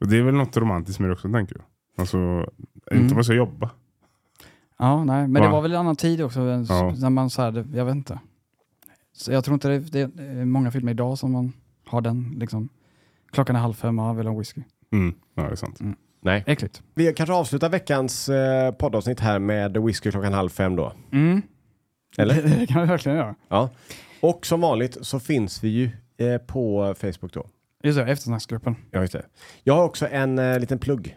Speaker 2: Och det är väl något romantiskt med det också tänker jag. Alltså,
Speaker 3: Mm.
Speaker 2: inte om man ska jobba.
Speaker 3: Ja, nej, men det
Speaker 2: Va?
Speaker 3: var väl en annan tid också, en-
Speaker 2: Ja.
Speaker 3: när man så här, det- jag vet inte. Så jag tror inte det, det är många filmer idag som man har den liksom. Klockan är halv fem, ja, vill ha en whisky.
Speaker 2: Mm. Ja, det är sant.
Speaker 1: Nej.
Speaker 3: Äckligt.
Speaker 1: Vi kanske avslutar veckans eh, poddavsnitt här med whisky klockan halv fem då.
Speaker 3: Mm.
Speaker 1: Eller?
Speaker 3: Det, det kan vi verkligen göra.
Speaker 1: Ja. Och som vanligt så finns vi ju eh, på Facebook då.
Speaker 3: Just det, eftersnacksgruppen.
Speaker 1: Ja, just det. Jag har också en eh, liten plugg.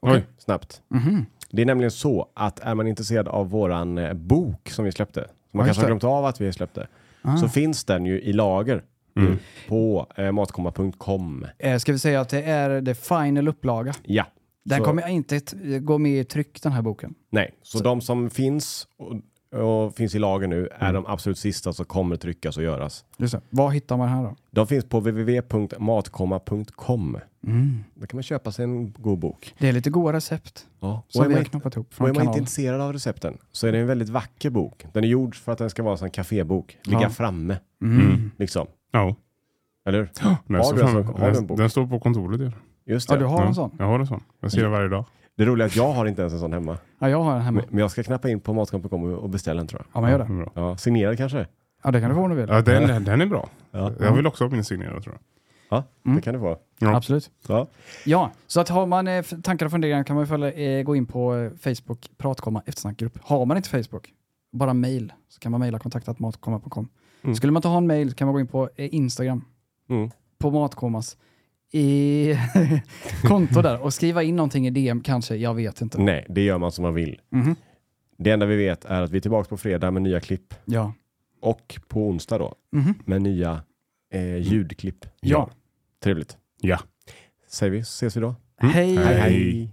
Speaker 2: Oj.
Speaker 1: Snabbt.
Speaker 3: Mhm.
Speaker 1: Det är nämligen så att är man intresserad av våran eh, bok som vi släppte, som man
Speaker 3: Ja, just
Speaker 1: kanske har
Speaker 3: det.
Speaker 1: glömt av att vi släppte,
Speaker 3: Ah.
Speaker 1: så finns den ju i lager
Speaker 2: Mm.
Speaker 1: på eh, matkomma.com.
Speaker 3: Eh, ska vi säga att det är det final upplaga.
Speaker 1: Ja,
Speaker 3: Den
Speaker 1: Så-
Speaker 3: kommer inte t- gå med i tryck den här boken.
Speaker 1: nej. Så, de som finns och, och finns i lager nu är
Speaker 3: Mm.
Speaker 1: de absolut sista som kommer tryckas och göras.
Speaker 3: Just det. Vad hittar man här då?
Speaker 1: De finns på www.matkomma.com.
Speaker 3: Mm.
Speaker 1: Där kan man köpa sig en god bok.
Speaker 3: Det är lite goda recept
Speaker 1: Ja.
Speaker 3: som
Speaker 1: Och är
Speaker 3: vi
Speaker 1: man,
Speaker 3: har knoppat ihop
Speaker 1: och är
Speaker 3: från
Speaker 1: man inte
Speaker 3: kanalen.
Speaker 1: intresserad av recepten så är det en väldigt vacker bok. Den är gjord för att den ska vara som en kafébok. Ligga
Speaker 3: Ja.
Speaker 1: framme,
Speaker 3: Mm.
Speaker 1: liksom.
Speaker 2: Ja.
Speaker 1: Eller hur?
Speaker 2: Den,
Speaker 1: Har
Speaker 2: står
Speaker 1: du en
Speaker 2: framme.
Speaker 1: sån- har du en bok?
Speaker 2: den, den står på kontoret. Ja.
Speaker 1: Just det.
Speaker 3: Ja, du har en
Speaker 2: Ja,
Speaker 3: sån?
Speaker 2: Jag har en sån. Jag ser den varje dag.
Speaker 1: Det roliga är att jag har inte ens en sån hemma.
Speaker 3: Ja, jag har en hemma.
Speaker 1: Men men jag ska knappa in på matkom.com och och beställa en tror jag.
Speaker 3: Ja, man gör det.
Speaker 2: Den är bra.
Speaker 1: Ja, signerad kanske?
Speaker 3: Ja, det kan du få om du vill.
Speaker 2: Ja, den, den, den är bra.
Speaker 3: Mm.
Speaker 1: Ja,
Speaker 2: Jag vill också ha min signerad tror jag.
Speaker 1: ja det kan det vara.
Speaker 2: Ja.
Speaker 3: Absolut.
Speaker 1: Ja.
Speaker 3: Ja, så att har man eh, f- tankar och funderingar kan man ju följa, eh, gå in på eh, Facebook, pratkomma, eftersnackgrupp. Har man inte Facebook, bara mail, så kan man mejla kontaktat matkomma.com.
Speaker 1: Mm.
Speaker 3: Skulle man inte ha en mail kan man gå in på eh, Instagram,
Speaker 1: Mm.
Speaker 3: på matkommas i <laughs> konto där och skriva in någonting i DM kanske, jag vet inte.
Speaker 1: Nej, det gör man som man vill.
Speaker 3: Mhm.
Speaker 1: Det enda vi vet är att vi är tillbaka på fredag med nya klipp
Speaker 3: Ja.
Speaker 1: och på onsdag då
Speaker 3: Mhm.
Speaker 1: med nya eh, ljudklipp.
Speaker 3: ja.
Speaker 1: Trevligt.
Speaker 2: Ja.
Speaker 1: Säger vi, ses vi då.
Speaker 2: Mm.
Speaker 3: Hej.
Speaker 2: Hej.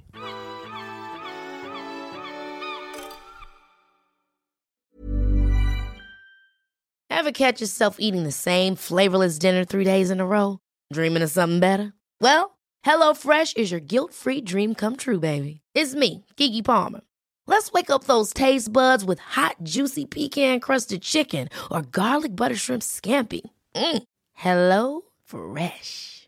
Speaker 6: Ever catch yourself eating the same flavorless dinner three days in a row? Dreaming of something better? Well, HelloFresh is your guilt free dream come true, baby. It's me, Gigi Palmer. Let's wake up those taste buds with hot, juicy pecan crusted chicken or garlic butter shrimp scampi. Mm. Hello Fresh.